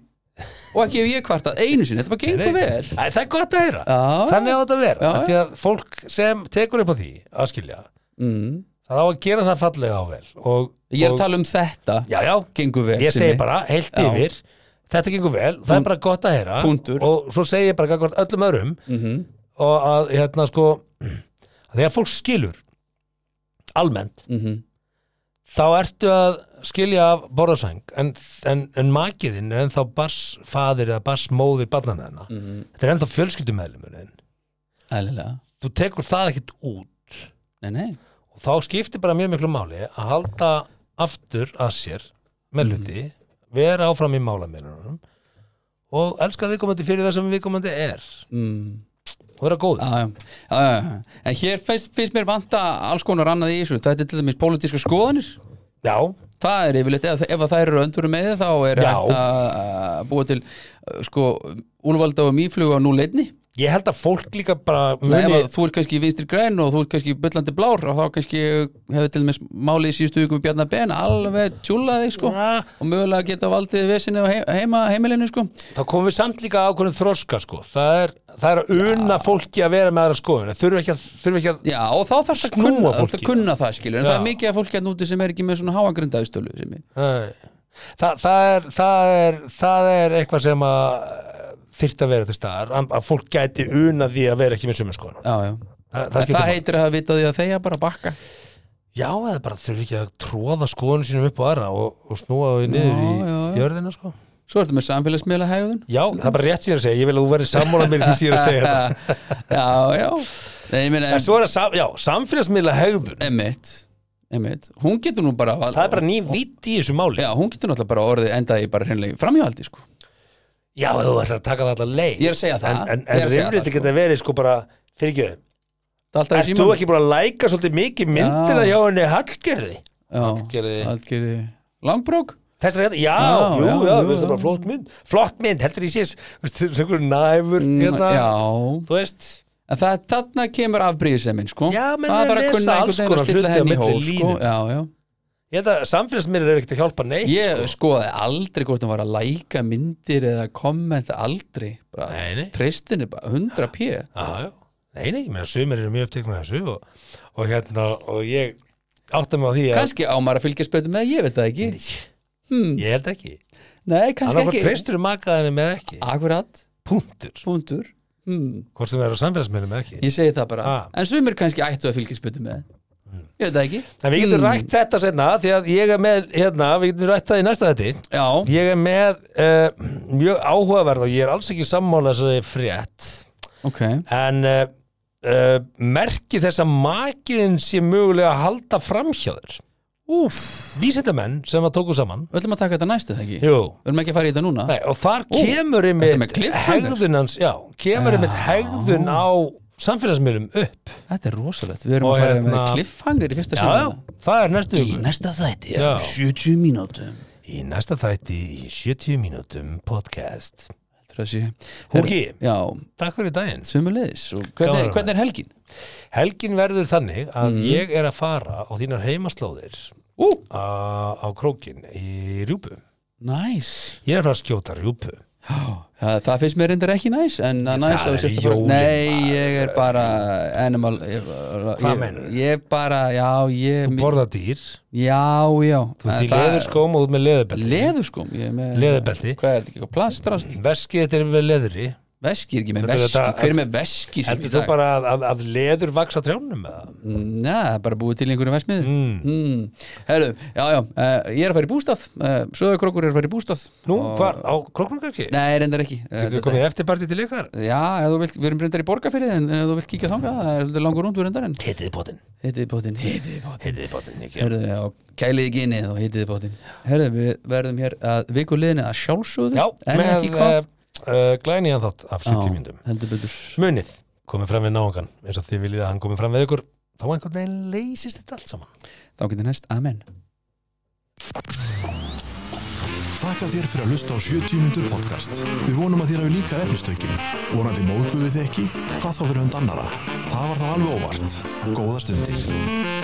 Speaker 4: Og ekki ef ég kvartað einu sinni Þetta bara gengur vel
Speaker 1: Æ, það er gott að heyra
Speaker 4: Já.
Speaker 1: Þannig á þetta að vera
Speaker 4: Já,
Speaker 1: af Því að fólk sem tekur upp á því að skilja
Speaker 4: mm.
Speaker 1: það á að gera það fallega á vel og,
Speaker 4: Ég er
Speaker 1: og,
Speaker 4: að tala um þetta
Speaker 1: Já, já,
Speaker 4: Gengur vel
Speaker 1: ég
Speaker 4: Simmi.
Speaker 1: segi bara heilt
Speaker 4: Já.
Speaker 1: yfir Þetta gengur vel, það er bara gott að heyra
Speaker 4: Punktur.
Speaker 1: Og svo segi ég bara gagvart öllum öðrum
Speaker 4: Mhm.
Speaker 1: og að hérna sko þegar fólk skilur almennt,
Speaker 4: Mhm.
Speaker 1: þá ertu að skilja af borðasæng en, en, en makiðin er ennþá
Speaker 4: Mhm.
Speaker 1: barsfadir eða barsmóðir barnanæðina mm -hmm. þetta er ennþá fjölskyldumæðlumurinn
Speaker 4: Ælilega
Speaker 1: þú tekur það ekkit út
Speaker 4: Nei, nei,
Speaker 1: og þá skiptir bara mjög miklu máli að halda aftur að sér með hluti,
Speaker 4: Mhm.
Speaker 1: vera áfram í málamiðlunum og elska viðkomandi fyrir það sem viðkomandi er
Speaker 4: mm,
Speaker 1: og vera góð
Speaker 4: já, já, já, já, já. En hér finnst, finnst mér vanta alls konar annað í þessu Þetta er til dæmis pólitíska skoðanir
Speaker 1: Já,
Speaker 4: Það er yfirleitt, ef, ef að þær eru öndurum með þið, þá er
Speaker 1: Já.
Speaker 4: hægt að að búa til uh, sko, úlvalda og mýflug á núleitni
Speaker 1: ég held að fólk líka bara
Speaker 4: Nei, ef
Speaker 1: muni,
Speaker 4: að þú ert kannski vinstri græn og þú ert kannski byllandi blár og þá kannski hefur til dæmis málið í síðustu vikum við Bjarnar Ben alveg tjúlað þig sko
Speaker 1: Ja.
Speaker 4: og mögulega geta valdið vesinu og heima, heimilinu sko
Speaker 1: þá komum við samt líka ákvörðum þroska sko. það, er, það er að una fólki að vera með aðra skoðun þurfi ekki að, þurfi ekki að
Speaker 4: Já, og þá þarf það að
Speaker 1: Snúa
Speaker 4: kunna, þarf
Speaker 1: fólki.
Speaker 4: að kunna það skilur en
Speaker 1: Já.
Speaker 4: það er mikið af fólki að núti sem er ekki með svona háagrindaðustölu sem er
Speaker 1: Nei. Þa, það, er, það, er, það er eitthvað sem að þyrft að vera til staðar að að fólk gæti unað því að vera ekki með sömu skoðun
Speaker 4: Já, já
Speaker 1: það,
Speaker 4: Það,
Speaker 1: skiptir máli.
Speaker 4: heitir að það vita því að þeia bara bakka
Speaker 1: já, eða bara þurfi ekki að tróða skoðun sínum upp á aðra og, og snúa þau niður
Speaker 4: Já,
Speaker 1: í
Speaker 4: já, já.
Speaker 1: jörðina sko.
Speaker 4: Svo ertu með samfélagsmiðla hegðun
Speaker 1: já, það er bara rétt sér að segja ég vil að þú verði sammála mér því sér að segja þetta
Speaker 4: Já, já Nei, ég meina,
Speaker 1: en svo er það sam, já, samfélagsmiðla hegðun
Speaker 4: emitt, emitt Hún getur nú bara
Speaker 1: það er bara ný vitt í þessu máli já,
Speaker 4: Já, hún getur náttúrulega bara orðið endaði bara hreinlega í framhjáhaldi sko
Speaker 1: ef þú ætlar að taka það allar leið
Speaker 4: Ég er að segja það,
Speaker 1: en, en,
Speaker 4: ég er
Speaker 1: en
Speaker 4: að segja það,
Speaker 1: rifrildi
Speaker 4: sko.
Speaker 1: geta verið sko bara fyrir ekki
Speaker 4: Það er alltaf í
Speaker 1: Ert þú
Speaker 4: símanum.
Speaker 1: ekki búin að læka svolítið mikið myndina hjá henni Hallgerði?
Speaker 4: Já,
Speaker 1: Hallgerði.
Speaker 4: Hallgerði Langbrók
Speaker 1: Þessar hérna, já,
Speaker 4: Já,
Speaker 1: jú, já,
Speaker 4: já,
Speaker 1: já,
Speaker 4: jú,
Speaker 1: veist,
Speaker 4: já.
Speaker 1: bara flott mynd Flott mynd, heldur ég sést, veist, þessu einhverju næfur hérna,
Speaker 4: Mm, Já
Speaker 1: þú veist
Speaker 4: En það, þarna kemur afbríðisemmin sko
Speaker 1: Já, menn
Speaker 4: Það
Speaker 1: eru að
Speaker 4: þarf að
Speaker 1: lesa
Speaker 4: kunna
Speaker 1: alls
Speaker 4: einhvern veginn að
Speaker 1: konar hluti á
Speaker 4: stilla henni í
Speaker 1: milli
Speaker 4: hóf sko.
Speaker 1: línu.
Speaker 4: já, já.
Speaker 1: Ég held að samfélagsmiðlir er ekkert að hjálpa neitt
Speaker 4: Ég
Speaker 1: sko.
Speaker 4: skoði aldrei hvort hann var að læka myndir eða kommenta aldrei bara,
Speaker 1: Nei, nei,
Speaker 4: Treystinni bara 100 p
Speaker 1: já, já Nei, nei, ég meina, sumir eru mjög uppteknum þessu og, og hérna, og ég átta mig á því að
Speaker 4: Kanski á maður að fylgjast betur með, ég veit það ekki hmm.
Speaker 1: Ég held ekki
Speaker 4: Nei, kannski
Speaker 1: Hann var
Speaker 4: ekki
Speaker 1: treystur um makaðinu með ekki
Speaker 4: Akkurat,
Speaker 1: Punktur,
Speaker 4: punktur hmm.
Speaker 1: hvort sem það eru samfélagsmiðlum með ekki
Speaker 4: Ég segi það bara
Speaker 1: Ah. Hmm.
Speaker 4: En sumir kannski ættu að fylgjast betur með Ég veit það ekki
Speaker 1: En við
Speaker 4: Mm.
Speaker 1: getum rætt þetta setna því að ég er með, hérna, við getum rætt það í næsta þetta
Speaker 4: Já,
Speaker 1: Ég er með uh, mjög áhugaverð og ég er alls ekki sammála þessari frétt
Speaker 4: ok
Speaker 1: en uh, uh, merki þess að makiðin sé mögulega að halda framhjáður
Speaker 4: Úf,
Speaker 1: vísindamenn sem að tóku saman
Speaker 4: við ætlum að taka þetta næst eða ekki
Speaker 1: Jú,
Speaker 4: Við erum ekki að fara í þetta núna
Speaker 1: nei, og þar
Speaker 4: Ú,
Speaker 1: kemur
Speaker 4: Ah. ertu
Speaker 1: einmitt
Speaker 4: með cliffhanger?
Speaker 1: hegðun hans já, kemur einmitt
Speaker 4: Já.
Speaker 1: hegðun á samfélagsmiðlum upp
Speaker 4: Þetta er rosalegt, við erum
Speaker 1: Og
Speaker 4: að fara
Speaker 1: hérna-
Speaker 4: með cliffhanger í fyrsta
Speaker 1: já, já,
Speaker 4: sinna
Speaker 1: það er næstu
Speaker 4: Í
Speaker 1: viku.
Speaker 4: næsta þætti, já,
Speaker 1: Já.
Speaker 4: 70 mínútum
Speaker 1: í næsta þætti í 70 mínútum podcast
Speaker 4: Heldur að sé
Speaker 1: Húki,
Speaker 4: Já,
Speaker 1: takk fyrir daginn
Speaker 4: sömulegis Og
Speaker 1: Gaman að
Speaker 4: hvernig,
Speaker 1: vera.
Speaker 4: hvernig er helgin?
Speaker 1: Helgin verður þannig að ég er að fara á þínar heimaslóðir
Speaker 4: Mhm. Ú,
Speaker 1: á, á krókin í rjúpu.
Speaker 4: næs
Speaker 1: Ég er að fara að skjóta rjúpu.
Speaker 4: Það, það finnst mér reyndar ekki næs En að
Speaker 1: Það
Speaker 4: næs að þú
Speaker 1: er
Speaker 4: sért að fara
Speaker 1: jólin,
Speaker 4: Nei, ég er bara animal ég,
Speaker 1: Hvað
Speaker 4: ég,
Speaker 1: meinarðu?
Speaker 4: ég bara, já, ég
Speaker 1: Þú borða dýr,
Speaker 4: Já, já
Speaker 1: þú ert í
Speaker 4: Það-
Speaker 1: leðurskóm og þú ert með leðurbelti.
Speaker 4: Leðurskóm ég er með-
Speaker 1: Leðurbelti.
Speaker 4: Hvað er þetta ekki, plastrast?
Speaker 1: Veskið þetta er með leðri.
Speaker 4: Veski er ekki með
Speaker 1: Þetta er
Speaker 4: veski
Speaker 1: þetta-
Speaker 4: Hver er með veski? sem í
Speaker 1: Heldur þú
Speaker 4: dag?
Speaker 1: bara að, að, að leður vaksa trjánum með það?
Speaker 4: Mm, Já, það er bara búið til í einhverju versmiðu
Speaker 1: Mm.
Speaker 4: Mm. Herru, já, já, uh, ég er að fara í bústað uh, Söðakrókur er að fara í bústað
Speaker 1: Nú, hvað, á króknum kannski?
Speaker 4: Nei, reyndar ekki uh,
Speaker 1: Getur þú komið eftirpartið til ykkar?
Speaker 4: Já, ef þú vilt, við erum reyndar í borgarfyrði en en ef þú vilt kíkja þangað, það er svolítið langur rúndur reyndar en
Speaker 1: Hittiði bótinn.
Speaker 4: hittiði bótin, hittiði bótin
Speaker 1: Hittiði bótinn, ekki.
Speaker 4: Herru, já, kæliði ginið og hittiði bótin Herru, við verðum hér að viku liðinni að sjálfsögðu
Speaker 1: Já,
Speaker 4: en
Speaker 1: með
Speaker 4: ekki hvað
Speaker 1: uh, uh, glæniðan þátt af 70
Speaker 4: Já,
Speaker 1: myndum.
Speaker 4: heldur betur
Speaker 1: Munið, komið fram við náungan, eins og þið viljið að hann komið fram við ykkur, þá einhvern veginn leysist þetta allt saman.
Speaker 4: Þá getur næst, amen
Speaker 3: Þakka þér fyrir að hlusta á 70 myndur podcast. Við vonum að þér hafi líka efnistökin. Vonandi móðguðu þið ekki, hvað þá fyrir hund annara. Það var þá alveg óvart. Góða stundir.